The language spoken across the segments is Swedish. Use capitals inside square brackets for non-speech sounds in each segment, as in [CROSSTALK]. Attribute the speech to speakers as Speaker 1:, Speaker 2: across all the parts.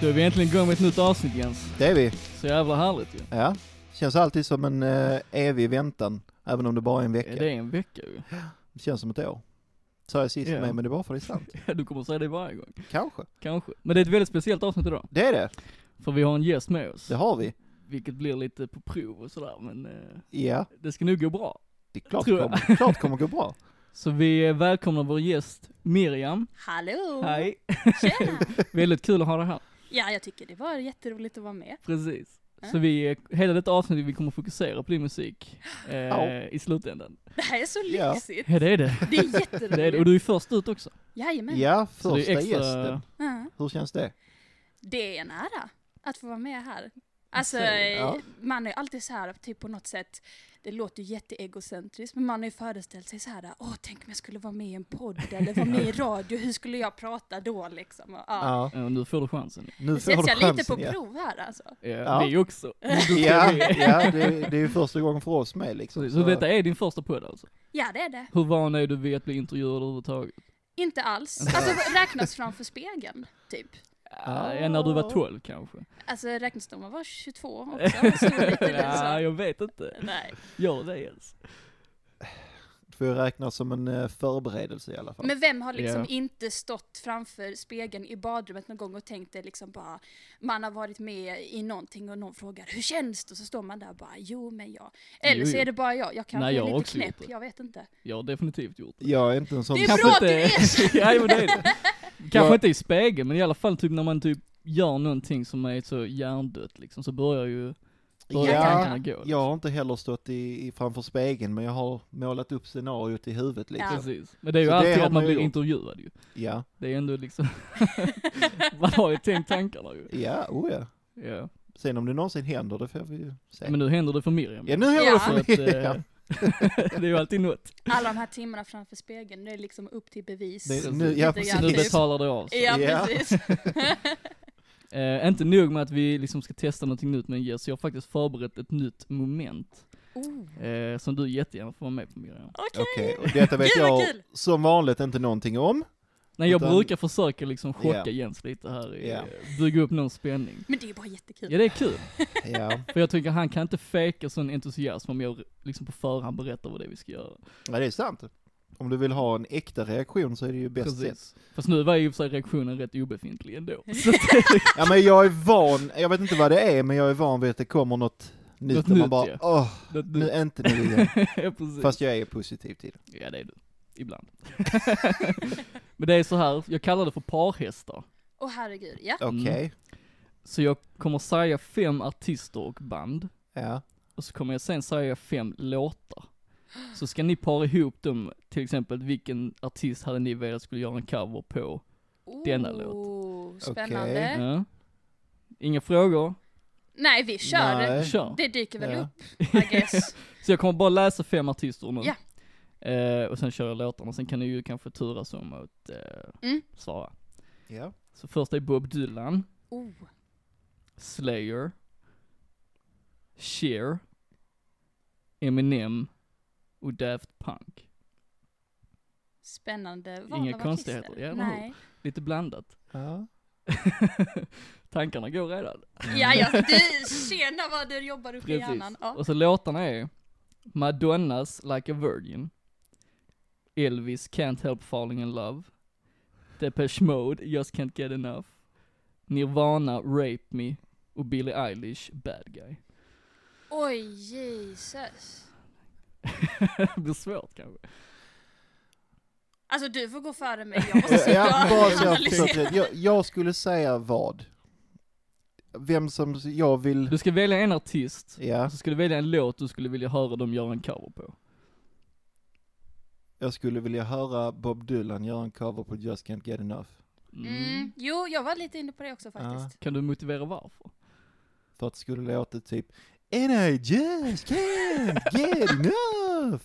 Speaker 1: Då är vi äntligen igång med ett nytt avsnitt Jens.
Speaker 2: Det är vi.
Speaker 1: Så jävla härligt ju.
Speaker 2: Ja. Känns alltid som en eh, evig väntan, även om det bara är en vecka.
Speaker 1: Det är en vecka ju. [LAUGHS]
Speaker 2: Det känns som ett år. Sa jag sist
Speaker 1: Ja.
Speaker 2: med, men det är bara för det är sant.
Speaker 1: Du kommer säga det varje gång.
Speaker 2: Kanske.
Speaker 1: Kanske. Men det är ett väldigt speciellt avsnitt idag.
Speaker 2: Det är det.
Speaker 1: För vi har en gäst med oss.
Speaker 2: Det har vi.
Speaker 1: Vilket blir lite på prov och sådär men eh,
Speaker 2: Ja, det
Speaker 1: det ska nog gå bra.
Speaker 2: är klart
Speaker 1: Tror
Speaker 2: det
Speaker 1: jag.
Speaker 2: kommer, klart det kommer gå
Speaker 3: [LAUGHS]
Speaker 2: bra.
Speaker 1: Så vi eh, välkomnar vår gäst Miriam.
Speaker 3: Hallå!
Speaker 1: Hej.
Speaker 2: [LAUGHS]
Speaker 3: Tjena!
Speaker 1: Väldigt kul att ha dig här.
Speaker 3: Ja, jag tycker det var jätteroligt att vara med.
Speaker 1: Precis. Så
Speaker 3: Ja.
Speaker 1: vi, eh, hela detta avsnitt vi kommer fokusera på din musik eh,
Speaker 2: Ja.
Speaker 1: i slutändan.
Speaker 3: Det här är så
Speaker 2: Ja.
Speaker 3: lyxigt.
Speaker 1: Ja, det är det.
Speaker 2: [LAUGHS]
Speaker 3: Det är
Speaker 1: det är det.
Speaker 3: jätteroligt.
Speaker 1: Och du är först ut också.
Speaker 3: Jajamän.
Speaker 2: Ja,
Speaker 1: Så det
Speaker 2: första
Speaker 1: är extra,
Speaker 2: gästen.
Speaker 3: Ja.
Speaker 2: Hur känns det?
Speaker 3: Det är en ära att få vara med här. Alltså,
Speaker 1: Okej,
Speaker 2: ja.
Speaker 3: man är alltid så här, typ på något sätt, det låter ju jätteegocentriskt, men man har ju föreställt sig så här, åh, tänk om jag skulle vara med i en podd eller
Speaker 2: [LAUGHS]
Speaker 3: vara med i radio, hur skulle jag prata då liksom? Och, ja.
Speaker 2: Ja.
Speaker 1: eh, nu får du chansen.
Speaker 2: Nu
Speaker 3: Nu
Speaker 2: får du
Speaker 3: sätts jag lite på
Speaker 2: chansen. Ja,
Speaker 3: prov här alltså.
Speaker 1: Ja,
Speaker 2: Ja.
Speaker 1: Vi
Speaker 2: [LAUGHS]
Speaker 1: också. Du ska
Speaker 2: ja,
Speaker 1: med.
Speaker 2: ja det, det är ju första gången för oss med liksom.
Speaker 1: Så, så detta är din första podd alltså?
Speaker 3: Ja, det är det.
Speaker 1: Hur van är du vid att bli intervjuad överhuvudtaget?
Speaker 3: Inte alls.
Speaker 1: Inte
Speaker 3: Alltså, räknas framför spegeln, typ.
Speaker 1: Ah. Än när du var 12 kanske?
Speaker 3: Alltså räknas de att vara
Speaker 1: [LAUGHS]
Speaker 3: 22 också? Stod lite liksom. där
Speaker 1: ja,
Speaker 3: så.
Speaker 1: jag vet inte.
Speaker 3: Nej.
Speaker 1: Gör det ens?
Speaker 2: Det får ju räknas som en eh, förberedelse i alla fall.
Speaker 3: Men vem har liksom
Speaker 1: Ja.
Speaker 3: inte stått framför spegeln i badrummet någon gång och tänkt det liksom bara, man har varit med i någonting och någon frågar hur känns det? Och så står man där och bara, jo men jag. Eller
Speaker 1: Jo,
Speaker 3: så
Speaker 1: jo.
Speaker 3: är det bara jag, jag kanske
Speaker 1: Nej, jag har
Speaker 3: är lite
Speaker 1: också gjort
Speaker 3: knäpp,
Speaker 1: det.
Speaker 3: jag vet inte.
Speaker 1: Jag har definitivt gjort det.
Speaker 2: Jag är inte en sån...
Speaker 3: Det är
Speaker 1: Kanske
Speaker 3: bra att du
Speaker 1: inte- [LAUGHS] ja, men det är
Speaker 3: [LAUGHS]
Speaker 1: det. Kanske
Speaker 2: Jag-
Speaker 1: inte i spegeln, men i alla fall typ när man typ gör någonting som är så hjärndött liksom, så börjar ju, börjar
Speaker 3: Ja.
Speaker 1: tankarna gå. Liksom.
Speaker 2: Jag har inte heller stått i, i framför spegeln men jag har målat upp scenariot i huvudet liksom.
Speaker 3: Ja.
Speaker 1: Precis. Men det är ju
Speaker 2: Så det
Speaker 1: alltid
Speaker 2: har
Speaker 1: att
Speaker 2: man
Speaker 1: man
Speaker 2: ju
Speaker 1: blir
Speaker 2: gjort.
Speaker 1: intervjuad ju.
Speaker 2: Ja,
Speaker 1: Det är ändå
Speaker 3: [LAUGHS]
Speaker 1: liksom, [LAUGHS] man har ju tänkt tankarna ju.
Speaker 2: ja, oh ja.
Speaker 1: Ja.
Speaker 2: Sen om det någonsin händer, det får vi ju se.
Speaker 1: Men nu händer det för Miriam.
Speaker 2: ja, nu händer
Speaker 3: Ja.
Speaker 2: det
Speaker 1: Så
Speaker 2: för
Speaker 1: att,
Speaker 2: mig. [LAUGHS]
Speaker 1: eh, [LAUGHS] det är ju alltid något.
Speaker 3: Alla de här timmarna framför spegeln, det är liksom upp till bevis.
Speaker 2: Det-
Speaker 1: Precis.
Speaker 2: nu, ja,
Speaker 3: Lite
Speaker 2: precis.
Speaker 3: grann
Speaker 1: Nu
Speaker 3: typ.
Speaker 1: betalar det av sig.
Speaker 3: [LAUGHS] Ja,
Speaker 2: Ja.
Speaker 3: precis.
Speaker 2: [LAUGHS]
Speaker 1: Eh, inte nog med att vi liksom ska testa någonting nytt med en gäst, så jag har faktiskt förberett ett nytt moment.
Speaker 3: Oh,
Speaker 1: Eh, som du jättegärna får vara med på Miriam.
Speaker 3: Okej.
Speaker 2: Okej, och detta vet
Speaker 3: Gud, vad
Speaker 2: jag
Speaker 3: kul.
Speaker 2: som vanligt inte någonting om.
Speaker 1: Nej jag
Speaker 2: Utan-
Speaker 1: brukar försöka liksom chocka
Speaker 2: Ja.
Speaker 1: Jens lite här, eh,
Speaker 2: Ja.
Speaker 1: bygga upp någon spänning.
Speaker 3: Men det är bara jättekul.
Speaker 1: Ja det är kul,
Speaker 2: Ja,
Speaker 1: för jag tycker han kan inte fejka sån entusiasm om jag liksom på förhand berättar vad det är vi ska göra.
Speaker 2: ja det är sant. Om du vill ha en äkta reaktion så är det ju bäst sätt.
Speaker 1: Precis. Fast nu var ju i och för sig reaktionen rätt obefintlig
Speaker 3: [LAUGHS]
Speaker 1: ändå. Så att det är liksom,
Speaker 2: Ja men jag är van, jag vet inte vad det är, men jag är van vid att det kommer något nytt
Speaker 1: Något
Speaker 2: och man
Speaker 1: nytt,
Speaker 2: bara,
Speaker 1: ja.
Speaker 2: åh,
Speaker 1: det,
Speaker 2: nu
Speaker 1: det,
Speaker 2: är inte nu igen.
Speaker 1: ja, [LAUGHS] precis.
Speaker 2: Fast jag är positiv till det.
Speaker 1: Ja det är du, ibland. [LAUGHS] Men det är så här, jag kallar det för parhästar.
Speaker 3: Åh herregud, ja.
Speaker 1: Mm.
Speaker 2: Okej,
Speaker 1: Så jag kommer säga fem artister och band.
Speaker 2: ja.
Speaker 1: Och så kommer jag sen säga fem låtar. Så ska ni para ihop dem, till exempel vilken artist hade ni velat skulle göra en cover på? Denna låt.
Speaker 3: Oh,
Speaker 2: Okej.
Speaker 3: Spännande.
Speaker 1: Ja. Inga frågor?
Speaker 3: Nej, vi kör.
Speaker 2: Nej.
Speaker 1: Kör.
Speaker 3: Det dyker väl
Speaker 2: Ja.
Speaker 3: upp, I guess.
Speaker 1: [LAUGHS] Så jag kommer bara läsa fem artister nu.
Speaker 3: Ja.
Speaker 1: Eh, och sen kör jag låtarna, sen kan ni ju kanske turas om att eh,
Speaker 3: Mm.
Speaker 1: svara.
Speaker 2: Ja.
Speaker 1: Så först är Bob Dylan,
Speaker 3: Oh,
Speaker 1: Slayer, Cher, Eminem och Daft Punk.
Speaker 3: spännande val
Speaker 1: Inga
Speaker 3: av artister.
Speaker 1: konstigheter, ja, eller hur?
Speaker 3: Nej.
Speaker 1: Lite blandat.
Speaker 2: ja.
Speaker 1: Tankarna går redan.
Speaker 3: Ja, ja,
Speaker 1: [LAUGHS]
Speaker 3: du, tjena vad du jobbar upp i
Speaker 1: Precis.
Speaker 3: hjärnan. Ja.
Speaker 1: Och så låtarna är Madonnas Like a Virgin, Elvis Can't Help Falling In Love, Depeche Mode Just Can't Get Enough, Nirvana Rape Me och Billie Eilish Bad Guy. [LAUGHS]
Speaker 3: Oj, Jesus.
Speaker 1: det blir svårt kanske.
Speaker 3: Alltså du får gå före mig, jag måste sitta
Speaker 2: Ja, bara så jag,
Speaker 3: och analysera.
Speaker 2: förstår rätt. jag, jag skulle säga vad? Vem som jag vill...
Speaker 1: Du ska välja en artist,
Speaker 2: Ja,
Speaker 1: så ska du välja en låt du skulle vilja höra dem göra en cover på.
Speaker 2: jag skulle vilja höra Bob Dylan göra en cover på Just Can't Get Enough.
Speaker 3: Mm. Jo, jag var lite inne på det också faktiskt.
Speaker 1: Kan du motivera varför?
Speaker 2: För att det skulle låta typ And I just can't get enough!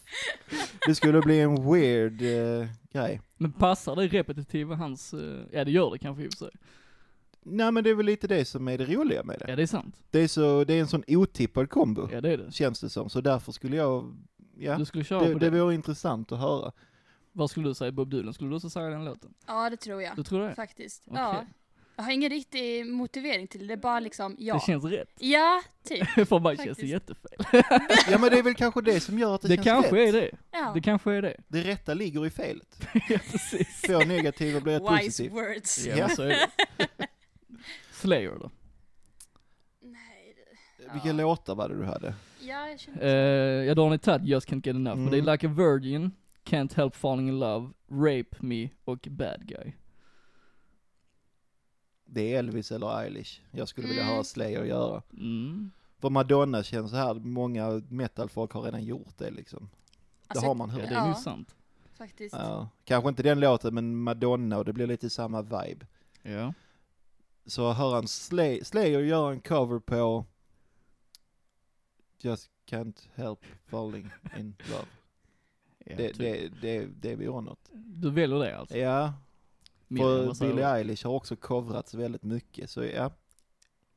Speaker 2: Det skulle bli en weird eh, grej.
Speaker 1: Men passar det repetitiva hans, eh, ja det gör det kanske i och för sig.
Speaker 2: Nej men det är väl lite det som är det roliga med det.
Speaker 1: Ja det är sant.
Speaker 2: Det är, så, det är en sån otippad kombo,
Speaker 1: Ja det är det.
Speaker 2: känns det som. Så därför skulle jag, ja,
Speaker 1: Du skulle köra
Speaker 2: det,
Speaker 1: på
Speaker 2: det
Speaker 1: det.
Speaker 2: vore intressant att höra.
Speaker 1: Vad skulle du säga Bob Dylan? Skulle du också säga den låten?
Speaker 3: Ja, det tror jag.
Speaker 1: Du tror det?
Speaker 3: Faktiskt.
Speaker 1: Okej.
Speaker 3: Ja. Jag har ingen riktig motivering till det, det är bara liksom
Speaker 1: Det
Speaker 3: ja.
Speaker 1: känns rätt. [LAUGHS]
Speaker 3: Ja, typ.
Speaker 1: För mig känns det
Speaker 3: Faktiskt.
Speaker 1: jättefel.
Speaker 2: Ja men [LAUGHS] det är väl kanske det som gör att det,
Speaker 1: Det
Speaker 2: känns
Speaker 1: kanske
Speaker 2: rätt.
Speaker 1: är det.
Speaker 3: Ja.
Speaker 1: Det kanske är det. [LAUGHS]
Speaker 2: Det rätta ligger i felet.
Speaker 1: Ja precis.
Speaker 2: Två negativa
Speaker 1: [LAUGHS]
Speaker 2: blir ett
Speaker 3: Wise
Speaker 2: positivt.
Speaker 3: words.
Speaker 1: Ja men så är
Speaker 3: [LAUGHS]
Speaker 1: det. Slayer då?
Speaker 3: Nej, det-
Speaker 2: Vilka
Speaker 3: Ja.
Speaker 2: låtar var det du hade?
Speaker 3: ja, jag känner
Speaker 1: Eh, ja då har ni tagit Just Can't Get Enough, men det
Speaker 2: Mm.
Speaker 1: är Like a Virgin, Can't Help Falling In Love, Rape Me och Bad Guy.
Speaker 2: Det är Elvis eller Eilish. Jag skulle vilja
Speaker 3: Mm.
Speaker 2: höra Slayer göra.
Speaker 1: Mm.
Speaker 2: För Madonna känns så här, många metalfolk har redan gjort det liksom.
Speaker 3: Alltså,
Speaker 2: det har man
Speaker 1: Ja
Speaker 2: hört.
Speaker 1: det är ju
Speaker 3: Ja.
Speaker 1: sant.
Speaker 3: faktiskt.
Speaker 2: Ja. Kanske inte den låten, men Madonna och det blir lite samma vibe.
Speaker 1: Ja.
Speaker 2: Så hör han Slay- Slayer göra en cover på Just Can't Help Falling In Love.
Speaker 1: [LAUGHS] ja
Speaker 2: det,
Speaker 1: typ.
Speaker 2: det, det, det vore något.
Speaker 1: Du väljer det alltså?
Speaker 2: Ja,
Speaker 1: Mer än vad
Speaker 2: för
Speaker 1: säger
Speaker 2: Billie
Speaker 1: du?
Speaker 2: Eilish har också coverats väldigt mycket, så ja.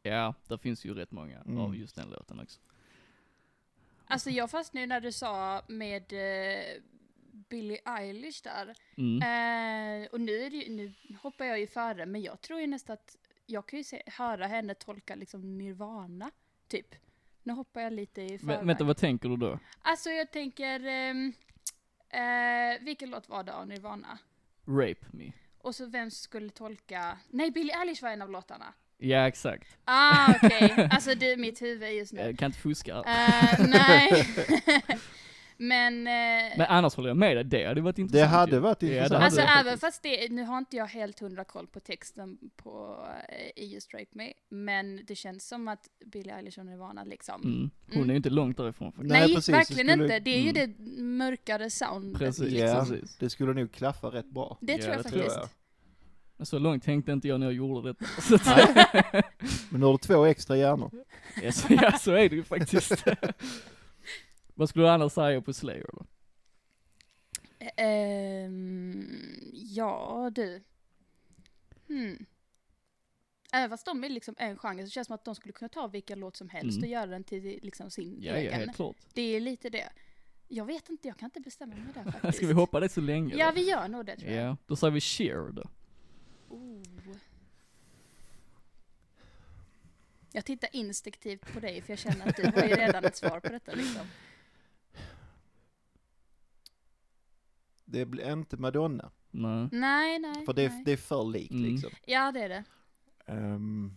Speaker 1: Ja, där finns ju rätt många
Speaker 2: Mm.
Speaker 1: av just den låten också.
Speaker 3: Alltså jag fastnade ju när du sa med eh, Billie Eilish där.
Speaker 1: Mm.
Speaker 3: Eh, och nu, är det ju, nu hoppar jag ju före, men jag tror ju nästan att jag kan ju se, höra henne tolka liksom nirvana, typ. Nu hoppar jag lite i förväg.
Speaker 1: Vä- vänta, vad tänker du då?
Speaker 3: Alltså jag tänker, ehm, eh, vilken låt var det av nirvana?
Speaker 1: Rape Me.
Speaker 3: Och så vem skulle tolka, nej Billie Eilish var en av låtarna.
Speaker 1: Ja, exakt.
Speaker 3: Ah okej,
Speaker 1: [LAUGHS]
Speaker 3: alltså det är mitt huvud just nu.
Speaker 1: Jag kan inte fuska. [LAUGHS]
Speaker 3: Eh, nej. [LAUGHS] men, eh,
Speaker 1: Men annars håller jag med dig, det hade varit
Speaker 2: Det
Speaker 1: intressant ju.
Speaker 2: hade varit
Speaker 1: Ja, det
Speaker 2: intressant.
Speaker 1: hade
Speaker 3: alltså
Speaker 1: det
Speaker 3: även
Speaker 1: faktiskt.
Speaker 3: fast det, nu har inte jag helt hundra koll på texten på eh, i Just Rape Me, men det känns som att Billie Eilish och Nirvana liksom.
Speaker 1: Mm. Hon är ju inte långt därifrån faktiskt.
Speaker 3: Nej,
Speaker 2: Nej, precis, det
Speaker 3: verkligen
Speaker 2: skulle-
Speaker 3: inte, det är ju
Speaker 1: Mm.
Speaker 3: det mörkare soundet.
Speaker 1: Precis,
Speaker 2: Ja.
Speaker 1: precis.
Speaker 2: Det skulle nog klaffa rätt
Speaker 3: [LAUGHS]
Speaker 2: bra.
Speaker 3: Det
Speaker 1: Ja,
Speaker 3: tror jag
Speaker 1: det
Speaker 2: tror
Speaker 3: faktiskt.
Speaker 2: jag.
Speaker 1: Men Så långt tänkte inte jag när jag gjorde detta. [LAUGHS] Så, att-
Speaker 2: Men nu har du två extra hjärnor.
Speaker 1: ja, så, ja, så är det ju
Speaker 2: [LAUGHS]
Speaker 1: faktiskt. vad skulle du annars säga på Slayer då?
Speaker 3: Ehm, ja, du. Hmm. Även fast de är liksom en genre så känns det som att de skulle kunna ta vilken låt som helst
Speaker 1: Mm.
Speaker 3: och göra den till liksom sin
Speaker 1: Ja, ja,
Speaker 3: egen.
Speaker 1: helt klart.
Speaker 3: Det är lite det. Jag vet inte, jag kan inte bestämma mig där
Speaker 1: [LAUGHS]
Speaker 3: faktiskt.
Speaker 1: Ska vi hoppa det så länge?
Speaker 3: Ja,
Speaker 1: då?
Speaker 3: vi gör nog det tror jag.
Speaker 1: Ja, då säger vi Sheer då.
Speaker 3: Oh. Jag tittar instinktivt på dig för jag känner att du har ju redan ett svar på detta liksom.
Speaker 2: Det blir inte Madonna.
Speaker 1: Nej.
Speaker 3: Nej, nej.
Speaker 2: För det,
Speaker 3: nej.
Speaker 2: är- det är för likt
Speaker 1: Mm.
Speaker 2: liksom.
Speaker 3: Ja, det är det.
Speaker 2: Ehm.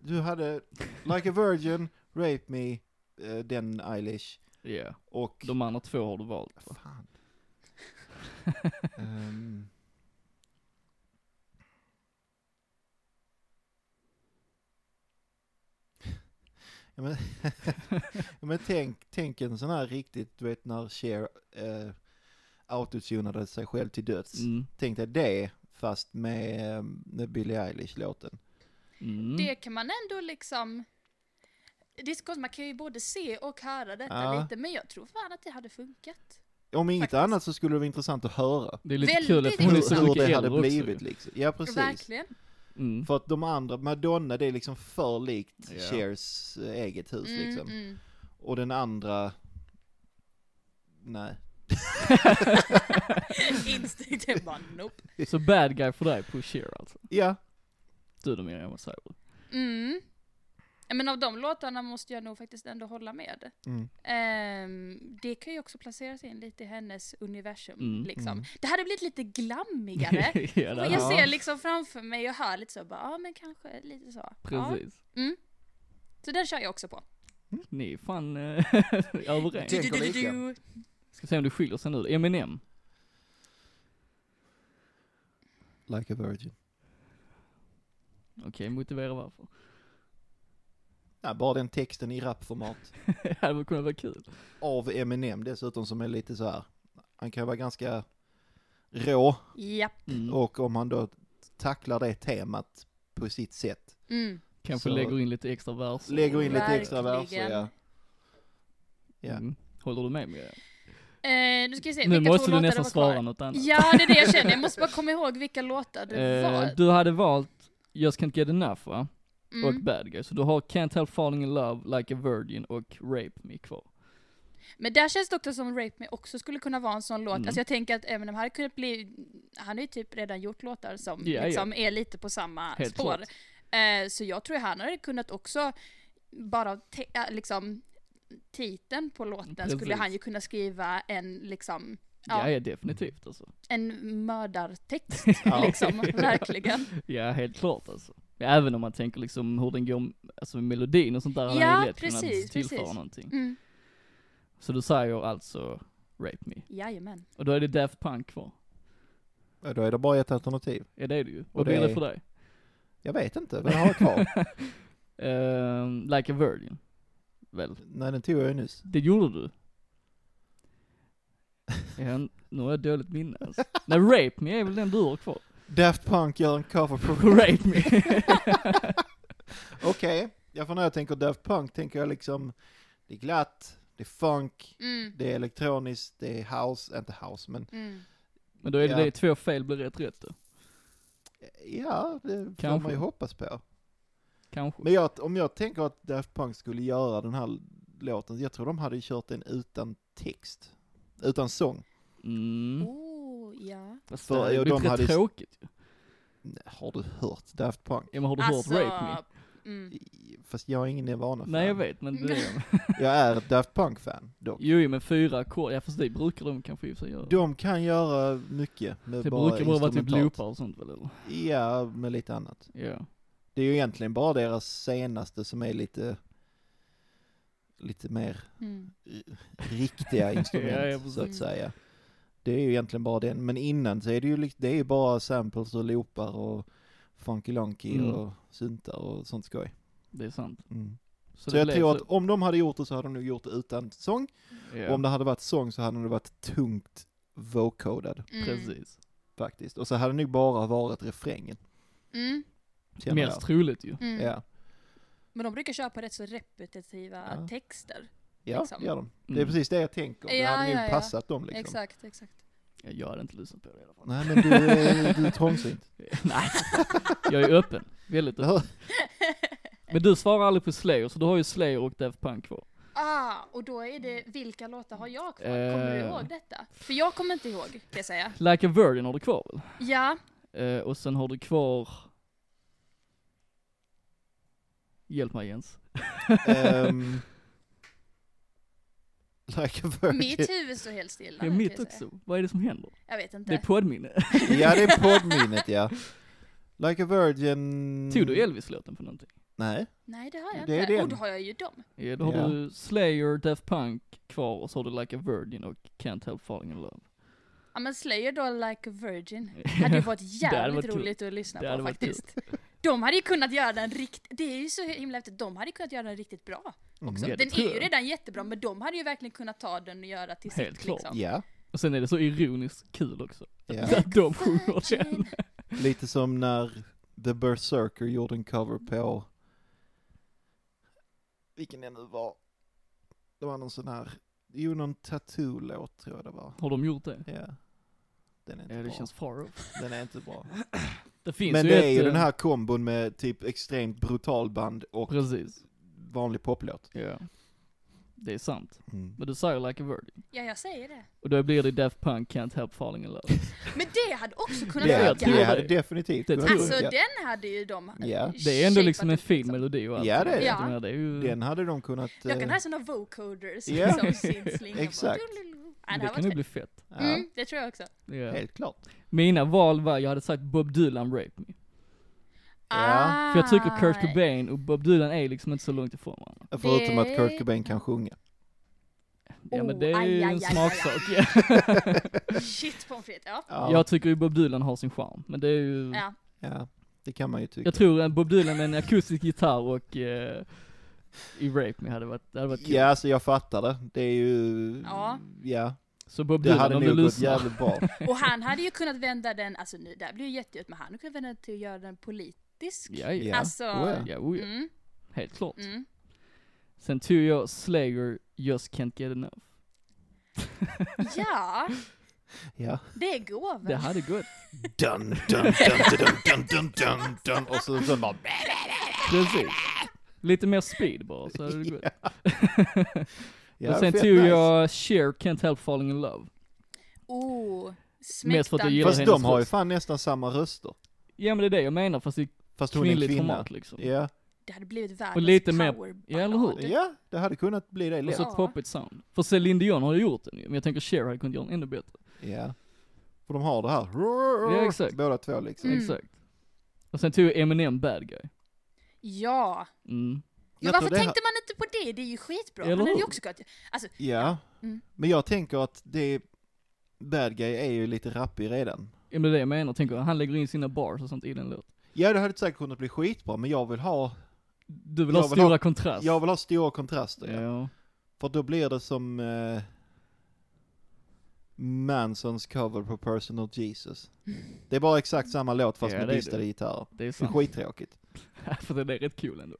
Speaker 2: du hade Like a Virgin, Rape Me, eh, den Eilish
Speaker 1: Ja,
Speaker 2: och...
Speaker 1: de andra två har du valt. va?
Speaker 2: Fan. Ehm. [LAUGHS] Ja men, [LAUGHS] ja, men tänk, tänk en sån här riktigt, du vet när Cher eh, autotunade sig själv till döds.
Speaker 1: Mm.
Speaker 2: Tänk dig det, fast med, eh, med Billie Eilish-låten.
Speaker 1: Mm.
Speaker 3: Det kan man ändå liksom... Det är så konstigt, man kan ju både se och höra detta
Speaker 2: Ja.
Speaker 3: lite, men jag tror fan att det hade funkat.
Speaker 2: Om inget
Speaker 3: Faktiskt.
Speaker 2: annat så skulle det vara intressant att höra
Speaker 1: Det är lite
Speaker 3: Väldigt
Speaker 1: kul att hon är
Speaker 2: hur,
Speaker 1: så
Speaker 3: intressant.
Speaker 2: hur
Speaker 1: mycket
Speaker 2: det
Speaker 1: äldre
Speaker 2: hade
Speaker 1: också.
Speaker 2: blivit liksom. Ja precis.
Speaker 3: Verkligen.
Speaker 1: Mm.
Speaker 2: För att de andra, Madonna det är liksom för likt
Speaker 1: Ja.
Speaker 2: Chers eh, eget hus
Speaker 3: Mm,
Speaker 2: liksom.
Speaker 3: mm.
Speaker 2: Och den andra, nej.
Speaker 3: mm. Instinktivt bara nope.
Speaker 1: [LAUGHS] Så bad guy för dig på Sheer alltså?
Speaker 2: Ja,
Speaker 1: Du då Miriam, vad säger du?
Speaker 3: Mm. Ja, Men av de låtarna måste jag nog faktiskt ändå hålla med.
Speaker 2: mm.
Speaker 3: Ehm, det kan ju också placeras in lite i hennes universum
Speaker 1: Mm,
Speaker 3: liksom.
Speaker 2: mm.
Speaker 3: Det hade blivit lite glammigare.
Speaker 1: [LAUGHS] ja, det
Speaker 3: Och
Speaker 1: hade-
Speaker 3: jag
Speaker 2: Ja.
Speaker 3: ser liksom framför mig och hör lite så bara, ja men kanske lite så. Ja.
Speaker 1: Precis.
Speaker 3: Så den kör jag också på.
Speaker 1: Ni är fan eh, [LAUGHS] överens.
Speaker 2: Tänker
Speaker 3: Du, du, du,
Speaker 2: lika.
Speaker 3: du.
Speaker 1: Ska se om det skiljer sig nu. Eminem.
Speaker 2: Like a virgin.
Speaker 1: Okej, motivera varför. [LAUGHS]
Speaker 2: Nej, bara den texten i rapformat.
Speaker 1: det hade kunnat vara kul.
Speaker 2: Av Eminem dessutom som är lite så här. Han kan vara ganska rå
Speaker 3: Japp.
Speaker 1: Mm.
Speaker 2: och om han då tacklar det temat på sitt sätt.
Speaker 3: Mm.
Speaker 1: Kanske
Speaker 2: så-
Speaker 1: lägger in lite extra verser.
Speaker 2: Lägger in lite extra verser
Speaker 3: Verkligen.
Speaker 2: ja. ja.
Speaker 1: Mm. Håller du med mig?
Speaker 3: Eh, nu ska vi se,
Speaker 1: Nu
Speaker 3: vilka
Speaker 1: måste
Speaker 3: två
Speaker 1: du
Speaker 3: låtar
Speaker 1: nästan
Speaker 3: det var kvar?
Speaker 1: svara något annat.
Speaker 3: Ja, det är det jag känner. Jag måste bara komma ihåg vilka låtar det var.
Speaker 1: Eh, du hade valt Just Can't Get Enough va?
Speaker 3: Mm.
Speaker 1: Och Bad Guy. Så du har Can't Help Falling In Love, Like A Virgin och Rape Me kvar.
Speaker 3: Men där känns det också som Rape Me också skulle kunna vara en sån låt.
Speaker 1: Mm.
Speaker 3: Alltså jag tänker att Eminem hade kunnat bli, han har ju typ redan gjort låtar som
Speaker 1: Ja, ja.
Speaker 3: liksom är lite på samma
Speaker 1: Helt
Speaker 3: spår.
Speaker 1: klart.
Speaker 3: Eh, så jag tror han hade kunnat också, bara av te- äh, liksom titeln på låten skulle
Speaker 1: Precis.
Speaker 3: han ju kunna skriva en liksom,
Speaker 1: Ja,
Speaker 3: ja,
Speaker 1: ja definitivt alltså.
Speaker 3: en
Speaker 1: [LAUGHS]
Speaker 3: mördartext
Speaker 2: Ja.
Speaker 3: liksom, verkligen.
Speaker 1: Ja, helt klart alltså. Ja, även om man tänker liksom hur den går, alltså med melodin och sånt där,
Speaker 3: Ja,
Speaker 1: hade ju lätt
Speaker 3: precis,
Speaker 1: kunnat tillföra
Speaker 3: precis.
Speaker 1: någonting.
Speaker 3: Mm.
Speaker 1: Så du säger alltså Rape Me.
Speaker 3: Jajamän.
Speaker 1: Och då är det Daft Punk kvar.
Speaker 2: Ja, Då är det bara ett alternativ.
Speaker 1: Ja det är det ju.
Speaker 2: Och
Speaker 1: Vad blir
Speaker 2: det
Speaker 1: det
Speaker 2: är-
Speaker 1: för dig?
Speaker 2: Jag vet inte, vad har jag [LAUGHS] kvar?
Speaker 1: [LAUGHS] Ehm, like a Virgin. Väl?
Speaker 2: Nej, den tog jag ju nyss.
Speaker 1: Det gjorde du. Ja, nu har jag dåligt minne alltså. Nej, Rape Me är väl den du har kvar?
Speaker 2: Daft Punk gör en cover på [LAUGHS]
Speaker 1: Rape Me.
Speaker 2: Okej, ja, för när jag tänker Daft Punk tänker jag liksom, det är glatt, det är funk,
Speaker 3: Mm.
Speaker 2: det är elektroniskt, det är house, inte house men
Speaker 3: Mm.
Speaker 1: Men då är det,
Speaker 2: Ja.
Speaker 1: det två fel blir rätt rätt då.
Speaker 2: ja, det får
Speaker 1: Kanske.
Speaker 2: man ju hoppas på.
Speaker 1: Kanske.
Speaker 2: Men jag, om jag tänker att Daft Punk skulle göra den här låten, jag tror de hade kört den utan text, utan sång.
Speaker 1: Mm.
Speaker 3: Oh, ja.
Speaker 1: Fast
Speaker 2: för-
Speaker 1: det hade
Speaker 2: och
Speaker 1: blivit
Speaker 2: de
Speaker 1: rätt
Speaker 2: hade-
Speaker 1: tråkigt ju.
Speaker 2: Nej, Har du hört Daft Punk?
Speaker 1: Ja, men har du
Speaker 3: Alltså,
Speaker 1: hört Rape Me?
Speaker 3: Mm.
Speaker 2: Fast jag är ingen Nirvana-fan.
Speaker 1: Nej jag vet men det är
Speaker 2: Jag är ett Daft Punk-fan dock.
Speaker 1: Jo jo, men fyra ackord, ja fast det brukar de kanske i och för sig göra.
Speaker 2: De kan göra mycket med
Speaker 1: det
Speaker 2: bara
Speaker 1: brukar bara vara typ
Speaker 2: instrumentalt.
Speaker 1: loopar och sånt väl eller?
Speaker 2: Ja, med lite annat.
Speaker 1: Ja.
Speaker 2: Det är ju egentligen bara deras senaste som är lite, lite mer
Speaker 3: Mm.
Speaker 2: riktiga instrument,
Speaker 1: [LAUGHS] Ja, ja,
Speaker 2: så att
Speaker 3: precis.
Speaker 2: säga. Det är ju egentligen bara den, men innan så är det ju lik- det är ju bara samples och loopar och funky lonky
Speaker 1: Mm.
Speaker 2: och syntar och sånt skoj.
Speaker 1: Det är sant.
Speaker 2: Mm. Så,
Speaker 1: det
Speaker 2: jag
Speaker 1: blev
Speaker 2: tror att
Speaker 1: så-
Speaker 2: om de hade gjort det så hade de nog gjort det utan sång,
Speaker 1: ja,
Speaker 2: och om det hade varit sång så hade det varit tungt vocodad
Speaker 3: Mm.
Speaker 1: precis.
Speaker 2: faktiskt. Och så hade det nog bara varit refrängen.
Speaker 3: Mm.
Speaker 2: känner
Speaker 1: Mest troligt ju.
Speaker 3: Mm.
Speaker 2: jag. Ja,
Speaker 3: Men de brukar köpa rätt så repetitiva
Speaker 2: Ja.
Speaker 3: texter.
Speaker 2: ja
Speaker 3: Liksom.
Speaker 2: det gör de. Det är
Speaker 1: Mm.
Speaker 2: precis det jag tänker, det
Speaker 3: Ja,
Speaker 2: hade nog
Speaker 3: ja, ja.
Speaker 2: passat dem liksom.
Speaker 3: Exakt, exakt. [LAUGHS]
Speaker 1: Ja, Jag hade inte lyssnat på det i alla fall.
Speaker 2: Nej men du, är- du är
Speaker 3: [LAUGHS]
Speaker 2: trångsynt.
Speaker 1: [LAUGHS] Nej. Jag är öppen. Väldigt öppen. Men du svarar aldrig på Slayer, så du har ju Slayer och Daft Punk kvar.
Speaker 3: Ah, och då är det, vilka låtar har jag kvar?
Speaker 1: Mm. Eh.
Speaker 3: Kommer du ihåg detta? För jag kommer inte ihåg, kan jag säga.
Speaker 1: Like a Virgin har du kvar väl? [LAUGHS]
Speaker 3: Ja,
Speaker 1: Eh, och sen har du kvar... Hjälp mig Jens.
Speaker 2: Ehm, like a virgin.
Speaker 3: mitt huvud står helt stilla.
Speaker 1: [LAUGHS] Det är
Speaker 3: nu, kan
Speaker 1: mitt
Speaker 3: jag säga.
Speaker 1: också. Vad är det som händer?
Speaker 3: Jag vet inte.
Speaker 1: Det är poddminne.
Speaker 2: Ja det är poddminnet ja. Like a virgin.
Speaker 1: Tog du Mm. Elvis-låten för någonting?
Speaker 2: Nej.
Speaker 3: [LAUGHS] Nej, det har jag
Speaker 2: Det är
Speaker 3: inte.
Speaker 2: den.
Speaker 3: Och då har jag ju dem.
Speaker 1: Ja, då har
Speaker 2: Ja.
Speaker 1: du Slayer, Daft Punk kvar och så har du Like a Virgin och Can't Help Falling In Love.
Speaker 3: Ja men Slayer då, Like a Virgin.
Speaker 1: [LAUGHS]
Speaker 3: Hade ju varit
Speaker 1: Det hade
Speaker 3: jävligt
Speaker 1: varit kul.
Speaker 3: roligt att lyssna
Speaker 1: Det hade
Speaker 3: på
Speaker 1: varit kul.
Speaker 3: faktiskt. De hade ju kunnat göra den riktigt, det är ju så himla häftigt, de hade ju kunnat göra den riktigt bra.
Speaker 1: Ja,
Speaker 3: Också.
Speaker 2: Mm.
Speaker 1: det
Speaker 3: den
Speaker 1: tror
Speaker 3: är ju
Speaker 1: jag.
Speaker 3: redan jättebra men de hade ju verkligen kunnat ta den och göra till
Speaker 1: Helt
Speaker 3: sitt
Speaker 1: klart.
Speaker 3: liksom.
Speaker 2: Ja.
Speaker 1: Och sen är det så ironiskt kul också.
Speaker 2: ja.
Speaker 1: Att [LAUGHS] de sjunger den.
Speaker 3: Virgin.
Speaker 2: Lite som när The Berserker gjorde en cover på. Vilken det nu var. Det var någon sån här. Jo någon tattoo-låt tror jag det var.
Speaker 1: Har de gjort det?
Speaker 2: Ja. Den är inte
Speaker 1: Ja, det
Speaker 2: bra.
Speaker 1: känns far off.
Speaker 2: Den är inte bra.
Speaker 1: Det [LAUGHS] finns
Speaker 2: Men
Speaker 1: ju
Speaker 2: det
Speaker 1: ett,
Speaker 2: är ju
Speaker 1: eh,
Speaker 2: den här kombon med typ extremt brutalband och
Speaker 1: Precis.
Speaker 2: vanlig poplåt. Mm.
Speaker 1: Ja. Det är sant. Men du säger Like a Virgin.
Speaker 3: Ja jag säger det.
Speaker 1: Och då blir det Daft Punk Can't Help Falling In Love.
Speaker 3: Men det hade också kunnat
Speaker 2: Det,
Speaker 1: jag
Speaker 3: funka.
Speaker 1: tror
Speaker 2: det
Speaker 1: det.
Speaker 2: hade definitivt
Speaker 1: Det
Speaker 2: kunnat
Speaker 1: tror jag.
Speaker 3: Alltså
Speaker 2: funka.
Speaker 3: den hade ju de
Speaker 2: Ja.
Speaker 1: Det är ändå
Speaker 3: shapat
Speaker 1: liksom en
Speaker 3: upp,
Speaker 1: fin melodi och allt.
Speaker 2: Ja, det är det.
Speaker 1: Jag menar, det är ju...
Speaker 2: Den hade de kunnat...
Speaker 3: Jag kan ha
Speaker 2: eh,
Speaker 3: såna vocoders
Speaker 2: Ja.
Speaker 3: som liksom. sin slinga.
Speaker 2: Exakt.
Speaker 3: Ja,
Speaker 1: Men
Speaker 3: det
Speaker 1: det
Speaker 3: hade
Speaker 1: kan ju
Speaker 3: varit
Speaker 1: bli
Speaker 3: fett.
Speaker 1: fett.
Speaker 2: ja,
Speaker 3: Mm, det tror jag också.
Speaker 1: Ja.
Speaker 2: Helt klart.
Speaker 1: Mina val var, jag hade sagt Bob Dylan Rape Me.
Speaker 2: Ja.
Speaker 1: För jag
Speaker 3: Ah,
Speaker 1: tycker Kurt Cobain och Bob Dylan är liksom inte så långt ifrån varandra.
Speaker 2: Förutom att
Speaker 3: Det-
Speaker 2: Kurt Cobain kan sjunga.
Speaker 1: Ja men
Speaker 3: Oh,
Speaker 1: det är ju
Speaker 3: aj, aj,
Speaker 1: en
Speaker 3: aj, aj, [LAUGHS]
Speaker 1: smaksak.
Speaker 3: Shit pommes frites, ja.
Speaker 2: Ja,
Speaker 1: Jag tycker ju Bob Dylan har sin charm, men det är ju,
Speaker 3: ja.
Speaker 2: ja, det kan man ju tycka.
Speaker 1: jag tror en Bob Dylan med en akustisk gitarr och eh, i Rape Me hade varit, det hade varit kul.
Speaker 2: Ja, alltså jag fattar det. Det är ju...
Speaker 3: Ja.
Speaker 2: ja.
Speaker 1: Så Bob
Speaker 2: Det
Speaker 1: Dylan
Speaker 2: hade
Speaker 1: om du
Speaker 2: nog gått
Speaker 1: lyssnar. [LAUGHS]
Speaker 2: jävligt bra.
Speaker 3: Och han hade ju kunnat vända den, alltså nu, det här blir ju jättedjupt, men han hade kunnat vända den till att göra den politisk.
Speaker 1: Ja, ja.
Speaker 2: Ja.
Speaker 3: Alltså,
Speaker 2: Oh, ja.
Speaker 1: ja, oh, ja.
Speaker 3: Mm,
Speaker 1: helt klart.
Speaker 3: mm.
Speaker 1: Sen tog jag Slayer, Just Can't Get Enough.
Speaker 3: ja,
Speaker 1: [LAUGHS]
Speaker 2: Ja.
Speaker 3: det är gåvan.
Speaker 1: Det hade gått.
Speaker 2: Dun, dun, dun, dun, dun, dun, dun, dun. Och så, så bara...
Speaker 1: Precis. Lite mer speed bara, så hade det gått.
Speaker 2: [LAUGHS] Ja,
Speaker 1: och sen
Speaker 2: fett
Speaker 1: tog
Speaker 2: nice.
Speaker 1: jag Cher, Can't Help Falling In Love.
Speaker 3: Oh,
Speaker 1: Mest för att jag gillar
Speaker 2: Fast
Speaker 1: hennes
Speaker 2: de har ju
Speaker 1: röst.
Speaker 2: fan nästan samma röster.
Speaker 1: Ja men det är det jag menar, fast i
Speaker 2: Fast hon är
Speaker 1: kvinnligt
Speaker 2: kvinna.
Speaker 1: format liksom.
Speaker 2: Ja.
Speaker 3: Det hade blivit världens
Speaker 1: Och lite mer-
Speaker 3: powerballad.
Speaker 1: ja, eller hur?
Speaker 2: ja, det hade kunnat bli det
Speaker 1: Och
Speaker 2: lätt.
Speaker 1: så
Speaker 3: Ja.
Speaker 1: poppigt sound. För Celine Dion har ju gjort den ju, men jag tänker Cher hade kunnat göra den ännu bättre.
Speaker 2: Ja. För de har det här.
Speaker 1: Ja, exakt.
Speaker 2: Båda två liksom.
Speaker 3: Mm.
Speaker 1: Exakt. Och sen tog jag Eminem Bad Guy.
Speaker 3: Ja,
Speaker 1: Mm.
Speaker 3: men
Speaker 2: Jag tror
Speaker 3: varför
Speaker 2: det har-
Speaker 3: tänkte man inte på det? Det är ju skitbra.
Speaker 1: Eller
Speaker 3: Han hade
Speaker 1: hur?
Speaker 3: ju också kunnat, alltså,
Speaker 2: Ja.
Speaker 3: Mm.
Speaker 2: Men jag tänker att det... Bad guy är ju lite rappig redan.
Speaker 1: Ja men det är det jag menar, tänker jag. han lägger in sina bars och sånt i den låten.
Speaker 2: Ja, det hade säkert kunnat bli skitbra, men jag vill ha,
Speaker 1: Du vill
Speaker 2: Jag
Speaker 1: ha
Speaker 2: vill
Speaker 1: stora
Speaker 2: ha-
Speaker 1: kontrast?
Speaker 2: jag vill ha stora kontraster. Ja.
Speaker 1: Ja.
Speaker 2: För då blir det som eh, Mansons cover på Personal Jesus. Det är bara exakt samma låt fast
Speaker 1: Ja,
Speaker 2: med
Speaker 1: det är
Speaker 2: distade
Speaker 1: det.
Speaker 2: gitarrer.
Speaker 1: Det är
Speaker 2: Det är
Speaker 1: sant.
Speaker 2: skittråkigt.
Speaker 1: [LAUGHS] För den är rätt cool ändå.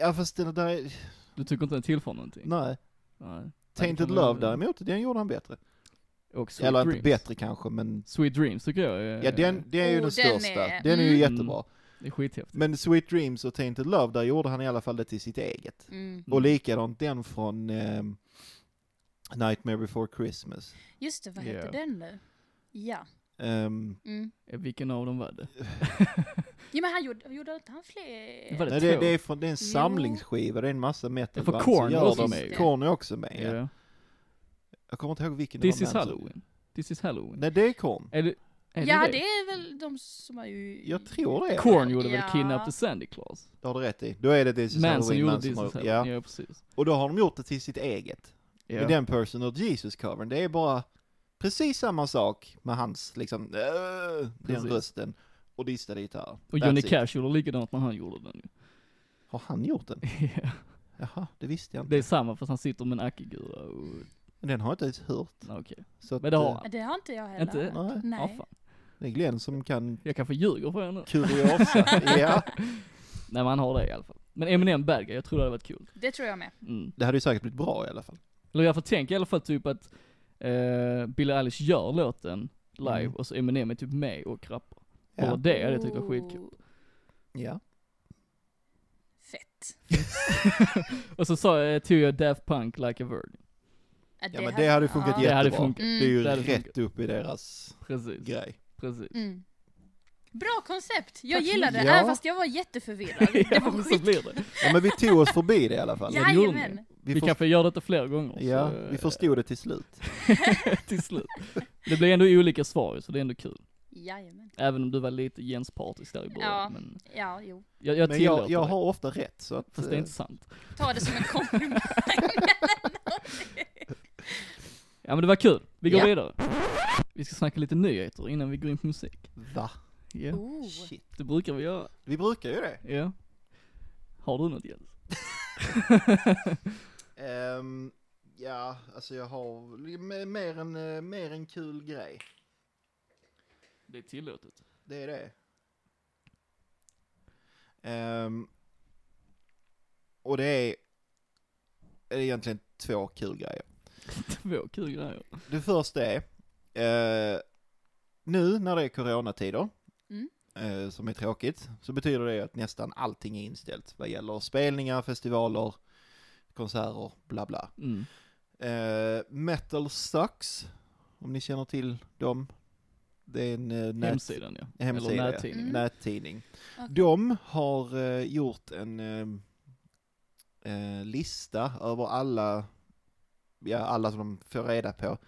Speaker 2: Ja fast den där, är-
Speaker 1: Du tycker inte den tillför någonting?
Speaker 2: nej.
Speaker 1: Nej.
Speaker 2: Tainted
Speaker 1: kan man-
Speaker 2: Love däremot, den gjorde han bättre.
Speaker 1: Och Sweet
Speaker 2: Eller
Speaker 1: Dreams. Eh.
Speaker 2: inte bättre kanske men,
Speaker 1: Sweet Dreams tycker jag är,
Speaker 2: ja den, det är ju
Speaker 3: Oh,
Speaker 2: den
Speaker 3: den
Speaker 2: största.
Speaker 3: är-
Speaker 2: Den är ju
Speaker 3: mm.
Speaker 2: jättebra.
Speaker 1: är skithäftig.
Speaker 2: Men Sweet Dreams och Tainted Love, där gjorde han i alla fall det till sitt eget.
Speaker 3: mm.
Speaker 2: Och likadant den från ehm, Nightmare Before Christmas.
Speaker 3: just det, vad heter
Speaker 1: Ja.
Speaker 3: den nu? Ja.
Speaker 2: Ehm,
Speaker 3: Mm.
Speaker 1: Eh, Vilken av dem var det?
Speaker 3: Ja men han gjorde, gjorde inte han fler?
Speaker 1: Var det
Speaker 2: Nej, det,
Speaker 1: två?
Speaker 2: det, är från, det är en
Speaker 3: Jo.
Speaker 2: samlingsskiva, det är en massa metal
Speaker 1: Ja, för Korn är
Speaker 3: också med ju.
Speaker 2: med. Korn är också med, ja.
Speaker 1: Ja.
Speaker 2: Jag kommer inte ihåg vilken
Speaker 1: This
Speaker 2: det var
Speaker 1: is
Speaker 2: men-
Speaker 1: Halloween. This is Halloween.
Speaker 2: Nej, det är Korn.
Speaker 1: Är det, är
Speaker 3: ja
Speaker 1: det?
Speaker 3: det är väl de som har ju...
Speaker 2: Jag tror det.
Speaker 1: Korn gjorde väl
Speaker 3: Ja.
Speaker 1: Kidnap the Sandy Claus?
Speaker 2: Det har du rätt i. Då är det This is
Speaker 1: Manson
Speaker 2: Halloween,
Speaker 1: gjorde
Speaker 2: Manson
Speaker 1: This
Speaker 2: har-
Speaker 1: is Halloween.
Speaker 2: ja.
Speaker 1: Ja, precis.
Speaker 2: Och då har de gjort det till sitt eget.
Speaker 1: Ja.
Speaker 2: Med den Personal Jesus-covern, det är bara precis samma sak med hans, liksom, äh, den
Speaker 1: Precis.
Speaker 2: rösten. Och distade gitarr.
Speaker 1: Och
Speaker 2: That's
Speaker 1: Johnny
Speaker 2: it.
Speaker 1: Cash gjorde likadant när han gjorde den ju.
Speaker 2: Har han gjort den?
Speaker 1: Ja.
Speaker 2: Jaha, det visste jag inte.
Speaker 1: Det är samma fast han sitter med en Uh, akigura och,
Speaker 2: Den har jag inte ens hört.
Speaker 1: nej, okej.
Speaker 2: Så att,
Speaker 1: Men det har
Speaker 2: eh,
Speaker 1: han.
Speaker 3: Ja, Det har inte jag heller.
Speaker 1: Inte?
Speaker 3: hört.
Speaker 2: Nej.
Speaker 1: Ja,
Speaker 3: Nej.
Speaker 1: fan.
Speaker 2: Det är Glenn som kan
Speaker 1: Jag kanske ljuger för
Speaker 2: [LAUGHS]
Speaker 1: henne. [LAUGHS]
Speaker 2: kuriosa. ja.
Speaker 1: Nej men han har det i alla fall. Men Eminem Bad Guy, jag tror det hade varit kul.
Speaker 3: Det tror jag med.
Speaker 1: Mm.
Speaker 2: Det hade ju säkert blivit bra i alla fall.
Speaker 1: Eller jag får tänka i alla fall typ att eh, Billie Eilish gör låten live
Speaker 2: Mm.
Speaker 1: och så Eminem är typ med och rappar.
Speaker 2: Ja.
Speaker 1: Bara det hade jag tyckt var skitkul.
Speaker 3: Oh,
Speaker 2: Ja.
Speaker 3: Fett.
Speaker 1: Och så sa jag, tog jag Daft Punk Like a Virgin.
Speaker 2: Ja, Mm. men det hade ju funkat
Speaker 1: Det hade
Speaker 2: Jättebra.
Speaker 1: funkat,
Speaker 2: Det är ju
Speaker 1: Det hade
Speaker 2: rätt
Speaker 1: funkat.
Speaker 2: upp i deras
Speaker 1: precis.
Speaker 2: grej.
Speaker 1: Precis.
Speaker 3: Mm. Bra koncept! Jag
Speaker 1: Tack så
Speaker 3: gillar det,
Speaker 2: mycket. Ja.
Speaker 3: även fast jag
Speaker 2: [LAUGHS]
Speaker 3: var jätteförvirrad. Det
Speaker 1: [LAUGHS] ja,
Speaker 3: var
Speaker 1: men så
Speaker 3: skit...
Speaker 1: blir det.
Speaker 2: Ja men vi tog oss förbi det i alla fall.
Speaker 1: Ja, det gjorde ni.
Speaker 3: Jajamän!
Speaker 1: Vi,
Speaker 2: först-
Speaker 1: kanske gör detta fler gånger.
Speaker 2: ja,
Speaker 1: så,
Speaker 2: vi
Speaker 1: eh,
Speaker 2: förstod det till slut.
Speaker 1: [LAUGHS] till slut. Det blir ändå olika svar så det är ändå kul.
Speaker 3: Jajamän.
Speaker 1: Även om du var lite Jens partisk där i början.
Speaker 3: Ja.
Speaker 1: Men
Speaker 3: Ja, jo.
Speaker 1: jag, jag
Speaker 2: Men jag,
Speaker 1: tillåter
Speaker 2: jag
Speaker 1: det.
Speaker 2: har ofta rätt så att...
Speaker 1: Fast det är
Speaker 2: eh,
Speaker 1: inte sant.
Speaker 3: Ta det som
Speaker 2: [LAUGHS]
Speaker 3: en komplimang.
Speaker 1: Ja men det var kul. Vi går
Speaker 2: Ja.
Speaker 1: vidare. Vi ska snacka lite nyheter innan vi går in på musik.
Speaker 2: eh, Va?
Speaker 1: Ja,
Speaker 3: Oh.
Speaker 2: Shit.
Speaker 1: det brukar vi göra.
Speaker 2: Vi brukar ju det.
Speaker 1: Ja. Har du något Jens?
Speaker 2: Ehm, ja, alltså jag har m- mer en, eh, mer en kul grej.
Speaker 1: Det är tillåtet.
Speaker 2: Det är det. Ehm, och det är, är egentligen två kul grejer.
Speaker 1: Två kul grejer.
Speaker 2: Det första är, eh, nu när det är coronatider,
Speaker 3: Mm.
Speaker 2: eh, som är tråkigt, så betyder det att nästan allting är inställt vad gäller spelningar, festivaler, konserter, bla bla.
Speaker 1: Mm.
Speaker 2: Eh, Metal Sucks, om ni känner till dem. Det är en eh, nät,
Speaker 1: Hemsidan ja.
Speaker 2: hemsida,
Speaker 1: Eller
Speaker 2: ja.
Speaker 1: nättidningen.
Speaker 3: Mm.
Speaker 2: nättidning.
Speaker 3: Okej.
Speaker 2: De har eh, gjort en eh, eh, lista över alla, ja alla som de får reda på,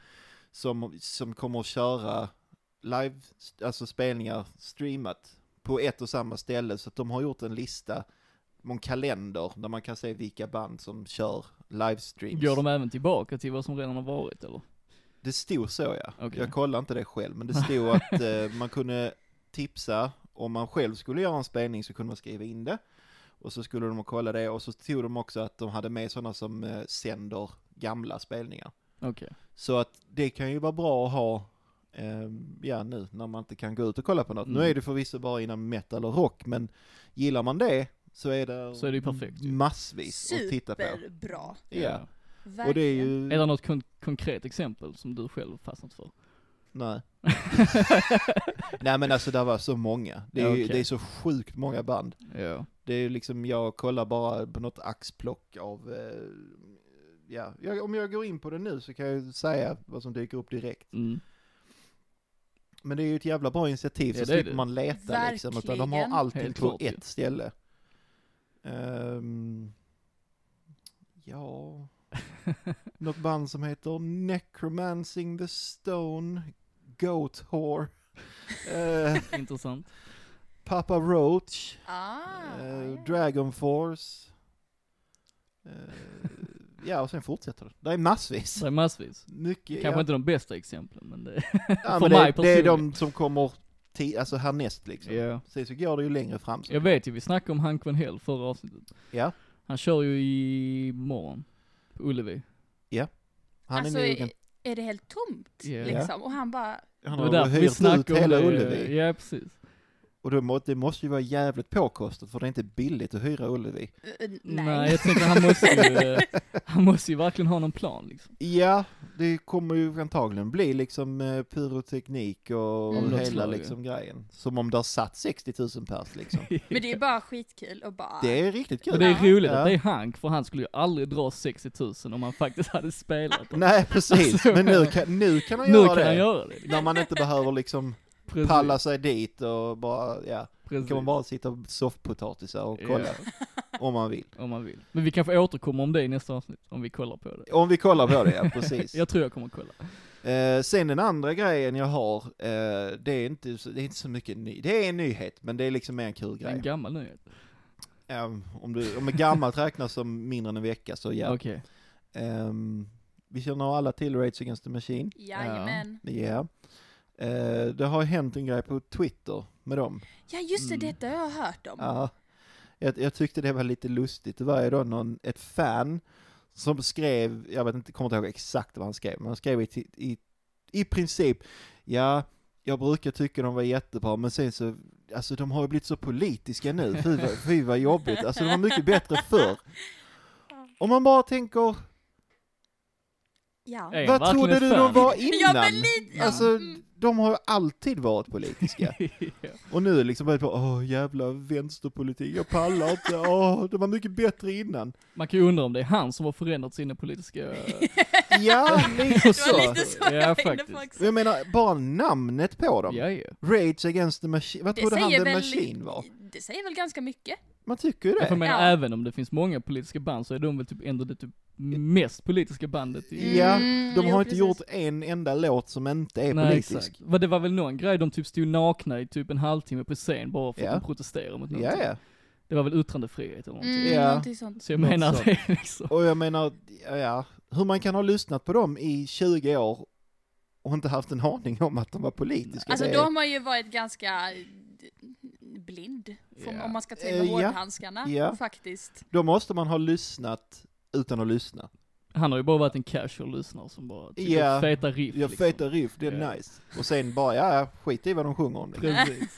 Speaker 2: som, som kommer att köra live, alltså spelningar streamat på ett och samma ställe så att de har gjort en lista, en kalender där man kan se vilka band som kör livestreams.
Speaker 1: Går de även tillbaka till vad som redan har varit eller?
Speaker 2: Det stod så ja.
Speaker 1: Okej.
Speaker 2: Jag kollade inte det själv, men
Speaker 1: [LAUGHS]
Speaker 2: det stod att eh, man kunde tipsa, om man själv skulle göra en spelning så kunde man skriva in det. Och så skulle de kolla det, och så tog de också att de hade med sådana som eh, sänder gamla spelningar.
Speaker 1: Okej.
Speaker 2: Så att det kan ju vara bra att ha, eh, ja nu när man inte kan gå ut och kolla på något. Nu
Speaker 1: Mm.
Speaker 2: är det förvisso bara inom metal och rock, men gillar man det så är det,
Speaker 1: Så är det ju perfekt ju.
Speaker 2: massvis att titta på.
Speaker 3: Superbra.
Speaker 2: Ja.
Speaker 3: Verkligen.
Speaker 2: Och det är ju,
Speaker 1: Är det något kon- konkret exempel som du själv fastnat
Speaker 2: [LAUGHS]
Speaker 1: för?
Speaker 2: nej. Nej men alltså det var så många. Det är, ju,
Speaker 1: Okej.
Speaker 2: det är så sjukt många band.
Speaker 1: ja.
Speaker 2: Det är ju liksom, jag kollar bara på något axplock av, eh, ja, jag, om jag går in på det nu så kan jag ju säga vad som dyker upp direkt.
Speaker 1: Mm.
Speaker 2: Men det är ju ett jävla bra initiativ, så
Speaker 1: Ja, det är
Speaker 2: slipper
Speaker 1: det.
Speaker 2: man leta liksom, utan de har
Speaker 3: Verkligen.
Speaker 2: allting
Speaker 1: Helt
Speaker 2: på
Speaker 1: klart ju.
Speaker 2: ett ställe. Ehm,
Speaker 1: [LAUGHS]
Speaker 2: ja, något band som heter Necromancing the Stone, Goat
Speaker 1: [LAUGHS]
Speaker 2: Whore, eh,
Speaker 1: Intressant.
Speaker 2: Papa Roach,
Speaker 3: Ah,
Speaker 2: Eh,
Speaker 3: ja.
Speaker 2: Dragon Force. Eh, ja, och sen fortsätter det. Det är massvis.
Speaker 1: Det är massvis.
Speaker 2: Mycket.
Speaker 1: Kanske
Speaker 2: ja.
Speaker 1: inte de bästa exemplen men det...
Speaker 2: ja,
Speaker 1: för
Speaker 2: men det,
Speaker 1: mig
Speaker 2: är- det är de
Speaker 1: personligen.
Speaker 2: som kommer ti- alltså härnäst liksom.
Speaker 1: Ja.
Speaker 2: Sen så går det ju längre fram. Så.
Speaker 1: Jag vet ju, vi snackade om Hank Van Hell förra avsnittet.
Speaker 2: Ja,
Speaker 1: Han kör ju i morgon. På Ullevi.
Speaker 2: han
Speaker 3: alltså,
Speaker 2: är nog en,
Speaker 3: är det helt tomt
Speaker 1: Ja.
Speaker 3: liksom? Och han bara,
Speaker 2: han
Speaker 1: Det
Speaker 2: har
Speaker 1: var därför vi
Speaker 2: hyrt ut
Speaker 1: snackade om
Speaker 2: hela
Speaker 1: det.
Speaker 2: Ullevi.
Speaker 1: Ja precis.
Speaker 2: Och då må, det måste ju vara jävligt påkostat för det är inte billigt att hyra Ullevi.
Speaker 3: eh, eh, nej.
Speaker 1: Nej. jag tänkte han måste ju, eh, han måste ju verkligen ha någon plan liksom.
Speaker 2: Ja, det kommer ju antagligen bli liksom eh, pyroteknik och
Speaker 3: Mm. Av något
Speaker 2: hela
Speaker 1: slag, ja.
Speaker 2: liksom grejen. Som om det har satt 60 000 pers liksom.
Speaker 3: Men det är bara skitkul och bara,
Speaker 2: Det är riktigt
Speaker 1: [LAUGHS]
Speaker 2: kul.
Speaker 1: Och det är roligt
Speaker 2: Ja.
Speaker 1: att det är Hank, för han skulle ju aldrig dra 60 000 om han faktiskt hade spelat.
Speaker 2: Nej precis,
Speaker 1: Alltså-
Speaker 2: men
Speaker 1: [LAUGHS]
Speaker 2: nu kan, nu kan han
Speaker 1: nu
Speaker 2: göra
Speaker 1: kan
Speaker 2: det.
Speaker 1: han göra det.
Speaker 2: [LAUGHS] När man inte behöver liksom
Speaker 1: [LAUGHS] Precis,
Speaker 2: palla sig dit och bara, ja, då
Speaker 1: precis.
Speaker 2: kan man bara sitta och soffpotatisar och kolla om man vill.
Speaker 1: Om man vill. Men vi kanske återkommer om det i nästa avsnitt, om vi kollar på det.
Speaker 2: Om vi kollar på det,
Speaker 1: [LAUGHS]
Speaker 2: ja precis.
Speaker 1: Jag tror jag kommer kolla.
Speaker 2: Eh, sen den andra grejen jag har, eh, det, är inte, så- det är inte så mycket ny, det är en nyhet, men det är liksom mer en kul
Speaker 1: Det är en
Speaker 2: grej.
Speaker 1: gammal nyhet.
Speaker 2: Ehm, om, du, om gammalt räknas som mindre än en vecka så ja.
Speaker 1: Okej.
Speaker 2: Ehm, vi känner alla till Rage Against the Machine.
Speaker 3: jajamän.
Speaker 2: Ja. Eh, det har hänt en grej på Twitter med dem.
Speaker 3: Ja just det,
Speaker 1: Mm.
Speaker 3: detta har jag hört om.
Speaker 2: Ja, jag, jag tyckte det var lite lustigt. Det var ju då någon, ett fan som skrev, jag vet inte, kommer inte ihåg exakt vad han skrev, men han skrev i, ti- i, i princip, ja, jag brukar tycka de var jättebra, men sen så, alltså de har ju blivit så politiska nu, fy
Speaker 3: [LAUGHS]
Speaker 2: vad, fy vad jobbigt, alltså de var mycket bättre förr. Om man bara tänker,
Speaker 3: Ja.
Speaker 1: Är han
Speaker 2: vad
Speaker 1: verkligen
Speaker 2: trodde
Speaker 1: ett
Speaker 2: du de
Speaker 1: fan?
Speaker 2: var
Speaker 3: [LAUGHS] Ja,
Speaker 2: innan?
Speaker 3: men lite,
Speaker 2: Alltså,
Speaker 3: mm.
Speaker 2: de har ju alltid varit
Speaker 3: [LAUGHS]
Speaker 2: politiska.
Speaker 1: [LAUGHS]
Speaker 2: Och nu liksom bara på, åh jävla vänsterpolitik, jag pallar inte, åh det var mycket bättre innan.
Speaker 1: Man kan ju undra om det är han som har förändrat sina politiska...
Speaker 2: [LAUGHS] Ja, lite
Speaker 3: [LAUGHS] Det var
Speaker 2: så.
Speaker 3: lite så
Speaker 1: Ja,
Speaker 3: jag var inne
Speaker 1: faktiskt.
Speaker 3: på också.
Speaker 2: Jag menar, bara namnet på dem.
Speaker 1: Ja, ja.
Speaker 2: Rage Against the Machine, vad
Speaker 3: Det
Speaker 2: trodde han
Speaker 3: säger,
Speaker 2: The
Speaker 3: väl,
Speaker 2: Machine var?
Speaker 3: det säger väl ganska mycket.
Speaker 2: Man tycker ju
Speaker 1: Jag får
Speaker 2: det.
Speaker 1: mena,
Speaker 3: Ja.
Speaker 1: även om det finns många politiska band så är de väl typ ändå det typ mest politiska bandet i...
Speaker 2: Ja,
Speaker 3: Mm,
Speaker 2: de
Speaker 3: jo,
Speaker 2: har inte
Speaker 3: precis.
Speaker 2: gjort en enda låt som inte är politisk.
Speaker 1: Vad Det var väl någon grej, de typ stod nakna i typ en halvtimme på scen bara för att
Speaker 2: Ja.
Speaker 1: de protesterade mot någonting.
Speaker 2: Ja, ja.
Speaker 1: Det var väl yttrandefrihet eller någonting.
Speaker 3: Mm,
Speaker 2: Ja.
Speaker 3: någonting sånt.
Speaker 1: Så jag
Speaker 2: Något
Speaker 1: menar att
Speaker 2: sånt.
Speaker 1: det är liksom,
Speaker 2: Och jag menar, ja, hur man kan ha lyssnat på dem i 20 år och inte haft en aning om att de var politiska.
Speaker 3: Alltså
Speaker 2: det är-
Speaker 3: då har man ju varit ganska eh, blind, får-
Speaker 1: Ja.
Speaker 3: om man ska ta
Speaker 2: Eh,
Speaker 3: med
Speaker 2: ja.
Speaker 3: hårdhandskarna
Speaker 2: Ja.
Speaker 3: faktiskt.
Speaker 2: Då måste man ha lyssnat utan att lyssna.
Speaker 1: han har ju bara varit en casual lyssnare som bara tycker
Speaker 2: Ja.
Speaker 1: feta riff
Speaker 2: Jag
Speaker 1: liksom.
Speaker 2: fetar riff, det är
Speaker 1: Ja.
Speaker 2: nice. Och sen bara, ja, ja, skit i vad de sjunger om det.
Speaker 1: Precis.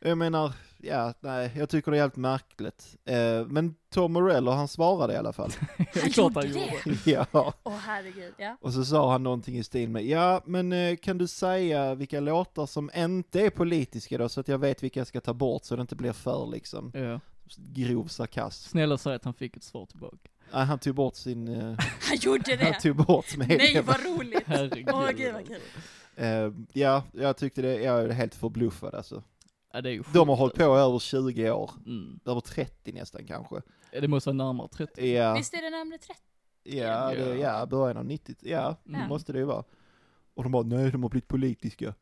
Speaker 2: Jag menar, ja, nej, jag tycker det är helt märkligt. Eh, men Tom Morello, han svarade i alla
Speaker 3: [LAUGHS]
Speaker 2: fall.
Speaker 1: [LAUGHS] Det är
Speaker 3: Han
Speaker 1: klart han
Speaker 3: gjorde
Speaker 1: gjorde.
Speaker 2: ja.
Speaker 3: Åh herregud, ja. [LAUGHS]
Speaker 2: Och så sa han någonting i stil med, ja, men eh, kan du säga vilka låtar som inte är politiska då, så att jag vet vilka jag ska ta bort, så det inte blir för liksom
Speaker 1: Ja.
Speaker 2: grov sarkasm.
Speaker 1: Snälla säg att han fick ett svar
Speaker 2: [LAUGHS]
Speaker 1: tillbaka.
Speaker 2: Nej, han tog bort sin,
Speaker 3: [LAUGHS]
Speaker 2: eh,
Speaker 3: Han gjorde
Speaker 2: han
Speaker 3: det!
Speaker 2: tog bort
Speaker 3: Nej
Speaker 2: medlemmar.
Speaker 3: vad roligt!
Speaker 1: Herregud.
Speaker 3: Åh gud vad kul.
Speaker 2: [LAUGHS] Eh, ja, jag tyckte det, jag är helt förbluffad alltså.
Speaker 1: Ja, det är ju
Speaker 2: De har
Speaker 1: sjukt,
Speaker 2: hållit på i över 20 år,
Speaker 1: alltså. Mm.
Speaker 2: över 30 nästan kanske.
Speaker 1: Ja, Det måste vara närmare 30.
Speaker 2: Ja.
Speaker 3: Visst är det närmare 30?
Speaker 2: Ja, det, ja, början av 90 ja,
Speaker 1: Mm.
Speaker 2: måste det ju vara. Och de bara, nej de har blivit [LAUGHS] politiska.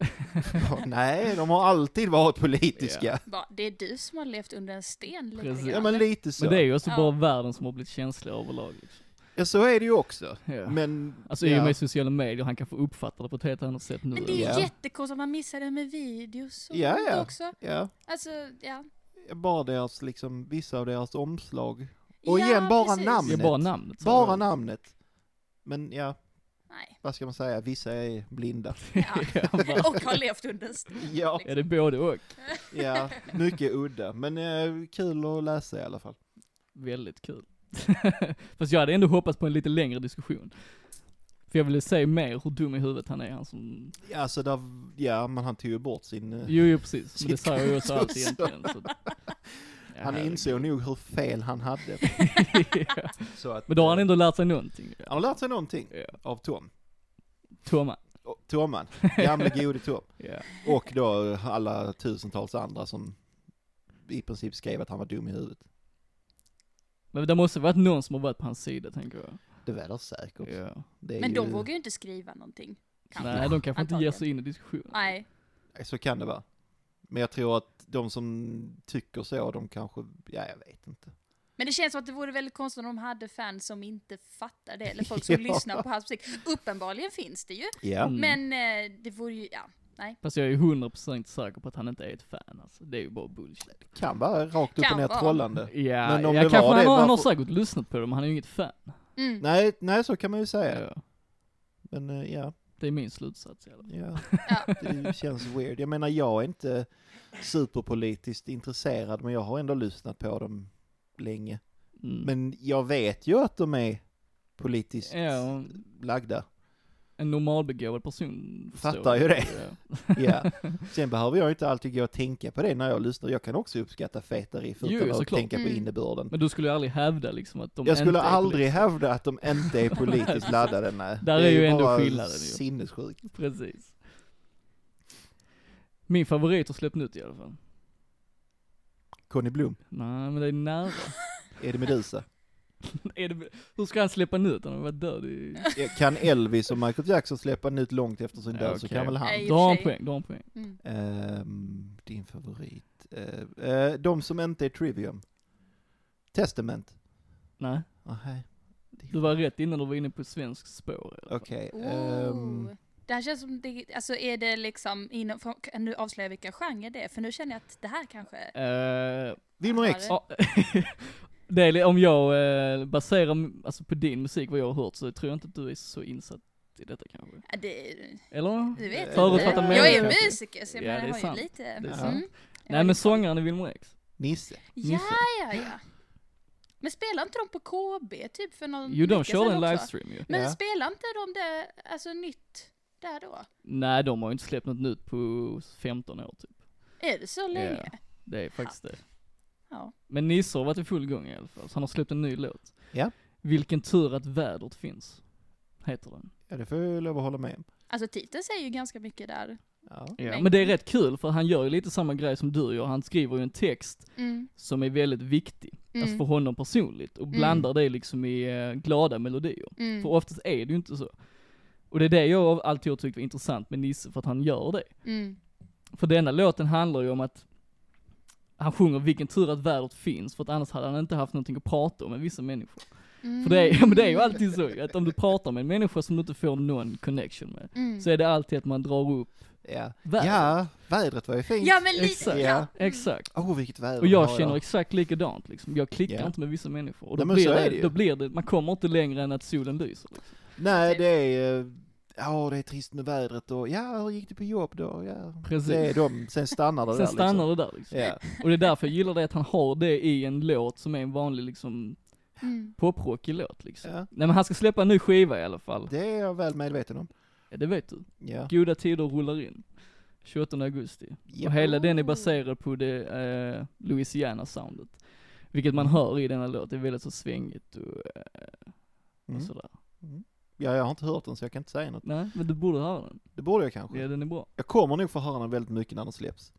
Speaker 2: Ja, nej, de har alltid varit politiska.
Speaker 1: Ja.
Speaker 3: Bara, det är du som har levt under en sten lite
Speaker 1: Precis.
Speaker 3: grann.
Speaker 2: Ja men lite så.
Speaker 1: Men det är ju också
Speaker 3: Ja.
Speaker 1: bara världen som har blivit känslig överlag. Liksom.
Speaker 2: Ja så är det ju också.
Speaker 1: Ja.
Speaker 2: Men,
Speaker 1: Alltså i och
Speaker 2: ja.
Speaker 1: med sociala medier, han kan få uppfatta det på ett helt annat sätt nu.
Speaker 3: Men det är ju
Speaker 2: Ja.
Speaker 3: jättekonstigt att man missar det med videos och
Speaker 2: Ja, ja.
Speaker 3: också.
Speaker 2: ja,
Speaker 3: Alltså, ja.
Speaker 2: bara deras liksom, vissa av deras omslag.
Speaker 3: ja,
Speaker 2: Och igen, bara
Speaker 1: det
Speaker 2: namn.
Speaker 1: är bara namnet. så.
Speaker 2: Bara namnet. Men ja,
Speaker 3: Nej.
Speaker 2: vad ska man säga, vissa är blinda.
Speaker 3: Ja.
Speaker 1: [LAUGHS] ja, [LAUGHS]
Speaker 3: [LAUGHS]
Speaker 1: bara,
Speaker 3: och har levt under en liksom. sten.
Speaker 2: Ja,
Speaker 1: är det både och?
Speaker 2: ja, mycket udda. Men eh, kul att läsa i alla fall.
Speaker 1: Väldigt kul. [LAUGHS] Fast jag hade ändå hoppats på en lite längre diskussion. För jag ville se mer hur dum i huvudet han är, han som...
Speaker 2: Ja, alltså där, ja, men han tog ju bort sin... eh,
Speaker 1: Jo, jo precis. Men det
Speaker 2: Shit.
Speaker 1: sa jag ju
Speaker 2: [LAUGHS]
Speaker 1: också alltid
Speaker 2: Så-
Speaker 1: egentligen. Så... Ja,
Speaker 2: han
Speaker 1: herregud.
Speaker 2: insåg nog hur fel han hade.
Speaker 1: [LAUGHS] Ja.
Speaker 2: Så att, eh,
Speaker 1: Men då har han ändå lärt sig någonting.
Speaker 2: Han har lärt sig någonting
Speaker 1: Ja.
Speaker 2: av Tom.
Speaker 1: Tomma.
Speaker 2: Och
Speaker 1: [LAUGHS]
Speaker 2: Tomman, gamle gode Tom.
Speaker 1: Ja.
Speaker 2: Och då eh, alla tusentals andra som i princip skrev att han var dum i huvudet.
Speaker 1: Men det måste varit någon som har varit på hans sida, tänker jag.
Speaker 2: Det var det säkert.
Speaker 1: Ja.
Speaker 2: Det är
Speaker 3: Men de
Speaker 2: ju-
Speaker 3: vågar ju inte skriva någonting. Kanske.
Speaker 1: Nej, de kanske inte ger
Speaker 3: Antagligen.
Speaker 1: sig in i diskussionen.
Speaker 3: Nej.
Speaker 2: Så kan det vara. Men jag tror att de som tycker så, de kanske, ja jag vet inte.
Speaker 3: Men det känns som att det vore väldigt konstigt om de hade fans som inte fattar det,
Speaker 1: [LAUGHS]
Speaker 3: eller folk som
Speaker 2: Ja.
Speaker 3: lyssnar på hans musik. Uppenbarligen finns det ju,
Speaker 2: Ja.
Speaker 1: Mm.
Speaker 3: men eh, det vore ju, ja, nej.
Speaker 1: Fast jag är 100% säker på att han inte är ett fan alltså. Det är ju bara bullshit.
Speaker 2: Kan vara rakt upp
Speaker 3: Kan
Speaker 2: och ner
Speaker 3: vara.
Speaker 2: trollande.
Speaker 1: Ja,
Speaker 2: Men om
Speaker 1: ja
Speaker 2: det
Speaker 1: kanske
Speaker 2: var
Speaker 1: han,
Speaker 2: det,
Speaker 1: har, han har
Speaker 2: varför-
Speaker 1: säkert lyssnat på det, men han är ju inget fan.
Speaker 3: Mm.
Speaker 2: Nej, nej så kan man ju säga.
Speaker 1: Ja.
Speaker 2: Men eh, ja,
Speaker 1: Det är min slutsats i alla fall.
Speaker 2: ja.
Speaker 3: Ja.
Speaker 2: Det känns weird. Jag menar jag är inte superpolitiskt intresserad men jag har ändå lyssnat på dem länge.
Speaker 1: Mm.
Speaker 2: Men jag vet ju att de är politiskt
Speaker 1: Ja, [LAUGHS]
Speaker 2: lagda.
Speaker 1: en normalbegåvad person förstår
Speaker 2: Fattar ju det.
Speaker 1: Ja.
Speaker 2: Ja. Sen behöver jag ju inte alltid gå och tänka på det när jag lyssnar. Jag kan också uppskatta feta riff
Speaker 1: Jo,
Speaker 2: utan att
Speaker 1: såklart.
Speaker 2: tänka på
Speaker 3: Mm.
Speaker 2: innebörden.
Speaker 1: Men du skulle ju aldrig hävda liksom att de
Speaker 2: Jag skulle
Speaker 1: inte är
Speaker 2: aldrig
Speaker 1: politiska.
Speaker 2: hävda att de inte är
Speaker 1: [LAUGHS]
Speaker 2: politiskt laddade, nej.
Speaker 1: Där är ju ändå
Speaker 2: bara
Speaker 1: skillnaden ju.
Speaker 2: Sinnessjukt.
Speaker 1: Precis. Min favorit har släppt nytt i alla fall.
Speaker 2: Conny Blom,
Speaker 1: Nej, men det är nära.
Speaker 2: är det Medusa?
Speaker 1: är det, hur ska han släppa nytt? Han har varit död i...
Speaker 2: Kan Elvis och Michael Jackson släppa nytt långt efter sin
Speaker 1: Ja,
Speaker 2: död så
Speaker 1: okej.
Speaker 2: kan väl han?
Speaker 3: Nej. I och
Speaker 1: Då har
Speaker 3: för
Speaker 1: han
Speaker 3: sig.
Speaker 1: poäng, då har han poäng. [LAUGHS]
Speaker 3: Mm.
Speaker 2: Ehm, din favorit? Eh, eh, de som inte är Trivium. Testament.
Speaker 1: Nej,
Speaker 2: Nej.
Speaker 1: du var rätt innan du var inne på svensk spår. i alla fall.
Speaker 2: Okej. ehm,
Speaker 3: Oh. Det här känns som, det, alltså är det liksom, inom, kan du avslöja vilken genre det är? För nu känner jag att det här kanske,
Speaker 1: Eh,
Speaker 2: Wilmer X.
Speaker 1: ja. [LAUGHS] det är, li- om jag eh, baserar m- alltså på din musik, vad jag har hört, så tror jag inte att du är så insatt i detta kanske.
Speaker 3: ja, det,
Speaker 1: Eller?
Speaker 3: du vet
Speaker 1: Förutfattad
Speaker 3: inte.
Speaker 1: mening
Speaker 3: Jag är ju
Speaker 1: kanske.
Speaker 3: musiker så jag
Speaker 1: Eh, Ja,
Speaker 3: menar,
Speaker 1: det är
Speaker 3: jag har
Speaker 1: sant.
Speaker 3: ju lite. Mm.
Speaker 1: Det är
Speaker 2: sant.
Speaker 3: Jag har
Speaker 1: Nej men
Speaker 3: lite-
Speaker 1: sångaren är Wilmer X.
Speaker 2: Nisse.
Speaker 3: Ja,
Speaker 1: Nisse.
Speaker 3: ja, ja. Men spelar inte de på KB typ för någon
Speaker 1: Jo de
Speaker 3: vecka
Speaker 1: körde en
Speaker 3: sedan också?
Speaker 1: livestream ju.
Speaker 3: Men
Speaker 2: Ja.
Speaker 3: spelar inte de det, alltså nytt, där då?
Speaker 1: Nej de har ju inte släppt något nytt på 15 år typ.
Speaker 3: Är det så länge?
Speaker 1: Det är faktiskt det.
Speaker 3: Ja.
Speaker 1: Men Nisse har varit i full gång i alla fall, så han har släppt en ny låt.
Speaker 2: Ja.
Speaker 1: Vilken tur att vädret finns, heter den.
Speaker 2: Ja, det får jag ju lov att hålla med om.
Speaker 3: Alltså titeln säger ju ganska mycket där.
Speaker 2: Ja.
Speaker 1: Ja.
Speaker 3: Men-
Speaker 1: Men det är rätt kul för han gör ju lite samma grej som du gör, han skriver ju en text
Speaker 3: Mm.
Speaker 1: som är väldigt viktig,
Speaker 3: Mm.
Speaker 1: alltså för honom personligt, och blandar det liksom i eh, glada melodier.
Speaker 3: Mm.
Speaker 1: För oftast är det ju inte så. Och det är det jag alltid har tyckt var intressant med Nisse, för att han gör det.
Speaker 3: Mm.
Speaker 1: För denna låten handlar ju om att han sjunger vilken tur att vädret finns, för att annars hade han inte haft någonting att prata om med vissa människor.
Speaker 3: Mm.
Speaker 1: För det [LAUGHS] är, men det är ju alltid så ju, att om du pratar med en människa som du inte får någon connection med,
Speaker 3: Mm.
Speaker 1: så är det alltid att man drar upp,
Speaker 2: Ja.
Speaker 1: Vädret.
Speaker 2: ja, vädret var ju fint.
Speaker 3: Ja men lite,
Speaker 1: Exakt.
Speaker 3: ja.
Speaker 1: exakt.
Speaker 2: Åh, oh, vilket väder
Speaker 1: Och
Speaker 2: vi har
Speaker 1: jag
Speaker 2: idag.
Speaker 1: känner exakt likadant liksom, jag klickar
Speaker 2: Ja.
Speaker 1: inte med vissa människor. Och då,
Speaker 2: Nej, men
Speaker 1: blir
Speaker 2: så är
Speaker 1: det,
Speaker 2: det ju.
Speaker 1: då blir det, man kommer inte längre än att solen lyser. Liksom.
Speaker 2: Nej,
Speaker 3: Typ.
Speaker 2: det är... eh, Ja, det är trist med vädret och ja, hur gick det på jobb då? Ja.
Speaker 1: Precis.
Speaker 2: Det är de, sen stannar det
Speaker 1: Alltså- Sen
Speaker 2: där
Speaker 1: stannar
Speaker 2: liksom.
Speaker 1: det där liksom.
Speaker 2: Ja.
Speaker 1: Och det är därför jag gillar det att han har det i en låt som är en vanlig liksom
Speaker 3: Mm.
Speaker 1: poprockig låt liksom.
Speaker 2: ja,
Speaker 1: Nej men han ska släppa en ny skiva i alla fall.
Speaker 2: det är jag väl medveten om.
Speaker 1: Ja, det vet du.
Speaker 2: Ja.
Speaker 1: Goda tider rullar in. 28 augusti.
Speaker 2: Ja.
Speaker 1: Och hela den är
Speaker 3: Oh.
Speaker 1: baserad på det eh, Louisiana-soundet. Vilket
Speaker 2: Mm.
Speaker 1: man hör i denna låt, det är väldigt så svängigt och, eh, och
Speaker 2: Mm.
Speaker 1: sådär.
Speaker 2: ja, jag har inte hört den så jag kan inte säga något.
Speaker 1: Nej, men du borde höra den.
Speaker 2: Det borde jag kanske.
Speaker 1: Ja, den är bra.
Speaker 2: Jag kommer nog få höra den väldigt mycket när den släpps.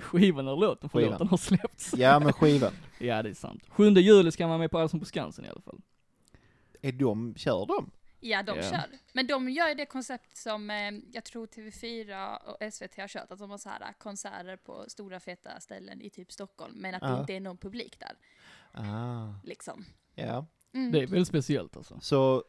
Speaker 1: Skivan eller låten, för
Speaker 2: Skivan.
Speaker 1: låten har släppts.
Speaker 2: [LAUGHS] Ja, men skivan.
Speaker 1: Ja, det är sant. 7 juli ska man vara med på Allsång på Skansen i alla fall.
Speaker 2: Är de, kör de?
Speaker 3: Ja, de
Speaker 1: Ja.
Speaker 3: kör. Men de gör ju det koncept som eh, jag tror TV4 och SVT har kört, att de har så här eh, konserter på stora feta ställen i typ Stockholm, men att
Speaker 2: Ja.
Speaker 3: det inte är någon publik där.
Speaker 2: Ah,
Speaker 3: Liksom.
Speaker 2: ja.
Speaker 3: Mm.
Speaker 1: Det är väldigt speciellt alltså.
Speaker 2: Så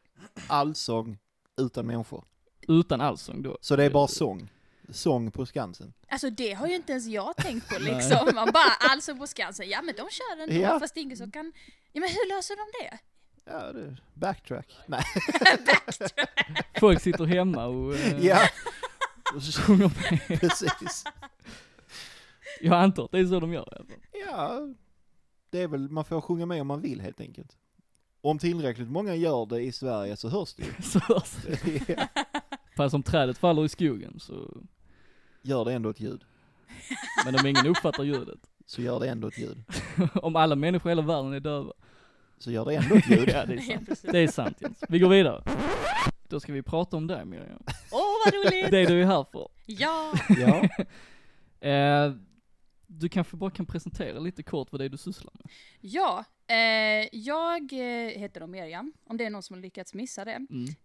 Speaker 2: allsång utan människor.
Speaker 1: Utan allsång då.
Speaker 2: Så det är bara sång. Sång på Skansen.
Speaker 3: Alltså det har ju inte ens jag tänkt på
Speaker 1: [LAUGHS] Nej.
Speaker 3: liksom. Man bara, alltså på Skansen, ja men de kör den då,
Speaker 2: Ja.
Speaker 3: fast det är ingen som kan... Ja men hur löser de det?
Speaker 2: Ja, det är backtrack. Nej,
Speaker 1: Folk sitter hemma och eh, [LAUGHS]
Speaker 2: [LAUGHS] ja.
Speaker 1: sjunger med.
Speaker 2: Precis.
Speaker 1: Jag antar att det är så de gör i alla fall.
Speaker 2: Ja, det är väl, man får sjunga med om man vill helt enkelt. Om tillräckligt många gör det i Sverige så
Speaker 1: [LAUGHS]
Speaker 2: hörs det ju.
Speaker 1: Så hörs det.
Speaker 2: Ja.
Speaker 1: Fast om trädet faller i skogen så,
Speaker 2: Gör det ändå ett ljud.
Speaker 1: men om ingen uppfattar ljudet.
Speaker 2: Så gör det ändå ett ljud.
Speaker 1: [LAUGHS] Om alla människor i hela världen är döva.
Speaker 2: Så gör det ändå ett ljud.
Speaker 1: Ja, det är
Speaker 3: [LAUGHS] Ja,
Speaker 1: sant.
Speaker 3: precis.
Speaker 1: Det är sant Jens. Vi går vidare. Då ska vi prata om dig Miriam.
Speaker 3: Åh vad roligt!
Speaker 1: Det du är här för.
Speaker 3: Ja!
Speaker 2: Ja.
Speaker 1: Eh, du kanske bara kan presentera lite kort vad det är du sysslar med?
Speaker 3: Ja, eh, jag eh, heter då Miriam, om det är någon som har lyckats missa det.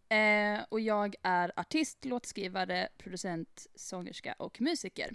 Speaker 1: Mm.
Speaker 3: Eh, och jag är artist, låtskrivare, producent, sångerska och musiker.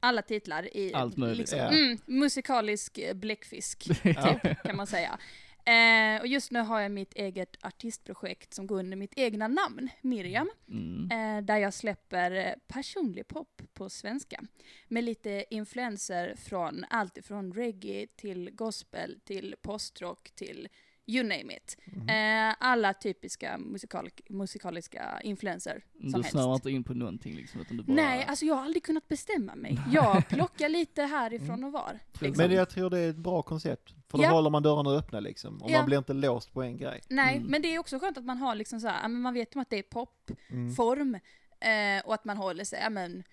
Speaker 3: Alla titlar i
Speaker 1: Allt möjligt.
Speaker 3: Liksom,
Speaker 2: Ja.
Speaker 3: mm, musikalisk eh, bläckfisk,
Speaker 2: [LAUGHS] Ja.
Speaker 3: typ, kan man säga. Eh, och just nu har jag mitt eget artistprojekt som går under mitt egna namn, Miriam,
Speaker 1: Mm.
Speaker 3: eh, där jag släpper eh, personlig pop på svenska. Med lite influenser från allt ifrån reggae till gospel till postrock till you name it.
Speaker 2: Mm.
Speaker 3: Eh, alla typiska musikal musikaliska influenser som
Speaker 1: Du
Speaker 3: helst.
Speaker 1: snöar inte in på någonting liksom, utan du bara...
Speaker 3: Nej, alltså jag har aldrig kunnat bestämma mig. Jag plockar lite härifrån och var. Liksom.
Speaker 2: Men jag tror det är ett bra koncept. För då
Speaker 3: Ja.
Speaker 2: håller man dörrarna öppna liksom. Och
Speaker 3: Ja.
Speaker 2: man blir inte låst på en grej.
Speaker 3: Nej,
Speaker 1: Mm.
Speaker 3: men det är också skönt att man har liksom så här, ja, men man vet ju att det är popform
Speaker 2: Mm.
Speaker 3: eh, och att man håller sig, ja, men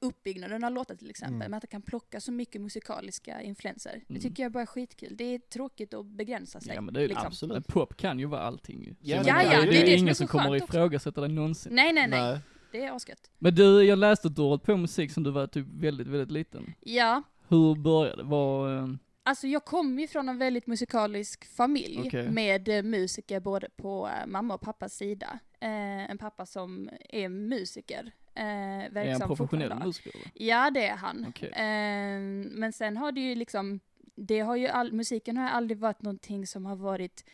Speaker 3: uppbyggnaden av låtar till exempel,
Speaker 2: Mm.
Speaker 3: men att man kan plocka så mycket musikaliska influenser. Det
Speaker 1: Mm.
Speaker 3: tycker jag bara är skitkul. Det är tråkigt att begränsa sig.
Speaker 1: Ja men det är ju
Speaker 3: liksom.
Speaker 1: Men
Speaker 2: Absolut.
Speaker 1: pop kan ju vara allting ju. Så
Speaker 2: Ja,
Speaker 1: jag
Speaker 2: ja,
Speaker 1: menar,
Speaker 2: ja, det är det
Speaker 1: ju
Speaker 2: som
Speaker 3: är
Speaker 1: ingen
Speaker 3: så
Speaker 1: som kommer
Speaker 3: skönt
Speaker 1: att
Speaker 3: också. Mm.
Speaker 1: ifrågasätta det någonsin.
Speaker 3: Nej, nej, nej, Det är asgött.
Speaker 1: Men du, jag läste att du har hållit på med musik som du var typ väldigt, väldigt liten.
Speaker 3: Ja,
Speaker 1: Hur började det? Var, eh,
Speaker 3: Alltså jag kommer ju från en väldigt musikalisk familj
Speaker 1: Okej.
Speaker 3: med eh, musiker både på eh, mamma och pappas sida. Eh, en pappa som är musiker. Eh, verksam
Speaker 1: är han professionell
Speaker 3: fortfarande.
Speaker 1: musiker? eller?
Speaker 3: Ja det är han.
Speaker 1: Okej.
Speaker 3: Eh, men sen har det ju liksom, det har ju all, musiken har aldrig varit någonting som har varit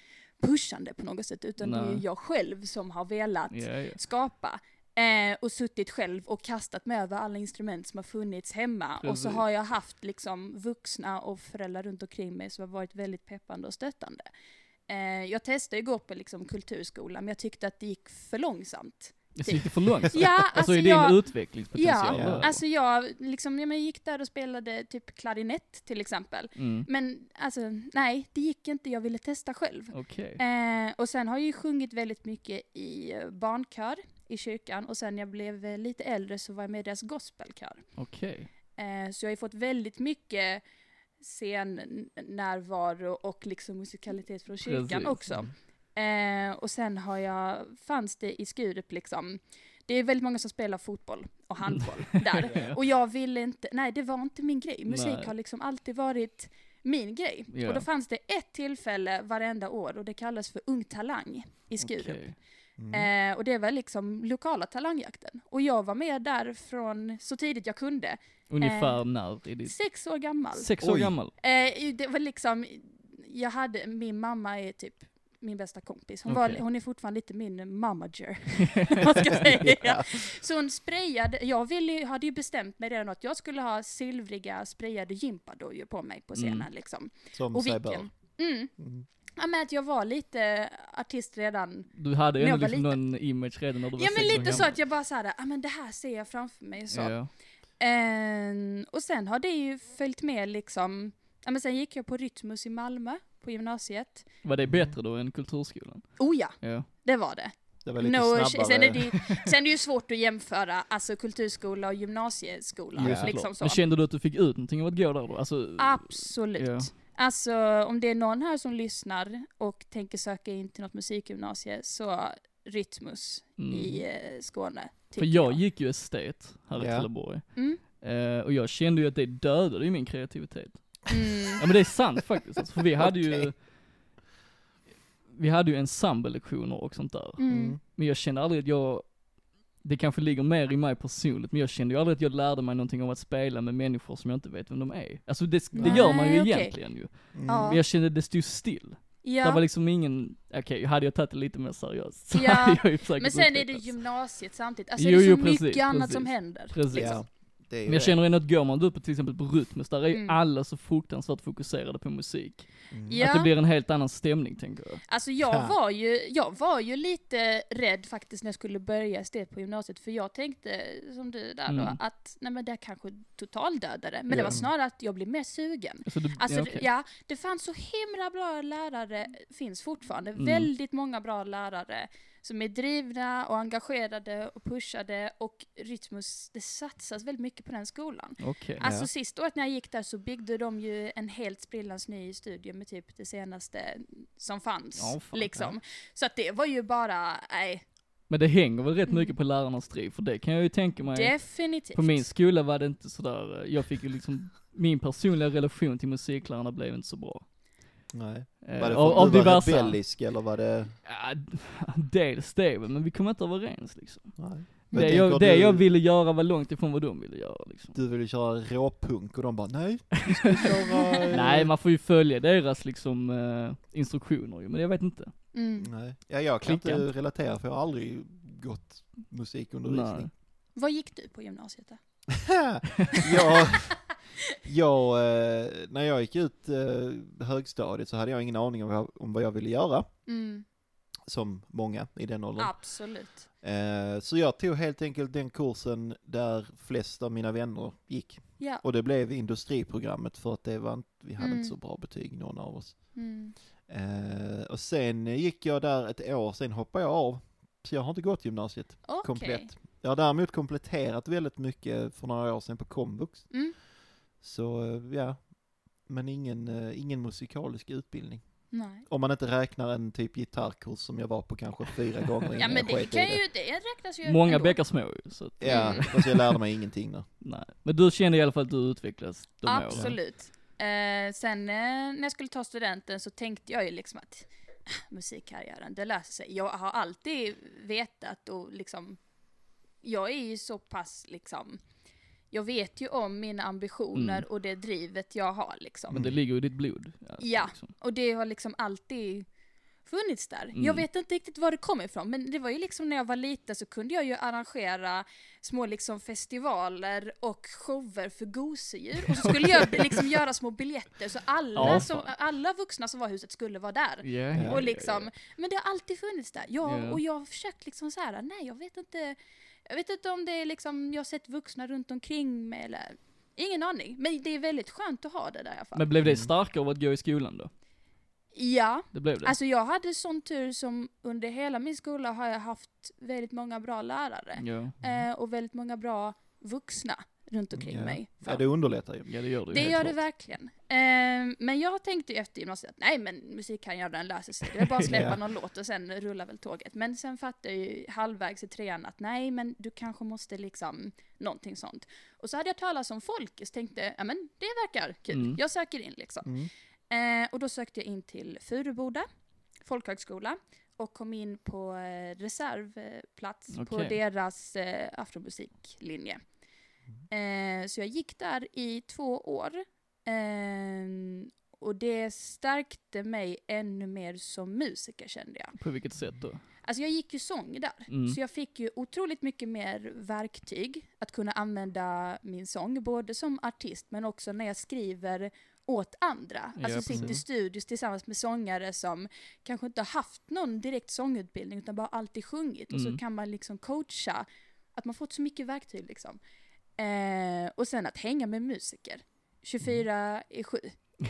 Speaker 3: pushande på något sätt utan det är ju
Speaker 1: Nej.
Speaker 3: jag själv som har velat
Speaker 1: Ja, ja.
Speaker 3: skapa. Eh, och suttit själv och kastat mig över alla instrument som har funnits hemma. Och så
Speaker 1: Precis.
Speaker 3: har jag haft liksom vuxna och föräldrar runt omkring mig som har varit väldigt peppande och stöttande. Eh, jag testade ju gå på liksom kulturskola men jag tyckte att det gick för långsamt.
Speaker 1: Alltså, gick det för långt?
Speaker 3: Ja,
Speaker 1: alltså
Speaker 3: alltså
Speaker 1: är din
Speaker 3: jag-
Speaker 1: utvecklingspotential
Speaker 2: Ja,
Speaker 1: där, eller?
Speaker 3: Alltså jag, liksom, ja, men jag gick där och spelade typ klarinett till exempel.
Speaker 1: mm.
Speaker 3: Men alltså nej, det gick inte. Jag ville testa själv.
Speaker 1: Okej.
Speaker 3: Eh, och sen har jag ju sjungit väldigt mycket i eh, barnkör i kyrkan och sen när jag blev eh, lite äldre så var jag med i deras gospelkör.
Speaker 1: Okej.
Speaker 3: Eh, så jag har ju fått väldigt mycket scennärvaro och liksom musikalitet från kyrkan
Speaker 1: Precis.
Speaker 3: också.
Speaker 1: [LAUGHS]
Speaker 3: Eh, och sen har jag, fanns det i Skurup liksom, det är väldigt många som spelar fotboll
Speaker 1: [LAUGHS]
Speaker 3: och handboll där.
Speaker 1: Ja.
Speaker 3: Och jag ville inte, nej det var inte min grej. Musik
Speaker 1: Nej.
Speaker 3: har liksom alltid varit min grej.
Speaker 1: Ja.
Speaker 3: Och då fanns det ett tillfälle varenda år och det kallas för Ung Talang i Skurup.
Speaker 1: Okej.
Speaker 2: Mm.
Speaker 3: Eh, och det var liksom lokala talangjakten. Och jag var med där från så tidigt jag kunde. Eh,
Speaker 1: Ungefär när? Är det
Speaker 3: Sex år gammal.
Speaker 1: Typ sex år
Speaker 2: Oj.
Speaker 1: gammal?
Speaker 3: Eh, det var liksom, jag hade, min mamma är typ min bästa kompis. Hon, var,
Speaker 1: Okej.
Speaker 3: hon är fortfarande lite
Speaker 1: [LAUGHS]
Speaker 3: min mamager. om man ska säga. Så hon sprayade, jag ville, ju- hade ju bestämt mig redan att jag skulle ha silvriga sprayade gympadojor på mig på scenen
Speaker 1: Mm.
Speaker 3: liksom.
Speaker 2: Som
Speaker 3: Och
Speaker 2: sig bör.
Speaker 3: vilken. Mm.
Speaker 2: Mm.
Speaker 3: Ja men att jag var lite artist redan
Speaker 1: Du hade
Speaker 3: När jag
Speaker 1: ändå
Speaker 3: var
Speaker 1: liksom någon image redan när du var
Speaker 3: Ja men
Speaker 1: sex år
Speaker 3: lite så
Speaker 1: gammal.
Speaker 3: att jag bara såhär, ja men det här ser jag framför mig och så.
Speaker 1: Ja.
Speaker 3: Ehm, och sen har det ju följt med liksom, ja men sen gick jag på Rytmus i Malmö på gymnasiet.
Speaker 1: Var det bättre då än kulturskolan?
Speaker 3: Oh ja,
Speaker 1: Ja.
Speaker 3: det var det.
Speaker 2: Det var lite snabbare.
Speaker 3: sen, är det, ju- sen är det ju svårt att jämföra alltså kulturskola och gymnasieskola.
Speaker 2: Ja,
Speaker 1: såklart.
Speaker 3: liksom så. Ah,
Speaker 1: Men kände du att du fick ut någonting av att gå där då? Alltså,
Speaker 3: Absolut.
Speaker 1: Ja.
Speaker 3: Alltså om det är någon här som lyssnar och tänker söka in till något musikgymnasie så Rytmus
Speaker 1: Mm.
Speaker 3: i eh, Skåne.
Speaker 1: för
Speaker 3: tycker
Speaker 1: jag gick ju estet här i
Speaker 2: Ja.
Speaker 1: Trelleborg.
Speaker 3: Mm.
Speaker 1: Eh, och jag kände ju att det dödade ju min kreativitet.
Speaker 3: Mm.
Speaker 1: Ja men det är sant faktiskt, alltså, för vi hade ju
Speaker 2: Okej.
Speaker 1: vi hade ju ensemblelektioner och sånt där.
Speaker 3: Mm.
Speaker 1: Men jag kände aldrig att jag, det kanske ligger mer i mig personligt, men jag kände ju aldrig att jag lärde mig någonting om att spela med människor som jag inte vet vem de är. Alltså det, det gör man ju
Speaker 3: Nej, okej.
Speaker 1: egentligen ju.
Speaker 2: Mm.
Speaker 3: Ja.
Speaker 1: Men jag kände det stod still. Det var
Speaker 3: Ja.
Speaker 1: liksom ingen, okej, hade jag tagit det lite mer seriöst så
Speaker 3: Ja,
Speaker 1: hade jag ju säkert
Speaker 3: Men sen är det
Speaker 1: utvecklats.
Speaker 3: gymnasiet samtidigt. Alltså
Speaker 1: Jo,
Speaker 3: det är så
Speaker 1: jo,
Speaker 3: mycket
Speaker 1: precis,
Speaker 3: annat
Speaker 1: precis.
Speaker 3: som händer.
Speaker 1: Precis.
Speaker 2: Ja, det är ju
Speaker 1: Men jag
Speaker 2: det.
Speaker 1: känner ändå att går man upp på till exempel på Rytmus, där är ju
Speaker 3: Mm.
Speaker 1: alla så fruktansvärt fokuserade på musik.
Speaker 2: Mm.
Speaker 3: Ja.
Speaker 1: Att det blir en helt annan stämning tänker jag.
Speaker 3: Alltså jag
Speaker 2: Ja.
Speaker 3: var, ju, jag var ju lite rädd faktiskt när jag skulle börja estet på gymnasiet för jag tänkte som du där då
Speaker 1: Mm.
Speaker 3: att nej men det här kanske totaldödade men det
Speaker 1: Ja.
Speaker 3: var snarare att jag blev mer sugen.
Speaker 1: Alltså, det,
Speaker 3: Alltså
Speaker 1: ja,
Speaker 3: ja,
Speaker 1: okej.
Speaker 3: det fanns så himla bra lärare, finns fortfarande,
Speaker 1: Mm.
Speaker 3: väldigt många bra lärare som är drivna och engagerade och pushade och Rytmus, det satsas väldigt mycket på den skolan.
Speaker 1: Okej.
Speaker 3: Alltså
Speaker 2: Ja.
Speaker 3: sist året när jag gick där så byggde de ju en helt sprillans ny studio med typ det senaste som fanns.
Speaker 1: Ja, fan,
Speaker 3: liksom. Så att det var ju bara, nej,
Speaker 1: Men det hänger väl rätt
Speaker 3: Mm.
Speaker 1: mycket på lärarnas driv, för det kan jag ju tänka mig.
Speaker 3: definitivt.
Speaker 1: På min skola var det inte sådär, eh, jag fick ju liksom, min personliga relation till musiklärarna blev inte så bra.
Speaker 2: Nej.
Speaker 1: Eh,
Speaker 2: Var det
Speaker 1: av,
Speaker 2: för
Speaker 1: av
Speaker 2: att du var
Speaker 1: diverse.
Speaker 2: rebellisk eller var det...
Speaker 1: Ja, d- dels det väl, men vi kom inte överens liksom.
Speaker 2: Nej. Men
Speaker 1: Det
Speaker 2: tänker
Speaker 1: jag, det
Speaker 2: du,
Speaker 1: jag ville göra var långt ifrån vad de ville göra liksom.
Speaker 2: Du ville köra råpunk och de bara nej,
Speaker 1: [LAUGHS]
Speaker 2: vi ska köra...
Speaker 3: Mm.
Speaker 2: eh,
Speaker 1: Nej, man får ju följa deras liksom eh, instruktioner ju, men jag vet inte.
Speaker 3: Mm.
Speaker 2: nej. Ja, jag kan
Speaker 1: Klicka
Speaker 2: inte relatera för jag har aldrig gått [LAUGHS] musikundervisning.
Speaker 3: Vad gick du på gymnasiet då? [LAUGHS]
Speaker 2: jag, jag, eh, när jag gick ut eh, högstadiet så hade jag ingen aning om vad jag, om vad jag ville göra,
Speaker 3: Mm.
Speaker 2: som många i den åldern.
Speaker 3: Absolut.
Speaker 2: Eh, Så jag tog helt enkelt den kursen där flest av mina vänner gick.
Speaker 3: Ja.
Speaker 2: Och det blev industriprogrammet för att det var inte, vi hade
Speaker 3: Mm.
Speaker 2: inte så bra betyg någon av oss.
Speaker 3: Mm.
Speaker 2: Eh, och sen gick jag där ett år, sen hoppade jag av. Så jag har inte gått gymnasiet
Speaker 3: Okej.
Speaker 2: komplett. Jag har däremot kompletterat väldigt mycket för några år sedan på komvux.
Speaker 3: Mm.
Speaker 2: Så eh, ja, men ingen, eh, ingen musikalisk utbildning.
Speaker 3: Nej.
Speaker 2: Om man inte räknar en typ gitarrkurs som jag var på kanske fyra gånger innan
Speaker 3: [LAUGHS] Ja men
Speaker 2: jag
Speaker 3: det
Speaker 2: sket i
Speaker 3: kan ju, det räknas ju
Speaker 1: Många
Speaker 3: ändå.
Speaker 1: bäckar små ju, så att,
Speaker 2: Ja,
Speaker 3: Mm.
Speaker 2: fast jag lärde mig ingenting
Speaker 3: [LAUGHS]
Speaker 2: där.
Speaker 1: nej. Men du kände i alla fall att du utvecklades de åren.
Speaker 3: Absolut. Eh, sen eh, när jag skulle ta studenten så tänkte jag ju liksom att "Ah, musikkarriären, det löser sig. Jag har alltid vetat och liksom, jag är ju så pass liksom, jag vet ju om mina ambitioner
Speaker 1: Mm.
Speaker 3: och det drivet jag har liksom.
Speaker 1: Men det ligger ju i ditt blod. alltså,
Speaker 3: Ja.
Speaker 1: liksom.
Speaker 3: Och det har liksom alltid funnits där.
Speaker 1: Mm.
Speaker 3: Jag vet inte riktigt var det kom ifrån, men det var ju liksom när jag var liten så kunde jag ju arrangera små liksom festivaler och shower för gosedjur. Och så
Speaker 1: [LAUGHS]
Speaker 3: skulle jag liksom göra små biljetter så alla,
Speaker 1: Ja,
Speaker 3: som,
Speaker 1: fan.
Speaker 3: alla vuxna som var i huset skulle vara där.
Speaker 1: Ja, ja, ja,
Speaker 3: Och
Speaker 1: ja,
Speaker 3: liksom,
Speaker 1: ja.
Speaker 3: Men det har alltid funnits där. Jag,
Speaker 1: Ja.
Speaker 3: Och jag har försökt liksom så här, nej jag vet inte, jag vet inte om det är liksom, jag har sett vuxna runt omkring mig eller, ingen aning. Men det är väldigt skönt att ha det där i alla fall.
Speaker 1: Men blev det
Speaker 2: Mm.
Speaker 1: starkare av att gå i skolan då?
Speaker 3: ja.
Speaker 1: Det blev det?
Speaker 3: Alltså jag hade sån tur som under hela min skola har jag haft väldigt många bra lärare.
Speaker 1: ja.
Speaker 3: Eh, och väldigt många bra vuxna runt omkring
Speaker 2: Mm. Ja.
Speaker 3: mig.
Speaker 2: Ja, det underlättar ju.
Speaker 1: ja, det gör det ju
Speaker 3: Det
Speaker 1: helt
Speaker 3: gör det
Speaker 1: klart.
Speaker 3: verkligen. Eh, men jag tänkte ju efter gymnasiet att nej men musik kan jag den löser sig. Det
Speaker 2: [LAUGHS]
Speaker 3: är bara att släppa
Speaker 2: Ja.
Speaker 3: någon låt och sen rullar väl tåget. Men sen fattade jag ju halvvägs i trean att nej men du kanske måste liksom någonting sånt. Och så hade jag talat om Folkis tänkte ja men det verkar kul.
Speaker 1: Mm.
Speaker 3: Jag söker in liksom.
Speaker 2: Mm.
Speaker 3: Eh, och då sökte jag in till Furuboda folkhögskola och kom in på eh, reservplats på
Speaker 1: Okej.
Speaker 3: deras eh, afromusiklinje. Eh, så jag gick där i två år. Eh, och det stärkte mig ännu mer som musiker kände jag.
Speaker 1: På vilket sätt då?
Speaker 3: Alltså jag gick ju sång där.
Speaker 1: Mm.
Speaker 3: Så jag fick ju otroligt mycket mer verktyg att kunna använda min sång, både som artist men också när jag skriver åt andra.
Speaker 1: Ja,
Speaker 3: alltså sitter i
Speaker 1: precis.
Speaker 3: studios tillsammans med sångare som kanske inte har haft någon direkt sångutbildning utan bara alltid sjungit. Och
Speaker 1: Mm.
Speaker 3: så kan man liksom coacha, att man fått så mycket verktyg liksom. Eh, och sen att hänga med musiker.
Speaker 1: Mm.
Speaker 3: 24
Speaker 1: [LAUGHS]
Speaker 3: i 7.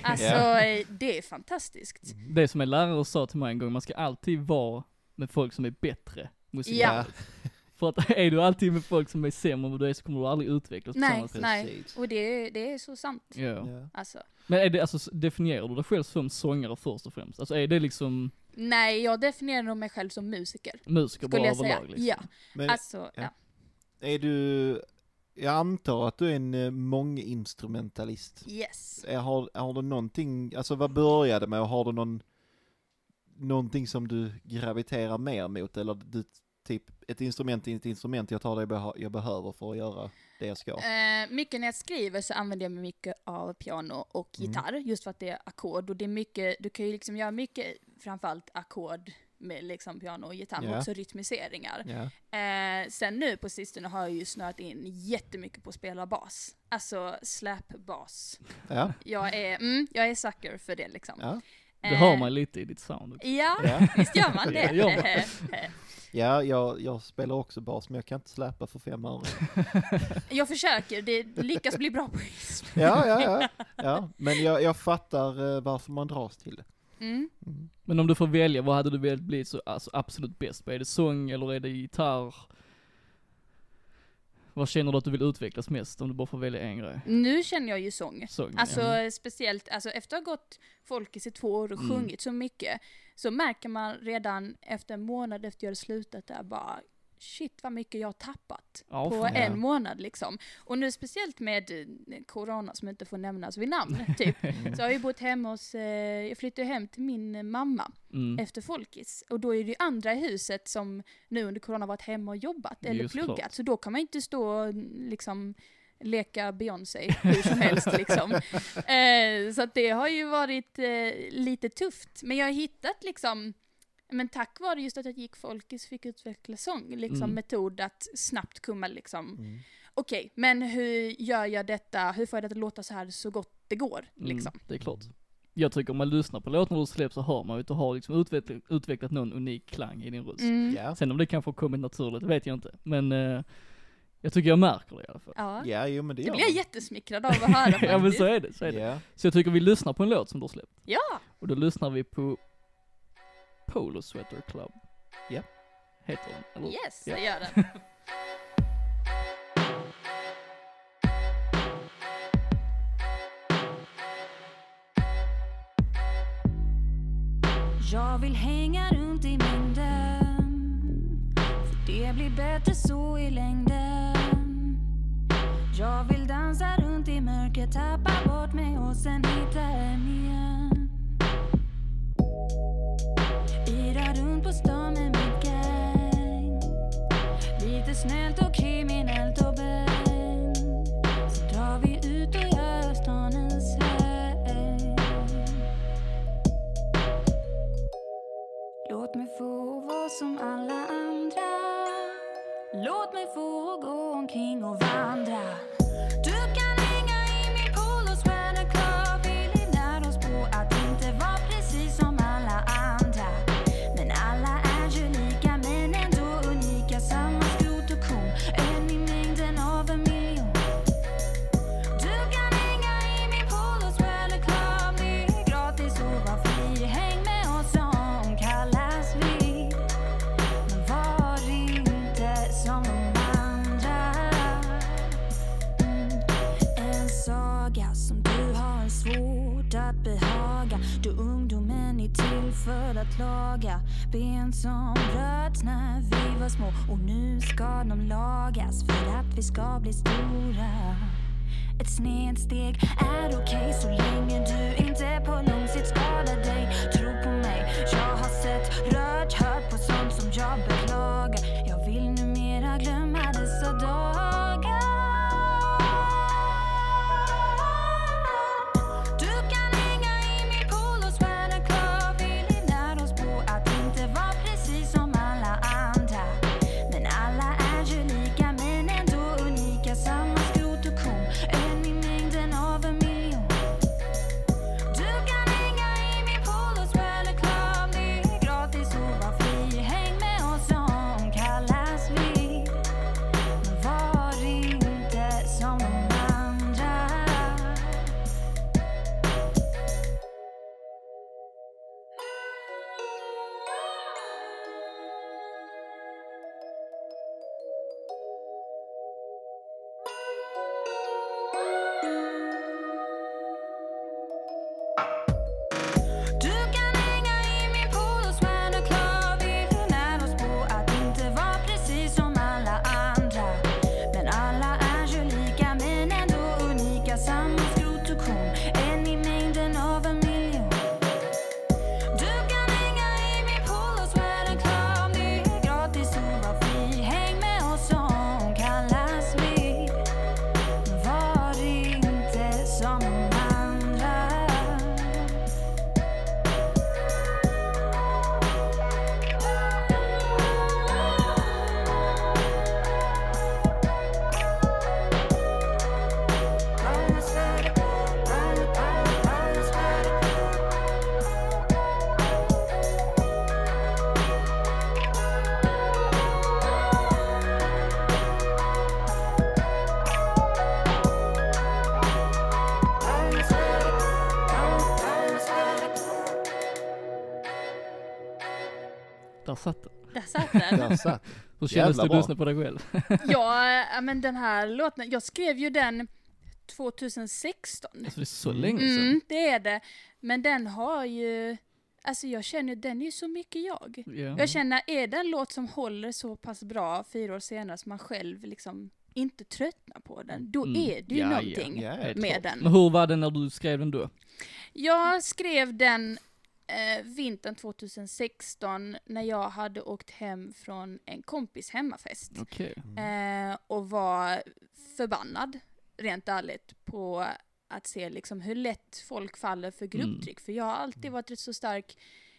Speaker 3: Alltså
Speaker 2: Ja.
Speaker 3: eh, det är fantastiskt.
Speaker 1: Mm. Det som en lärare sa till mig en gång, man ska alltid vara med folk som är bättre musikaliskt. För att [LAUGHS] är du alltid med folk som är sämre än du är så kommer du aldrig utvecklas på
Speaker 3: Nej.
Speaker 1: samma sätt.
Speaker 3: Nej.
Speaker 2: Precis.
Speaker 3: Och det, det är så sant.
Speaker 1: Ja.
Speaker 2: Ja.
Speaker 3: Alltså.
Speaker 1: Men är det, alltså, s- definierar du dig själv som sångare först och främst? Alltså är det liksom
Speaker 3: Nej, jag definierar nog mig själv som musiker.
Speaker 1: musiker
Speaker 3: Skulle
Speaker 1: bara
Speaker 3: jag säga.
Speaker 1: överlag liksom?
Speaker 3: Ja,
Speaker 2: Men
Speaker 3: alltså, ja.
Speaker 2: ja. är du, jag antar att du är en eh, månginstrumentalist.
Speaker 3: Yes.
Speaker 2: Är- Har, har du någonting, alltså vad började med och har du någon någonting som du graviterar mer mot eller du typ ett instrument är ett instrument jag tar det jag, beha- jag behöver för att göra det jag ska.
Speaker 3: Eh, mycket när jag skriver så använder jag mig mycket av piano och
Speaker 2: Mm.
Speaker 3: gitarr, just för att det är ackord. Och det är mycket, du kan ju liksom göra mycket, framförallt ackord med liksom piano och gitarr, men
Speaker 2: Ja.
Speaker 3: också rytmiseringar.
Speaker 2: Ja.
Speaker 3: Eh, sen nu på sistone har jag ju snöat in jättemycket på att spela bas. Alltså slap-bas.
Speaker 2: Ja.
Speaker 1: [LAUGHS]
Speaker 3: Jag är, mm, jag är sucker för det liksom. Eh,
Speaker 2: Ja.
Speaker 1: Det hör man lite i ditt sound också.
Speaker 3: Ja,
Speaker 2: Ja.
Speaker 3: visst
Speaker 1: [LAUGHS]
Speaker 3: gör man
Speaker 1: Det gör
Speaker 3: det.
Speaker 2: Ja, jag, jag spelar också bas men jag kan inte släpa för fem öre.
Speaker 3: [LAUGHS] jag försöker, det lyckas bli bra på ism.
Speaker 2: Ja, ja, ja. ja. Men jag, jag fattar eh, varför man dras till det.
Speaker 3: Mm.
Speaker 2: Mm.
Speaker 1: Men om du får välja, vad hade du velat bli så, alltså, absolut bäst på? Är det sång eller är det gitarr? Vad känner du att du vill utvecklas mest om du bara får välja en grej?
Speaker 3: Nu känner jag ju sång.
Speaker 1: Sång, ja.
Speaker 3: Alltså speciellt, alltså efter att ha gått Folkis i två år och
Speaker 1: Mm.
Speaker 3: sjungit så mycket, så märker man redan efter en månad efter jag hade slutat där bara, shit vad mycket jag har tappat.
Speaker 1: Ja,
Speaker 3: på
Speaker 1: fan.
Speaker 2: ja.
Speaker 3: en månad liksom. Och nu speciellt med eh, corona som inte får nämnas
Speaker 1: [LAUGHS]
Speaker 3: vid namn, typ.
Speaker 1: Mm.
Speaker 3: Så jag har ju bott hemma hos, eh, jag flyttade hem till min eh, mamma
Speaker 1: Mm.
Speaker 3: efter folkis. Och då är det ju andra i huset som nu under corona varit hemma och jobbat eller
Speaker 1: Just
Speaker 3: pluggat.
Speaker 1: klart.
Speaker 3: Så då kan man inte stå och liksom
Speaker 1: [LAUGHS]
Speaker 3: leka Beyoncé hur som helst liksom. Eh, så att det har ju varit eh, lite tufft. Men jag har hittat liksom, men tack vare just att jag gick folkis fick utveckla sång, liksom
Speaker 1: Mm.
Speaker 3: metod att snabbt kunna liksom,
Speaker 2: Mm.
Speaker 3: okej, men hur gör jag detta, hur får jag det att låta så här så gott det går liksom.
Speaker 1: Mm, det är klart. Jag tycker om man lyssnar på låten när du släpps så hör man ju att du har liksom utvecklat, utvecklat någon unik klang i din röst.
Speaker 3: Mm.
Speaker 2: Ja.
Speaker 1: Sen om det kanske har kommit naturligt, vet jag inte. Men eh, jag tycker jag märker det i alla fall.
Speaker 3: Ja.
Speaker 2: ja, jo men det
Speaker 3: Det
Speaker 2: gör
Speaker 3: blir jag
Speaker 2: man.
Speaker 3: jättesmickrad av att höra faktiskt.
Speaker 1: [LAUGHS] ja men så är det, så är det.
Speaker 2: Ja.
Speaker 1: Så jag tycker vi lyssnar på en låt som du har släppt.
Speaker 3: Ja.
Speaker 1: Och då lyssnar vi på Polo Sweater Club.
Speaker 2: Ja.
Speaker 1: Heter den, eller?
Speaker 3: Yes,
Speaker 1: Ja.
Speaker 3: jag gör den.
Speaker 4: Jag vill hänga runt i mängden För det blir bättre så i längden Jag vill dansa runt i mörker, tappa bort mig och sen hitta hem igen Yra runt på stan med mitt gäng Lite snällt och kriminellt och bäng Så drar vi ut och gör stan en sväng Låt mig få vara som alla andra Låt mig få gå omkring och vandra Du kan hänga i min pool och sweater club Vi lär oss på att inte vara precis som alla andra Men alla är ju lika men ändå unika Samma skrot och korn, en i mängden av en miljon du kan hänga i min pool och swell club Det är gratis och var fri Häng med oss som kallas vi Men var inte som de andra Mm. En saga som du har svårt att behaga Då ungdomen är till för att laga Ben som bröts när vi var små Och nu ska de lagas för att vi ska bli stora ett snedsteg är okej så länge du inte på lång sikt skadar dig. Tro på mig, jag har sett, rört, hört på sånt som jag beklagar. Jag vill numera glömma dessa dagar. Du kan hänga i min pool och sweater club. Vi lär oss på att inte vara precis som alla andra. Men alla är ju lika, men ändå unika. Samma skrot och korn, en i mängden av en miljon. Du kan hänga i min pool och sweater club. Det är gratis och var fri. Häng med oss som kallas vi. Men var
Speaker 1: satt den.
Speaker 3: Där satt den.
Speaker 2: Där satt
Speaker 1: Hur kändes
Speaker 2: Jävla
Speaker 1: det att
Speaker 2: bra.
Speaker 1: lyssna på dig själv?
Speaker 3: ja, eh, men den här låten, jag skrev ju den 2016.
Speaker 1: Alltså det är så länge sedan.
Speaker 3: Mm, det är det. Men den har ju, alltså jag känner den är ju så mycket jag.
Speaker 1: Ja.
Speaker 3: Jag känner, är det en låt som håller så pass bra fyra år senare som man själv liksom inte tröttnar på den, då
Speaker 1: Mm.
Speaker 3: är det ju
Speaker 1: Ja, ja,
Speaker 3: någonting
Speaker 2: ja,
Speaker 1: helt
Speaker 3: med
Speaker 1: klart.
Speaker 3: den.
Speaker 1: Men hur var det när du skrev den då?
Speaker 3: Jag skrev den eh, vintern 2016 när jag hade åkt hem från en kompis hemmafest.
Speaker 1: Okej.
Speaker 3: Eh, och var förbannad, rent ärligt, på att se liksom hur lätt folk faller för grupptryck. För jag har alltid varit rätt så stark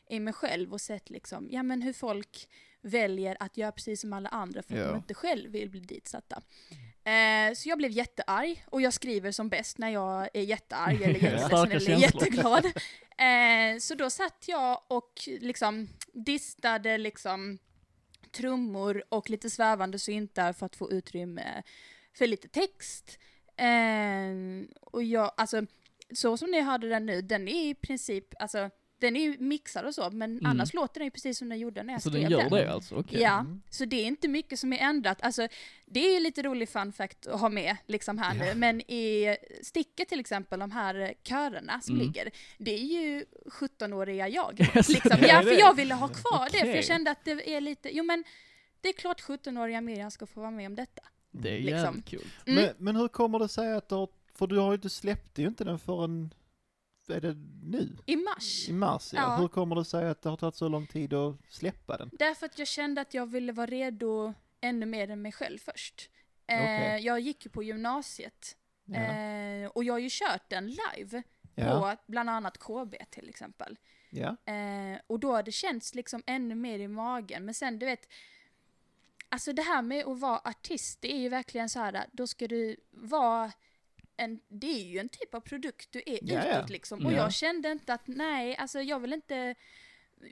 Speaker 3: i mig själv och sett liksom, ja, men hur folk väljer att göra precis som alla andra för att
Speaker 2: Ja.
Speaker 3: de inte själv vill bli ditsatta. Eh, så jag blev jättearg och jag skriver som bäst när jag
Speaker 1: [LAUGHS]
Speaker 3: är jättearg eller
Speaker 1: Ja.
Speaker 3: jätteledsen
Speaker 1: Starka
Speaker 3: eller
Speaker 1: känslor. [LAUGHS]
Speaker 3: jätteglad. Eh, så då satt jag och liksom distade liksom trummor och lite svävande syntar för att få utrymme för lite text. Eh, och jag, alltså, så som ni hörde den nu, den är i princip, alltså, den är ju mixad och så, men
Speaker 1: Mm.
Speaker 3: annars låter den ju precis som den gjorde när jag
Speaker 1: Så
Speaker 3: skrev
Speaker 1: den gör det alltså? Okej. [LAUGHS]
Speaker 3: Ja, så det är inte mycket som är ändrat. Alltså, det är ju lite rolig fun fact att ha med liksom här nu, men i sticket till exempel, de här eh, körerna som
Speaker 1: Mm.
Speaker 3: ligger, det är ju 17-åriga jag.
Speaker 1: [LAUGHS] Yes.
Speaker 3: Liksom.
Speaker 2: Det är
Speaker 3: Ja, för
Speaker 2: det.
Speaker 3: jag ville ha kvar det, för
Speaker 1: Okej.
Speaker 3: jag kände att det är lite, jo men det är klart 17-åriga Miriam ska få vara med om detta.
Speaker 1: Det är
Speaker 3: Liksom.
Speaker 1: jävligt kul.
Speaker 3: Mm.
Speaker 2: Men, men hur kommer det sig att du har, för du har ju inte släppt ju inte den förrän, är det nu?
Speaker 3: I mars.
Speaker 2: I mars ja.
Speaker 3: Ja.
Speaker 2: Hur kommer det sig att det har tagit så lång tid att släppa den?
Speaker 3: Därför att jag kände att jag ville vara redo ännu mer än mig själv först. Eh,
Speaker 2: Okej.
Speaker 3: Jag gick ju på gymnasiet
Speaker 2: Ja,
Speaker 3: eh, och jag har ju kört den live
Speaker 2: ja,
Speaker 3: på bland annat KB till exempel.
Speaker 2: ja.
Speaker 3: Eh, och då har det känts liksom ännu mer i magen. Men sen du vet, alltså det här med att vara artist, det är ju verkligen så här, då ska du vara en, det är ju en typ av produkt du är
Speaker 2: Ja, ja.
Speaker 3: utåt liksom. Och
Speaker 1: Ja.
Speaker 3: jag kände inte att nej, alltså jag vill inte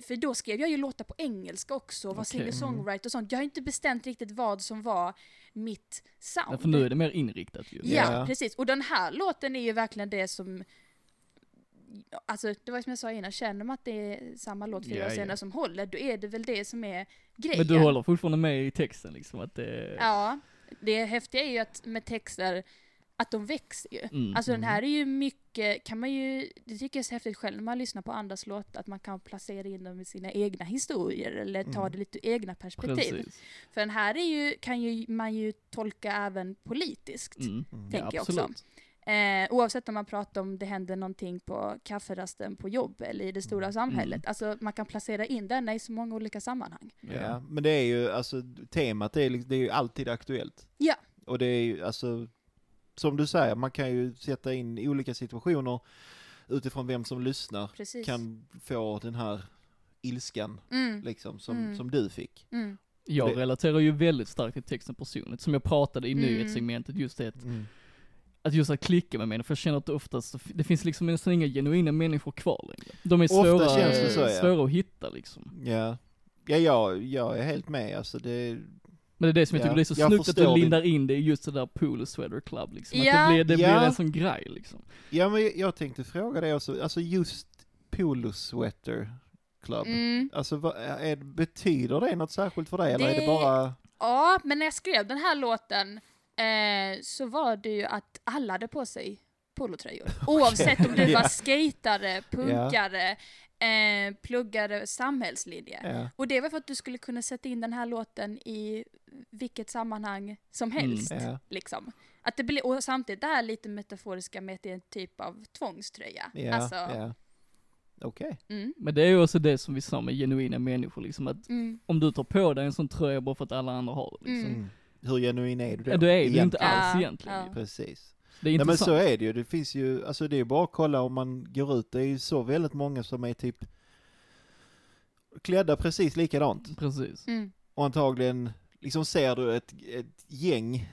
Speaker 3: för då skrev jag ju låtar på engelska också, och var
Speaker 1: Okej. Mm.
Speaker 3: singer-songwriter och sånt. Jag har inte bestämt riktigt vad som var mitt sound.
Speaker 1: Ja, för nu är det mer inriktat ju.
Speaker 3: Ja,
Speaker 2: Ja.
Speaker 3: precis. Och den här låten är ju verkligen det som Alltså det var som jag sa innan, känner man att det är samma låt fyra
Speaker 1: Ja,
Speaker 3: år
Speaker 1: ja.
Speaker 3: senare som håller, då är det väl det som är grejen.
Speaker 1: Men du håller fortfarande med i texten liksom att det...
Speaker 3: Ja, det häftiga är ju att med texter, att de växer ju.
Speaker 1: Mm.
Speaker 3: Alltså den här är ju mycket, kan man ju, det tycker jag är så häftigt själv när man lyssnar på andras låtar, att man kan placera in dem i sina egna historier eller ta
Speaker 2: Mm.
Speaker 3: det lite ur egna perspektiv.
Speaker 1: Precis.
Speaker 3: För den här är ju, kan ju man ju tolka även politiskt.
Speaker 1: Mm.
Speaker 2: Mm.
Speaker 3: tänker jag också.
Speaker 1: absolut.
Speaker 3: Eh, oavsett om man pratar om det händer någonting på kafferasten på jobb eller i det stora samhället. Alltså man kan placera in den i så många olika sammanhang.
Speaker 2: Ja, men det är ju, alltså temat är, liksom- det är ju alltid aktuellt.
Speaker 3: Ja.
Speaker 2: Och det är ju, alltså, som du säger, man kan ju sätta in i olika situationer utifrån vem som lyssnar
Speaker 3: Precis.
Speaker 2: kan få den här ilskan,
Speaker 3: Mm,
Speaker 2: liksom, som,
Speaker 3: Mm.
Speaker 2: som du fick.
Speaker 3: mm,
Speaker 1: Jag
Speaker 2: Det-
Speaker 1: relaterar ju väldigt starkt till texten personligt, som jag pratade i
Speaker 3: Mm.
Speaker 1: nyhetssegmentet, just det att, att just att klicka med människor, för jag känner att det oftast, det finns liksom nästan inga genuina människor kvar längre. De är
Speaker 2: Ofta
Speaker 1: svåra,
Speaker 2: känns det så, ja.
Speaker 1: svåra att hitta liksom.
Speaker 2: Ja, ja jag, jag är helt med, alltså det,
Speaker 1: Men det är det som jag
Speaker 2: Ja,
Speaker 1: tycker blir så
Speaker 2: jag
Speaker 1: snyggt att
Speaker 2: förstår
Speaker 1: du
Speaker 2: din-
Speaker 1: lindar in det i just det där pool sweater club liksom.
Speaker 3: Ja.
Speaker 1: Att det blir, det
Speaker 2: Ja.
Speaker 1: blir en sån grej liksom.
Speaker 2: ja men jag tänkte fråga dig också, alltså just Polo Sweater Club,
Speaker 3: mm.
Speaker 2: alltså vad, är, betyder det något särskilt för dig eller är det
Speaker 3: Det-
Speaker 2: bara,
Speaker 3: Ja, men när jag skrev den här låten eh, så var det ju att alla hade på sig polotröjor. Oavsett om du
Speaker 2: Ja.
Speaker 3: var skatare, punkare, eh, pluggare, samhällslinje.
Speaker 2: ja,
Speaker 3: Och det var för att du skulle kunna sätta in den här låten i vilket sammanhang som
Speaker 1: Mm.
Speaker 3: helst.
Speaker 2: ja,
Speaker 3: Liksom. Att det blir, och samtidigt det här lite metaforiska med att det är en typ av tvångströja.
Speaker 2: ja,
Speaker 3: alltså,
Speaker 2: ja. okej.
Speaker 3: Mm,
Speaker 1: Men det är ju också det som vi sa med genuina människor liksom, att
Speaker 3: mm,
Speaker 1: om du tar på dig en sån tröja bara för att alla andra har det liksom.
Speaker 3: Mm.
Speaker 2: Hur genuin är du då?
Speaker 1: Ja, du är ju
Speaker 2: Egentligen.
Speaker 1: inte alls
Speaker 3: Ja,
Speaker 1: egentligen
Speaker 3: ja.
Speaker 1: ju.
Speaker 2: Precis.
Speaker 1: Det är
Speaker 2: Nej men
Speaker 1: intressant.
Speaker 2: så är det ju, det finns ju, alltså det är ju bara att kolla om man går ut, det är ju så väldigt många som är typ klädda precis likadant.
Speaker 1: Precis.
Speaker 3: mm,
Speaker 2: Och antagligen, liksom ser du ett, ett gäng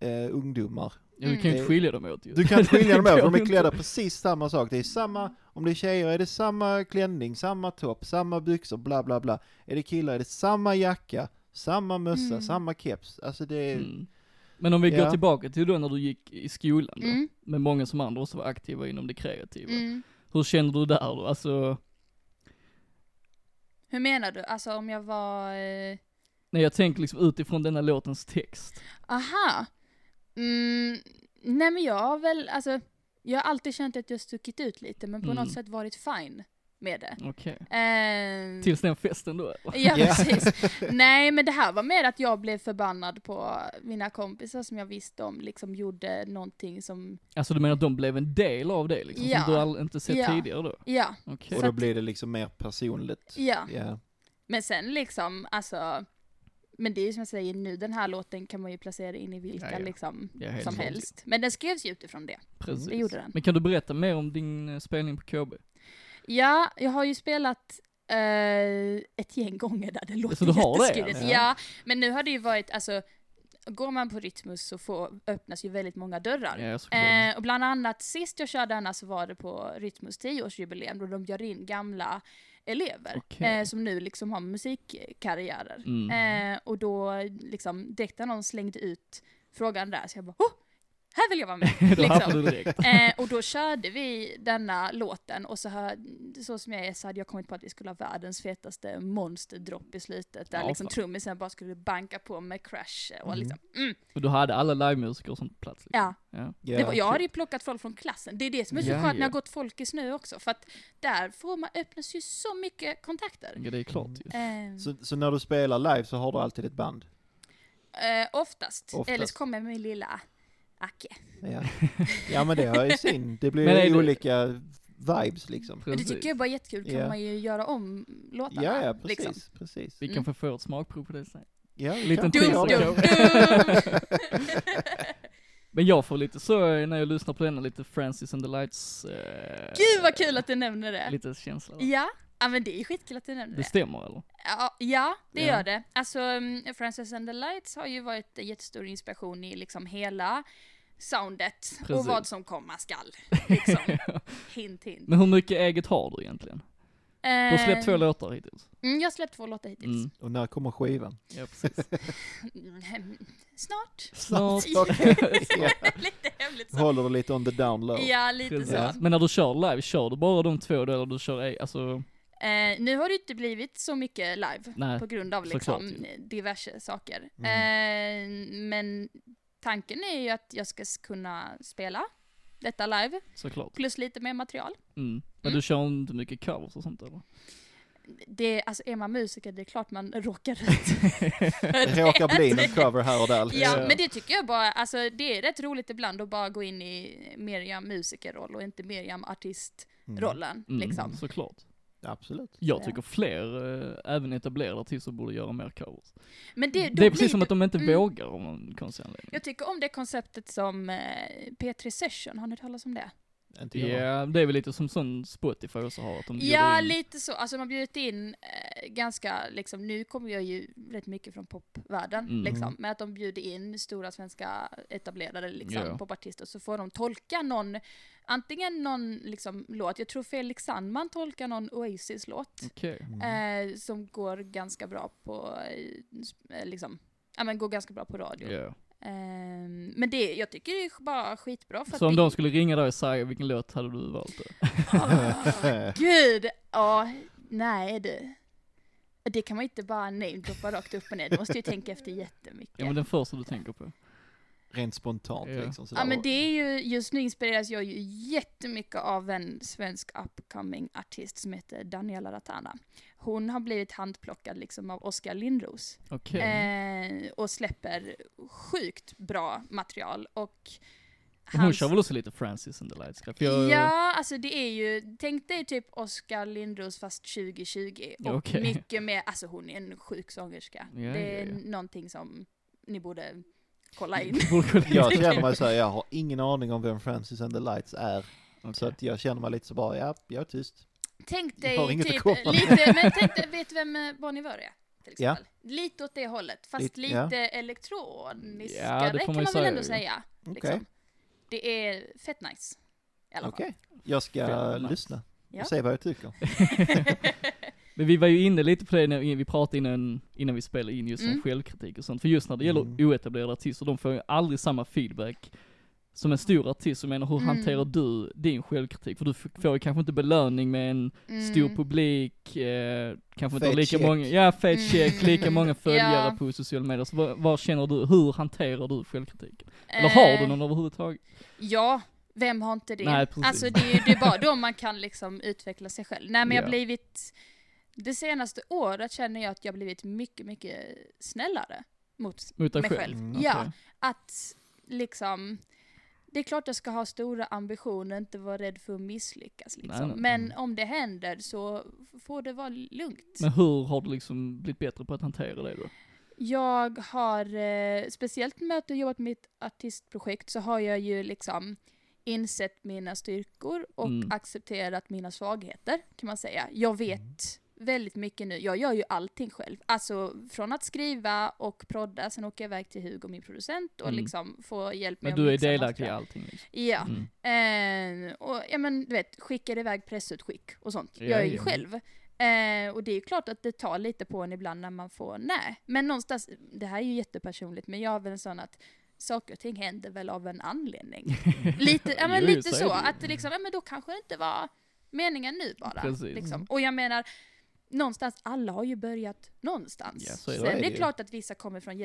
Speaker 2: eh, ungdomar.
Speaker 1: Ja, du kan ju
Speaker 2: Mm.
Speaker 1: inte skilja dem åt ju.
Speaker 2: Du kan inte skilja
Speaker 3: [LAUGHS]
Speaker 1: [LAUGHS]
Speaker 2: dem
Speaker 1: Det
Speaker 2: åt,
Speaker 1: går
Speaker 2: de är
Speaker 1: inte.
Speaker 2: klädda precis samma sak. Det är samma, om det är tjejer är det samma klänning, samma topp, samma byxor, bla bla bla. Är det killar är det samma jacka, samma mössa,
Speaker 3: Mm.
Speaker 2: samma keps. Alltså det är,
Speaker 1: Mm. Men om vi
Speaker 2: Ja.
Speaker 1: går tillbaka till då när du gick i skolan då,
Speaker 3: mm,
Speaker 1: med många som andra också var aktiva inom det kreativa.
Speaker 3: mm.
Speaker 1: Hur kände du där då? Alltså,
Speaker 3: Hur menar du? Alltså om jag var... Eh...
Speaker 1: Nej jag tänker liksom utifrån denna låtens text.
Speaker 3: Aha! Mm, nej men jag har väl, alltså, jag har alltid känt att jag stuckit ut lite men på
Speaker 1: Mm.
Speaker 3: något sätt varit fine med det.
Speaker 1: Okej.
Speaker 3: Eh,
Speaker 1: Tills den festen då eller?
Speaker 3: Ja
Speaker 2: Ja.
Speaker 3: precis. Nej men det här var mer att jag blev förbannad på mina kompisar som jag visste om liksom gjorde någonting som,
Speaker 1: Alltså du menar att de blev en del av det liksom?
Speaker 3: Ja.
Speaker 1: Som du all- inte sett
Speaker 3: Ja.
Speaker 1: tidigare då?
Speaker 3: ja,
Speaker 1: Okej.
Speaker 2: Och
Speaker 3: Så
Speaker 2: då
Speaker 3: att-
Speaker 2: blir det liksom mer personligt.
Speaker 3: ja.
Speaker 2: Ja.
Speaker 3: Men sen liksom, alltså, men det är ju som jag säger nu, den här låten kan man ju placera in i vilka
Speaker 1: Ja, ja.
Speaker 3: liksom
Speaker 1: Ja, helt
Speaker 3: som
Speaker 1: klart.
Speaker 3: helst. Men den skrevs ju utifrån det.
Speaker 1: Precis.
Speaker 3: Det gjorde den.
Speaker 1: Men kan du berätta mer om din eh, spelning på KB?
Speaker 3: Ja, jag har ju spelat eh, ett gäng gånger där det låter
Speaker 1: Så du har det,
Speaker 3: jätteskrivet.
Speaker 1: eller?
Speaker 3: Ja, men nu har det ju varit, alltså, går man på Rytmus så får, öppnas ju väldigt många dörrar.
Speaker 1: Ja, såklart.
Speaker 3: Eh, och bland annat sist jag körde denna så var det på Rytmus 10-årsjubileum då de gör in gamla elever
Speaker 1: Okej.
Speaker 3: eh, som nu liksom har musikkarriärer.
Speaker 1: Mm.
Speaker 3: Eh, och då liksom direkt när någon slängde ut frågan där så jag bara oh, här vill jag vara med.
Speaker 1: [LAUGHS] [LAUGHS] Då haffade
Speaker 3: liksom.
Speaker 1: du direkt.
Speaker 3: eh, och då körde vi denna låten och så, hör, så som jag är så hade jag kommit på att vi skulle ha världens fetaste monsterdropp i slutet där
Speaker 1: Ja,
Speaker 3: liksom
Speaker 1: fan.
Speaker 3: trummisen bara skulle banka på med crash och
Speaker 2: Mm.
Speaker 3: liksom mm,
Speaker 1: Och du hade alla livemusiker som plats liksom.
Speaker 3: ja.
Speaker 1: Ja.
Speaker 2: Ja.
Speaker 3: Det var, jag hade ju plockat folk från klassen. Det är det som är så
Speaker 1: Ja,
Speaker 3: skönt när
Speaker 1: ja.
Speaker 3: jag har gått folk i snö också. För att där får man, öppnas ju så mycket kontakter.
Speaker 1: ja, det är klart ju.
Speaker 3: Eh,
Speaker 2: Så, så när du spelar live så har du alltid ett band?
Speaker 3: eh, oftast.
Speaker 2: Oftast.
Speaker 3: Eller så kommer min lilla Acke. [LAUGHS]
Speaker 2: Ja, ja men det har ju sin. Det
Speaker 1: Men är
Speaker 2: blir ju
Speaker 1: det-
Speaker 2: olika vibes liksom.
Speaker 3: Och det tycker jag bara är jättekul. kan
Speaker 2: Ja.
Speaker 3: man ju göra om låtarna.
Speaker 2: Ja, ja precis.
Speaker 3: liksom.
Speaker 2: precis.
Speaker 1: Vi kan få få ett smakprov på det sen.
Speaker 2: Ja, vi
Speaker 1: Liten
Speaker 2: kan
Speaker 1: teaser.
Speaker 2: göra
Speaker 3: Dum,
Speaker 2: det.
Speaker 1: Ja.
Speaker 3: dum, dum.
Speaker 1: Men jag får lite så eh, när jag lyssnar på denna lite Francis and the Lights eh,
Speaker 3: Gud vad kul att du nämner det.
Speaker 1: lite känsla. va?
Speaker 3: Ja. Ja men det är skitkul att du nämner
Speaker 1: Det
Speaker 3: det.
Speaker 1: stämmer eller?
Speaker 3: Ja, ja det
Speaker 1: Ja.
Speaker 3: gör det. Alltså, um, Frances and the Lights har ju varit en jättestor inspiration i liksom hela soundet och
Speaker 1: Precis.
Speaker 3: vad som komma skall. Liksom. hint,
Speaker 1: [LAUGHS]
Speaker 3: hint.
Speaker 1: Men hur mycket eget har du egentligen? Du har släppt två
Speaker 3: Eh,
Speaker 1: låtar hittills.
Speaker 3: mm, jag har släppt två låtar hittills.
Speaker 1: Mm.
Speaker 2: Och när kommer skivan?
Speaker 3: [LAUGHS]
Speaker 1: Ja, precis.
Speaker 3: Mm, [LAUGHS] Snart.
Speaker 1: Snart.
Speaker 2: Okej. [LAUGHS] Ja.
Speaker 3: lite hemligt så.
Speaker 2: Håller du lite on the down low?
Speaker 3: Ja, lite
Speaker 1: Precis.
Speaker 3: så.
Speaker 1: Men när du kör live, kör du bara de två då eller du kör ej, alltså,
Speaker 3: Eh, nu har det inte blivit så mycket live
Speaker 1: nej.
Speaker 3: på grund av
Speaker 1: såklart
Speaker 3: liksom, diverse saker.
Speaker 2: Mm.
Speaker 3: Eh, men tanken är ju att jag ska s- kunna spela detta live,
Speaker 1: Såklart.
Speaker 3: plus lite mer material.
Speaker 1: Mm. Men du kör inte mycket covers och sånt
Speaker 3: [LAUGHS]
Speaker 1: eller?
Speaker 3: Det, alltså är man musiker, det är klart man råkar ut.
Speaker 1: [LAUGHS]
Speaker 2: Det råkar bli någon cover här och där. liksom.
Speaker 3: ja,
Speaker 1: Ja.
Speaker 3: men det tycker jag bara, alltså det är rätt roligt ibland att bara gå in i Miriam musikerroll och inte Miriam artistrollen,
Speaker 2: Mm.
Speaker 1: Mm,
Speaker 3: liksom.
Speaker 1: Såklart.
Speaker 2: Absolut.
Speaker 1: Jag
Speaker 3: Ja.
Speaker 1: tycker fler, eh, även etablerade artister borde göra mer covers.
Speaker 3: Men det, då
Speaker 1: Det är
Speaker 3: blir
Speaker 1: precis som att de inte
Speaker 3: mm.
Speaker 1: vågar om någon konstig anledning.
Speaker 3: Jag tycker om det konceptet som eh, P3 Session, har ni hört talas om det?
Speaker 2: Inte
Speaker 1: Ja,
Speaker 2: Typ, jag.
Speaker 1: det är väl lite som sån Spotify också har, att de bjuder
Speaker 3: Ja,
Speaker 1: Mm, in.
Speaker 3: lite så. Alltså man har bjudit in eh, ganska, liksom, nu kommer jag ju rätt mycket från popvärlden,
Speaker 1: Mm.
Speaker 3: liksom. Men att de bjuder in stora svenska etablerade liksom,
Speaker 1: Ja.
Speaker 3: popartister, så får de tolka någon, antingen någon liksom, låt, jag tror Felix Sandman tolkar någon Oasis-låt,
Speaker 1: Okej.
Speaker 2: Mm.
Speaker 3: eh, som går ganska bra på, eh, s- eh, liksom, ja men går ganska bra på radio.
Speaker 1: Ja.
Speaker 3: Ehm, men det, jag tycker det är bara skitbra för
Speaker 1: Så
Speaker 3: att
Speaker 1: om
Speaker 3: det-
Speaker 1: de skulle ringa dig och säga vilken låt hade du valt då?
Speaker 3: [LAUGHS]
Speaker 2: Äh,
Speaker 3: Åh, Gud! Ja, nej du. Det kan man inte bara namedroppa rakt upp och ner, du måste ju tänka efter jättemycket.
Speaker 1: Ja men den första du tänker på.
Speaker 2: Rent spontant
Speaker 1: Ja.
Speaker 2: liksom. sådär.
Speaker 3: Ja men det är ju, just nu inspireras jag ju jättemycket av en svensk upcoming artist som heter Daniela Ratana. Hon har blivit handplockad liksom av Oskar Lindros.
Speaker 1: Okej.
Speaker 3: Eh, och släpper sjukt bra material och
Speaker 1: Men Hon
Speaker 3: hans-
Speaker 1: kör väl också lite Francis and the Lights Club? Jag,
Speaker 3: Ja, alltså det är ju, tänk dig typ Oskar Lindros fast 2020 och
Speaker 1: Okej.
Speaker 3: mycket mer, alltså hon är en sjuk sångerska.
Speaker 1: Ja,
Speaker 3: det
Speaker 1: ja,
Speaker 3: är
Speaker 1: ja.
Speaker 3: någonting som ni borde
Speaker 1: [LAUGHS]
Speaker 3: kolla in.
Speaker 1: [LAUGHS] Borde kolla in.
Speaker 2: Jag känner mig så här, jag har ingen aning om vem Francis and the Lights är.
Speaker 1: Okej.
Speaker 2: Så att jag känner mig lite så bara, ja, jag är tyst.
Speaker 3: Tänk
Speaker 2: Jag har
Speaker 3: dig
Speaker 2: inget att
Speaker 3: typ,
Speaker 2: komma med.
Speaker 3: lite, men tänk dig, vet du vem eh, Bon Iver är? Till
Speaker 2: Ja.
Speaker 3: exempel. Lite åt det hållet, fast
Speaker 2: Lite- ja.
Speaker 3: lite elektroniskare
Speaker 1: Ja, det får
Speaker 3: kan
Speaker 1: man ju
Speaker 3: man väl
Speaker 1: säga
Speaker 3: ändå
Speaker 1: ju.
Speaker 3: säga.
Speaker 2: Okej.
Speaker 3: Liksom. Det är fett nice. I alla fall.
Speaker 2: Okej, jag ska
Speaker 1: Fair enough.
Speaker 2: lyssna
Speaker 3: Ja.
Speaker 2: och se vad jag tycker.
Speaker 1: Men vi var ju inne lite på det när vi pratade innan, innan vi spelade in just om
Speaker 3: Mm.
Speaker 1: självkritik och sånt. För just när det gäller
Speaker 2: Mm.
Speaker 1: oetablerade artister, de får ju aldrig samma feedback som en stor artist, så menar hur
Speaker 3: Mm.
Speaker 1: hanterar du din självkritik? För du f- får ju kanske inte belöning med en
Speaker 3: Mm.
Speaker 1: stor publik, eh, kanske inte har
Speaker 2: Fet
Speaker 1: lika
Speaker 2: check.
Speaker 1: många, ja fet check, lika
Speaker 3: Mm.
Speaker 1: många följare
Speaker 3: [LAUGHS] Ja.
Speaker 1: på sociala medier. Så vad, vad känner du, hur hanterar du självkritiken? Eller har du
Speaker 3: Eh,
Speaker 1: någon överhuvudtaget?
Speaker 3: Ja, vem har inte det?
Speaker 1: Nej, precis.
Speaker 3: alltså det är ju det är bara då man kan liksom utveckla sig själv. Nej men jag
Speaker 1: Ja.
Speaker 3: har blivit, det senaste året känner jag att jag har blivit mycket, mycket snällare mot
Speaker 1: Mot dig
Speaker 3: mig
Speaker 1: själv?
Speaker 3: själv.
Speaker 2: Mm,
Speaker 3: Ja,
Speaker 1: okej.
Speaker 3: att liksom, det är klart jag ska ha stora ambitioner, inte vara rädd för att misslyckas liksom.
Speaker 1: nej.
Speaker 3: Men
Speaker 2: Mm.
Speaker 3: om det händer så får det vara lugnt.
Speaker 1: Men hur har du liksom blivit bättre på att hantera det då?
Speaker 3: Jag har, eh, speciellt med att jag jobbat med ett artistprojekt så har jag ju liksom insett mina styrkor och
Speaker 1: Mm.
Speaker 3: accepterat mina svagheter kan man säga. Jag vet väldigt mycket nu, jag gör ju allting själv. Alltså från att skriva och prodda, sen åker jag iväg till Hugo, min producent och
Speaker 1: Mm.
Speaker 3: liksom får hjälp med
Speaker 1: Men
Speaker 3: att
Speaker 1: du är
Speaker 3: mixa och
Speaker 1: delaktig i
Speaker 3: mastra.
Speaker 1: allting liksom?
Speaker 3: Ja.
Speaker 1: Mm.
Speaker 3: Eh, och ja men du vet, skickar iväg pressutskick och sånt.
Speaker 1: Ja,
Speaker 3: jag är ju
Speaker 1: ja.
Speaker 3: själv. Eh, och det är ju klart att det tar lite på en ibland när man får nej. Men någonstans, det här är ju jättepersonligt, men jag är väl en sån att saker och ting händer väl av
Speaker 1: [LAUGHS]
Speaker 3: en anledning. lite ja, men
Speaker 1: Jo, jo,
Speaker 3: lite
Speaker 1: så är
Speaker 3: så,
Speaker 1: det ju.
Speaker 3: att det liksom, ja men då kanske det inte var meningen nu bara.
Speaker 1: Precis.
Speaker 3: Liksom.
Speaker 1: Mm.
Speaker 3: Och jag menar, någonstans, alla har ju börjat någonstans.
Speaker 1: Ja, så är det.
Speaker 3: Sen
Speaker 2: Så är
Speaker 3: är
Speaker 2: det
Speaker 3: det
Speaker 2: ju.
Speaker 3: klart att vissa kommer från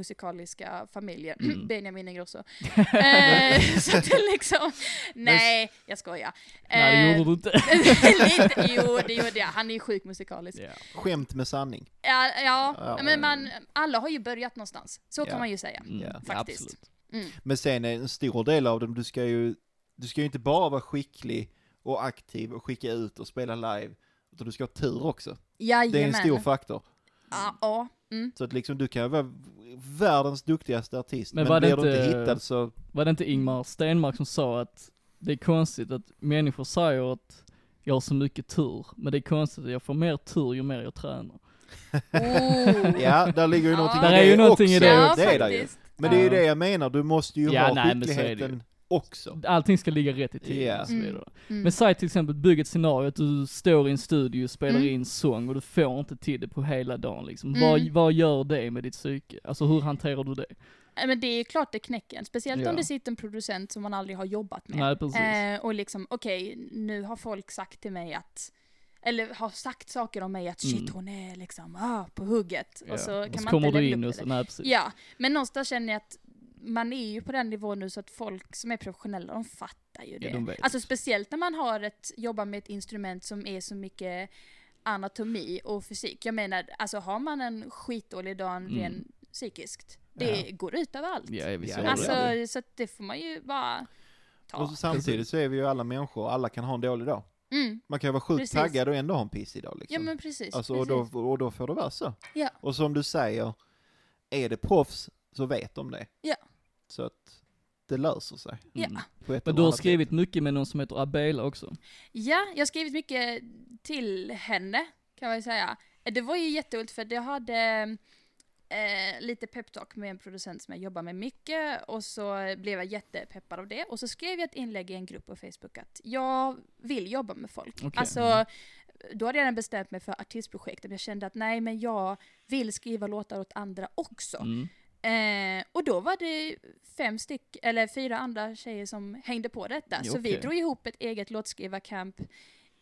Speaker 3: jättemusikaliska familjer, [CLEARS THROAT]
Speaker 1: Mm.
Speaker 3: Benjamin Ingrosso. eh,
Speaker 1: [LAUGHS]
Speaker 3: så att det liksom, nej, jag skojar.
Speaker 1: Nej det gjorde du inte.
Speaker 3: Eh, [LAUGHS] lite, jo, det gjorde jag. Han är ju sjukt musikalisk.
Speaker 1: [LAUGHS] Ja.
Speaker 2: Skämt med sanning.
Speaker 3: Ja, ja,
Speaker 2: Ja,
Speaker 3: men man, alla har ju börjat någonstans. Så
Speaker 2: Ja.
Speaker 3: kan man ju säga.
Speaker 1: Mm,
Speaker 2: Ja.
Speaker 1: ja,
Speaker 3: Faktiskt.
Speaker 1: absolut.
Speaker 3: Mm.
Speaker 2: Men sen är en stor del av dem, du ska ju, du ska ju inte bara vara skicklig och aktiv och skicka ut och spela live, utan du ska ha tur också.
Speaker 3: Jajamän.
Speaker 2: Det är en stor faktor.
Speaker 3: Ja, ja.
Speaker 1: [LAUGHS]
Speaker 3: Mm.
Speaker 2: Så att liksom du kan vara världens duktigaste artist,
Speaker 1: Men
Speaker 2: men,
Speaker 1: var det
Speaker 2: blir du inte
Speaker 1: inte-
Speaker 2: hittad så...
Speaker 1: Var det inte Ingmar Stenmark som sa att det är konstigt att människor säger att jag har så mycket tur, men det är konstigt att jag får mer tur ju mer jag tränar.
Speaker 3: Oh.
Speaker 2: Ja, där ligger ju
Speaker 3: Ja.
Speaker 2: någonting
Speaker 1: Där
Speaker 2: i
Speaker 1: är
Speaker 2: det
Speaker 1: ju någonting
Speaker 2: också.
Speaker 1: i det
Speaker 3: Ja,
Speaker 2: det är där ju.
Speaker 3: faktiskt.
Speaker 2: Men det är ju
Speaker 1: Ja.
Speaker 2: det jag menar, du måste ju
Speaker 1: Ja,
Speaker 2: ha
Speaker 1: nej, men så är det ju.
Speaker 2: skickligheten också.
Speaker 1: Allting ska ligga rätt i tiden
Speaker 2: Ja.
Speaker 1: och så vidare.
Speaker 3: Mm.
Speaker 1: Men säg till exempel, bygg ett scenario att du står i en studio och spelar
Speaker 3: Mm.
Speaker 1: in sång och du får inte till det på hela dagen liksom.
Speaker 3: Mm.
Speaker 1: Vad, vad gör det med ditt psyke? Alltså hur hanterar du det?
Speaker 3: Ja, Eh, Men det är ju klart det knäcker en. Speciellt
Speaker 1: Ja.
Speaker 3: om det sitter en producent som man aldrig har jobbat med.
Speaker 1: Nej precis.
Speaker 3: Eh, och liksom, okej, nu har folk sagt till mig att eller har sagt saker om mig att shit
Speaker 1: Mm.
Speaker 3: hon är liksom ah, på hugget.
Speaker 1: Ja.
Speaker 3: Och så kan
Speaker 1: Och så
Speaker 3: man
Speaker 1: kommer
Speaker 3: inte
Speaker 1: du
Speaker 3: levla
Speaker 1: in
Speaker 3: upp
Speaker 1: och
Speaker 3: till
Speaker 1: så,
Speaker 3: det.
Speaker 1: nej precis.
Speaker 3: Ja, men någonstans känner jag att man är ju på den nivån nu så att folk som är professionella, de fattar ju det.
Speaker 1: Ja, de vet.
Speaker 3: alltså speciellt när man har ett, jobbar med ett instrument som är så mycket anatomi och fysik. Jag menar, alltså har man en skitdålig dag
Speaker 1: Mm.
Speaker 3: rent psykiskt, det går ut över allt.
Speaker 1: Ja, jag visste
Speaker 2: Ja,
Speaker 1: det. Mm.
Speaker 3: Alltså,
Speaker 2: ja.
Speaker 3: så att det får man ju bara
Speaker 2: Och
Speaker 3: ta.
Speaker 2: så samtidigt så är vi ju alla människor, och alla kan ha en dålig dag.
Speaker 3: Mm.
Speaker 2: Man kan ju vara sjukt
Speaker 3: Precis.
Speaker 2: taggad och ändå ha en pissig dag liksom.
Speaker 3: Ja men precis.
Speaker 2: Alltså, och,
Speaker 3: precis.
Speaker 2: då, och då får det vara så.
Speaker 3: Ja.
Speaker 2: Och som du säger, är det proffs så vet de det.
Speaker 3: Ja.
Speaker 2: Så att det löser sig.
Speaker 3: ja.
Speaker 1: Mm.
Speaker 2: På ett
Speaker 1: Men
Speaker 2: eller
Speaker 1: du har
Speaker 2: annat
Speaker 1: skrivit
Speaker 2: sätt.
Speaker 1: mycket med någon som heter Abela också.
Speaker 3: ja, jag har skrivit mycket till henne kan man ju säga. Eh, Det var ju jätteroligt för jag hade eh, lite peptalk med en producent som jag jobbar med mycket och så blev jag jättepeppad av det och så skrev jag ett inlägg i en grupp på Facebook att jag vill jobba med folk.
Speaker 1: Okej.
Speaker 3: Alltså, då hade jag redan bestämt mig för artistprojektet men jag kände att nej men jag vill skriva låtar åt andra också.
Speaker 1: Mm.
Speaker 3: Eh, och då var det fem styck, eller fyra andra tjejer som hängde på detta.
Speaker 1: Ja,
Speaker 3: Så vi
Speaker 1: okej.
Speaker 3: drog ihop ett eget låtskrivarkamp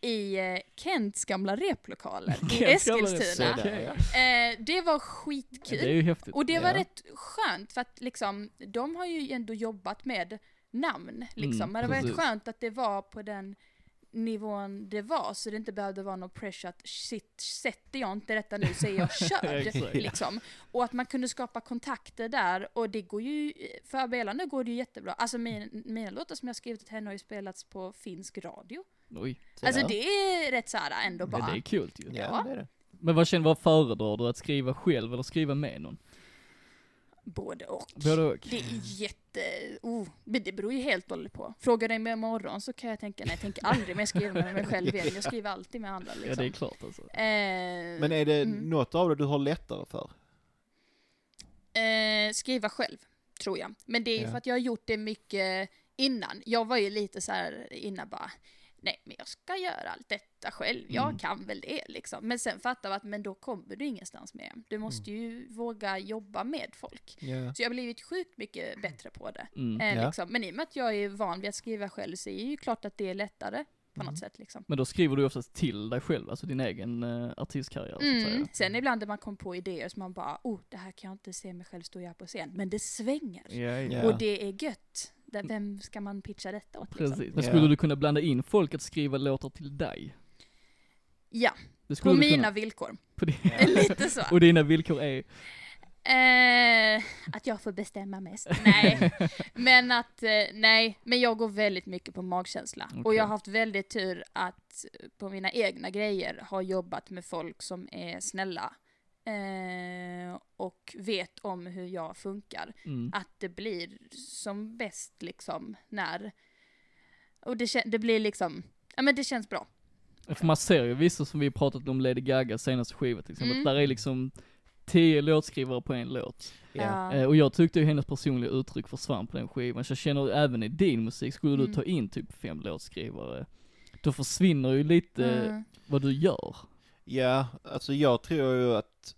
Speaker 3: i eh, Kents gamla replokaler i
Speaker 1: Kents gamla
Speaker 2: Så
Speaker 3: Eskilstuna.
Speaker 1: replokal.
Speaker 2: där, ja.
Speaker 3: Eh, det var
Speaker 1: Ja,
Speaker 3: skitkul.
Speaker 1: det är ju häftigt.
Speaker 3: Och det var
Speaker 2: Ja.
Speaker 3: rätt skönt för att liksom, de har ju ändå jobbat med namn liksom.
Speaker 1: Mm,
Speaker 3: Men det var rätt
Speaker 1: precis.
Speaker 3: skönt att det var på den nivån det var så det inte behövde vara någon pressure att shit, sätter jag inte detta nu så
Speaker 1: [LAUGHS]
Speaker 3: är jag körd.
Speaker 1: Exakt.
Speaker 3: liksom. Och att man kunde skapa kontakter där och det går ju, för Abela nu går det ju jättebra. Alltså min, mina låtar som jag skrivit till henne har ju spelats på finsk radio.
Speaker 1: Oj,
Speaker 2: Så
Speaker 3: Alltså
Speaker 2: där.
Speaker 3: det är rätt såhär ändå
Speaker 1: men
Speaker 3: bara.
Speaker 1: det är kul ju.
Speaker 2: Ja, det är det.
Speaker 1: Men vad känner, vad föredrar du? Att skriva själv eller skriva med någon?
Speaker 3: Både och.
Speaker 1: Både och.
Speaker 3: Det är jätte... Oh, men det beror ju helt och hållet på. Frågar du mig imorgon så kan jag tänka, nej jag tänker aldrig mer skriva med mig själv igen. Jag skriver alltid med andra
Speaker 1: Ja det är
Speaker 3: liksom.
Speaker 1: klart alltså.
Speaker 3: Eh,
Speaker 2: Men är det
Speaker 3: Mm.
Speaker 2: något av det du har lättare för?
Speaker 3: eh, skriva själv, tror jag. Men det är ju
Speaker 2: Ja.
Speaker 3: för att jag har gjort det mycket innan. Jag var ju lite så här innan bara, nej men jag ska göra allt detta själv, jag
Speaker 2: Mm.
Speaker 3: kan väl det liksom. Men sen fattar vi att men då kommer du ingenstans med. Du måste
Speaker 1: Mm.
Speaker 3: ju våga jobba med folk.
Speaker 2: Ja.
Speaker 3: Så jag har blivit sjukt mycket bättre på det.
Speaker 1: Mm.
Speaker 3: Eh,
Speaker 2: Ja.
Speaker 3: liksom. Men i och med att jag är van vid att skriva själv så är det ju klart att det är lättare på
Speaker 2: Mm.
Speaker 3: något sätt liksom.
Speaker 1: Men då skriver du oftast till dig själv, alltså din egen eh, artistkarriär så att
Speaker 3: Mm.
Speaker 1: säga.
Speaker 3: Sen ibland när man kommer på idéer som man bara, oh det här kan jag inte se mig själv stå och göra på scen. Men det svänger.
Speaker 2: ja.
Speaker 3: Och det är gött. Där- Vem ska man pitcha detta åt liksom?
Speaker 1: Precis. Men
Speaker 2: Ja.
Speaker 1: skulle du kunna blanda in folk att skriva låtar till dig?
Speaker 3: Ja,
Speaker 1: Det
Speaker 3: på
Speaker 1: skulle du
Speaker 3: mina
Speaker 1: kunna.
Speaker 3: villkor.
Speaker 1: På din...
Speaker 3: [LAUGHS] Lite så.
Speaker 1: [LAUGHS] Och dina villkor är?
Speaker 3: Eh, att jag får bestämma mest. Nej, men att, eh, nej, men jag går väldigt mycket på magkänsla. Och
Speaker 1: Okej.
Speaker 3: jag har haft väldigt tur att eh, på mina egna grejer ha jobbat med folk som är snälla. Eh, och vet om hur jag funkar.
Speaker 1: Mm.
Speaker 3: Att det blir som bäst liksom när, och det, kän- det blir liksom, ja men det känns bra.
Speaker 1: För man ser ju vissa som vi pratat om, Lady Gaga senaste skiva till exempel,
Speaker 3: Mm.
Speaker 1: där är liksom tio låtskrivare på en låt.
Speaker 2: Ja.
Speaker 3: Ja.
Speaker 1: Eh, och jag tyckte ju hennes personliga uttryck försvann på den skivan, så jag känner även i din musik, skulle du
Speaker 3: Mm.
Speaker 1: ta in typ fem låtskrivare, då försvinner ju lite
Speaker 3: Mm.
Speaker 1: vad du gör.
Speaker 2: Ja, alltså jag tror ju att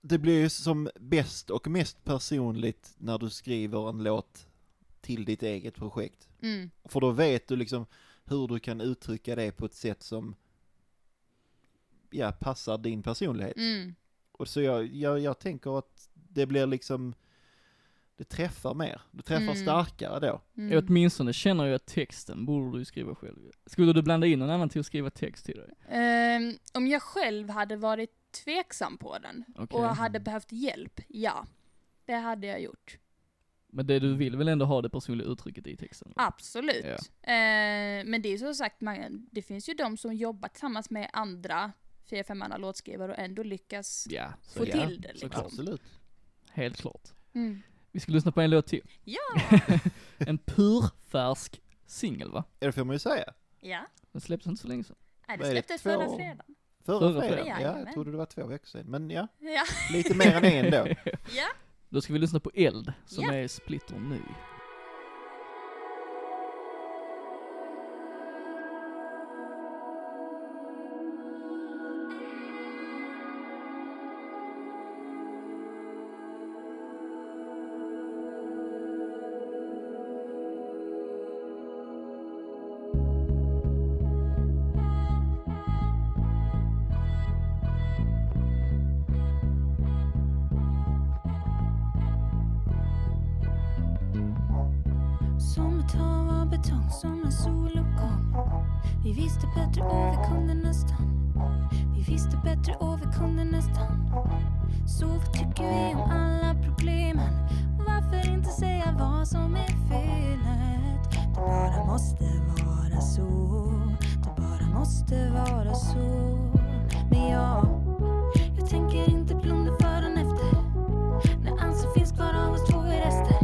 Speaker 2: det blir ju som bäst och mest personligt när du skriver en låt till ditt eget projekt.
Speaker 3: Mm.
Speaker 2: För då vet du liksom hur du kan uttrycka det på ett sätt som ja, passar din personlighet.
Speaker 3: Mm.
Speaker 2: Och så jag, jag, jag tänker att det blir liksom, det träffar mer. Du träffar
Speaker 3: Mm.
Speaker 2: starkare då.
Speaker 3: Mm.
Speaker 1: Åtminstone känner jag att texten borde du ju skriva själv. ju. Skulle du blanda in någon annan till att skriva text till dig?
Speaker 3: Ehm, om jag själv hade varit tveksam på den
Speaker 1: Okej.
Speaker 3: och hade behövt hjälp, ja. Det hade jag gjort.
Speaker 1: Men det du vill väl ändå ha det personliga uttrycket i texten?
Speaker 3: Absolut.
Speaker 1: Ja.
Speaker 3: Ehm, men det är som sagt, man, det finns ju de som jobbar tillsammans med andra fyra, fem andra låtskrivare och ändå lyckas.
Speaker 1: Ja,
Speaker 3: Få
Speaker 1: så
Speaker 2: Ja,
Speaker 1: ja.
Speaker 3: till det, liksom.
Speaker 2: Absolut.
Speaker 1: helt klart.
Speaker 3: Mm.
Speaker 1: Vi ska lyssna på en låt till.
Speaker 3: Ja!
Speaker 1: [LAUGHS] En purfärsk singel va?
Speaker 2: Ja, det får man ju säga.
Speaker 3: ja.
Speaker 1: Den släpptes inte så länge sedan.
Speaker 3: Nej,
Speaker 2: Vad
Speaker 3: det
Speaker 2: är det,
Speaker 3: släpptes förra
Speaker 2: två?
Speaker 3: fredagen.
Speaker 2: Förra
Speaker 1: Förra
Speaker 2: fredagen,
Speaker 1: fredagen.
Speaker 2: ja, jag
Speaker 3: Jajamän.
Speaker 2: trodde det var två veckor sedan. Men ja,
Speaker 3: Ja.
Speaker 2: lite mer än en då.
Speaker 3: ja.
Speaker 1: [LAUGHS] Då ska vi lyssna på Eld, som
Speaker 3: Ja.
Speaker 1: är splitter ny.
Speaker 4: Som ett hav av betong, som en soluppgång. Vi visste bättre och vi kunde nästan. Vi visste bättre och vi kunde nästan. Så vad tycker vi om alla problemen? Varför inte säga vad som är felet? Det bara måste vara så. Det bara måste vara så. Men jag, jag tänker inte blunda förrän efter. När allt som finns kvar av oss två är rester.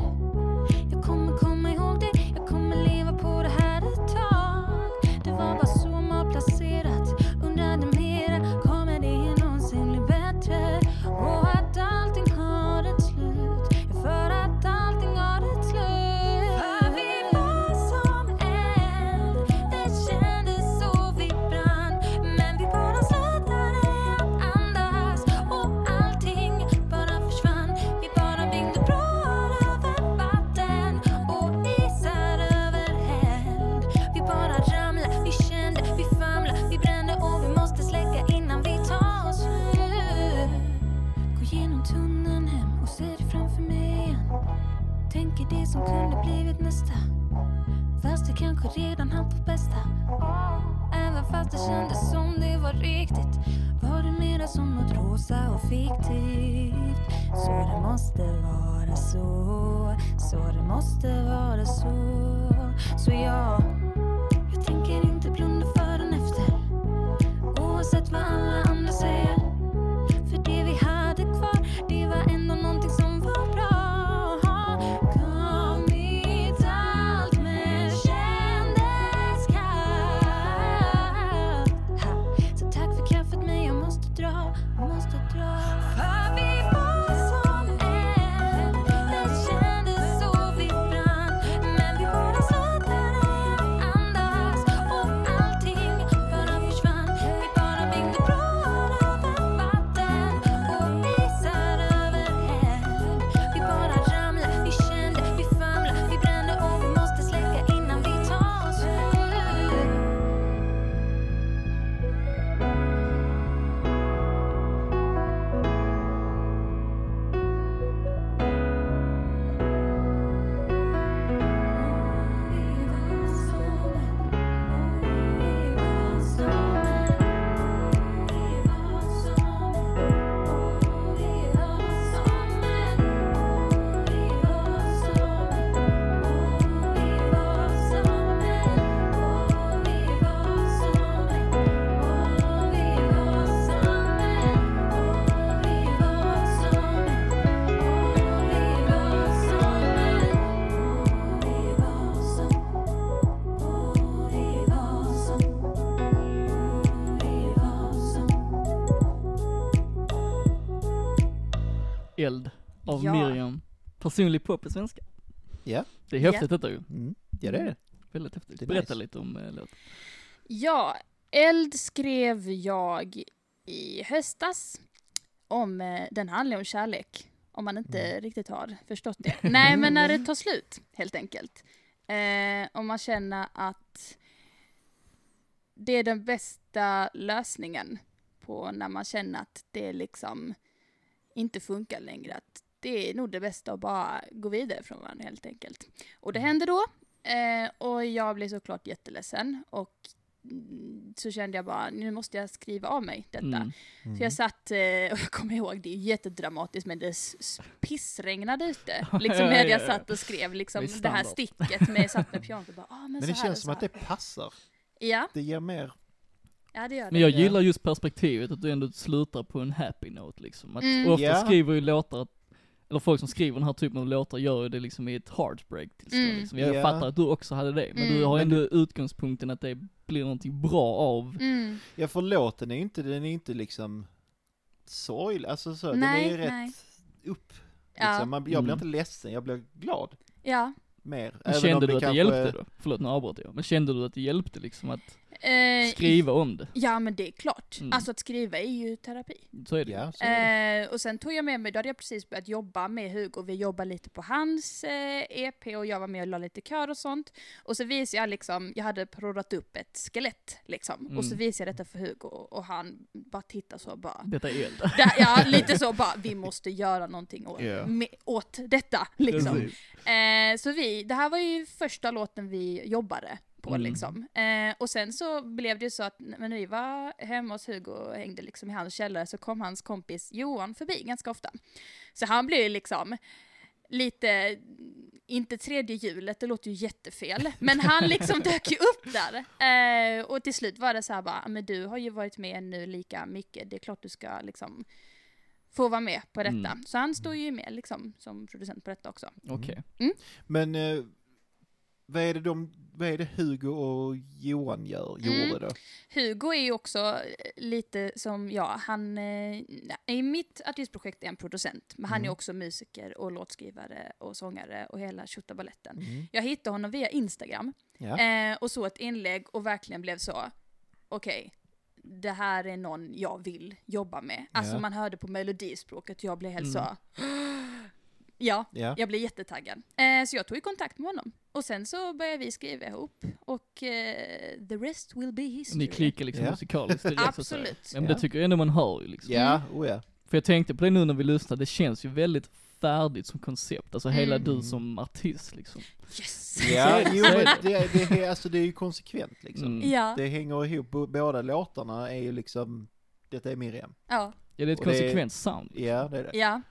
Speaker 4: Jag kommer komma ihåg det, jag kommer leva på det här ett tag Det var bara så malplacerat, undrade mera Kommer det någonsin bli bättre? Och att allting har ett slut Ja, För att allting har ett slut För vi var som eld Det kändes så vi brann Men vi bara slutade att andas Och allting bara försvann Vi bara byggde broar över vatten och isar över häll. Vi bara ramlar, vi kände, vi famlar, vi brände och vi måste släcka innan vi tar oss ur. Gå genom tunneln hem och se det framför mig igen. Tänker det som kunde blivit nästa. Fast jag kanske redan hann på bästa. Även fast det kändes som det var riktigt. Var det mera som något rosa och fiktivt. Så det måste vara så, så det måste vara så. Så jag, jag tänker inte blunda förrän efter. Oavsett vad alla andra säger. För det vi hade kvar, det var ändå någonting som var bra. Kommit allt men kändes kallt. Ha. Så tack för kaffet men jag måste dra, jag måste dra. För vi var som en, det kändes så vi brann. Men vi båda slutade att
Speaker 1: Eld av
Speaker 3: Ja.
Speaker 1: Miriam. Personlig pop i svenska.
Speaker 2: Ja.
Speaker 1: Det är häftigt detta ju.
Speaker 2: Mm. Ja, det är det.
Speaker 1: Väldigt häftigt.
Speaker 2: Det är
Speaker 1: Berätta
Speaker 2: nice.
Speaker 1: lite om eh, låten.
Speaker 3: Ja, Eld skrev jag i höstas. Om, eh, den handlar om kärlek. Om man inte riktigt har förstått det. Nej, men när det tar slut, helt enkelt. Eh, om man känner att det är den bästa lösningen på när man känner att det liksom inte funkar längre. Att det är nog det bästa att bara gå vidare från varandra helt enkelt. Och det hände då. Eh, och jag blev såklart jätteledsen och mm, så kände jag bara, nu måste jag skriva av mig detta.
Speaker 1: Mm.
Speaker 2: Mm.
Speaker 3: Så jag satt, eh, [LAUGHS] och jag kommer ihåg, det är jättedramatiskt men det s- s-
Speaker 2: [LAUGHS]
Speaker 3: pissregnade ute. Liksom när jag satt och skrev liksom
Speaker 1: Det är
Speaker 3: det här
Speaker 1: standard.
Speaker 3: sticket med,
Speaker 2: [LAUGHS]
Speaker 3: satt med pianot och bara, ah, men,
Speaker 2: Men
Speaker 3: så
Speaker 2: det
Speaker 3: här och
Speaker 2: känns
Speaker 3: så
Speaker 2: som att
Speaker 3: här."
Speaker 2: det passar.
Speaker 3: Ja,
Speaker 2: Det ger mer.
Speaker 3: ja det gör det.
Speaker 1: Men jag
Speaker 2: Ja.
Speaker 1: gillar just perspektivet att du ändå slutar på en happy note liksom. Att
Speaker 3: Mm.
Speaker 1: ofta
Speaker 2: Ja.
Speaker 1: skriver ju låtar, eller folk som skriver den här typen av låtar gör ju det liksom i ett heartbreak tillstånd
Speaker 3: Mm.
Speaker 1: liksom. Jag
Speaker 2: Ja.
Speaker 1: fattar att du också hade det, men
Speaker 3: Mm.
Speaker 1: du har
Speaker 2: Men
Speaker 1: ändå utgångspunkten att det blir någonting bra av.
Speaker 3: Mm.
Speaker 2: Ja, för låten är ju inte, den är ju inte liksom sorglig. Alltså så, den är ju
Speaker 3: Nej,
Speaker 2: rätt
Speaker 3: nej.
Speaker 2: upp.
Speaker 3: Ja.
Speaker 2: Liksom. Man, jag blir
Speaker 1: Mm.
Speaker 2: inte ledsen, jag blir glad.
Speaker 3: Ja.
Speaker 2: Mer.
Speaker 1: Men kände du att det hjälpte då? Förlåt nu avbröt jag. Men kände du att det hjälpte liksom att
Speaker 3: Eh,
Speaker 1: skriva om det?
Speaker 3: Ja men det är klart.
Speaker 1: Mm.
Speaker 3: Alltså att skriva är ju terapi.
Speaker 1: Så är det ju.
Speaker 2: Ja, så är det.
Speaker 3: Eh, och sen tog jag med mig, då hade jag precis börjat jobba med Hugo, vi jobbade lite på hans eh, EP och jag var med och la lite kör och sånt. Och så visade jag liksom, jag hade proddat upp ett skelett liksom. Och så
Speaker 1: Mm.
Speaker 3: visade jag detta för Hugo och han bara tittade så och bara.
Speaker 1: Detta är eld.
Speaker 3: Där, ja, lite så bara, vi måste göra någonting
Speaker 2: [LAUGHS]
Speaker 3: åt,
Speaker 2: Ja.
Speaker 3: med, åt detta liksom.
Speaker 1: Precis.
Speaker 3: Eh, så vi, det här var ju första låten vi jobbade på
Speaker 1: Mm.
Speaker 3: liksom. Eh, och sen så blev det ju så att n- när vi var hemma hos Hugo och hängde liksom i hans källare så kom hans kompis Johan förbi ganska ofta. Så han blev ju liksom lite, inte tredje hjulet, det låter ju jättefel, men
Speaker 1: [LAUGHS]
Speaker 3: han liksom dök ju upp där. Eh, och till slut var det så här bara, "Ah, men du har ju varit med nu lika mycket, det är klart du ska liksom få vara med på detta.
Speaker 1: Mm.
Speaker 3: Så han står ju med liksom som producent på detta också.
Speaker 1: Okej.
Speaker 2: Men eh, vad, är det de, vad är det Hugo och Johan gör,
Speaker 3: Mm.
Speaker 2: gjorde då?
Speaker 3: Hugo är ju också eh, lite som jag, han, eh, i mitt artistprojekt är en producent, men han är
Speaker 2: Mm.
Speaker 3: också musiker och låtskrivare och sångare och hela tjottabaletten.
Speaker 2: Mm.
Speaker 3: Jag hittade honom via Instagram
Speaker 2: Ja.
Speaker 3: eh, och såg ett inlägg och verkligen blev så, okej, det här är någon jag vill jobba med. Alltså
Speaker 2: Ja.
Speaker 3: man hörde på melodispråket, jag blev helt
Speaker 1: Mm.
Speaker 3: så, [GASPS] ja,
Speaker 2: Ja.
Speaker 3: jag blev jättetaggad. Eh, så jag tog i kontakt med honom. Och sen så började vi skriva ihop och eh, the rest will be history.
Speaker 1: Ni klickar liksom
Speaker 2: Ja.
Speaker 1: musikaliskt direkt så att säga.
Speaker 3: Absolut.
Speaker 1: Ja, men det
Speaker 2: Ja.
Speaker 1: tycker jag ändå man hör ju liksom.
Speaker 2: Ja, oh ja.
Speaker 1: För jag tänkte på det nu när vi lyssnade, det känns ju väldigt färdigt som koncept, alltså hela
Speaker 3: Mm.
Speaker 1: du som artist liksom.
Speaker 3: Yes!
Speaker 1: Så
Speaker 2: Ja,
Speaker 1: är det,
Speaker 2: jo,
Speaker 1: så är
Speaker 2: men
Speaker 1: det.
Speaker 2: det, det, är, alltså, det är ju konsekvent liksom.
Speaker 1: Mm.
Speaker 3: Ja.
Speaker 2: Det hänger ihop, Bo- båda låtarna är ju liksom, detta är Miriam.
Speaker 3: ja.
Speaker 1: Ja det är ett
Speaker 2: Och det är-
Speaker 1: konsekvent sound.
Speaker 2: Ja, det är det.
Speaker 3: Ja.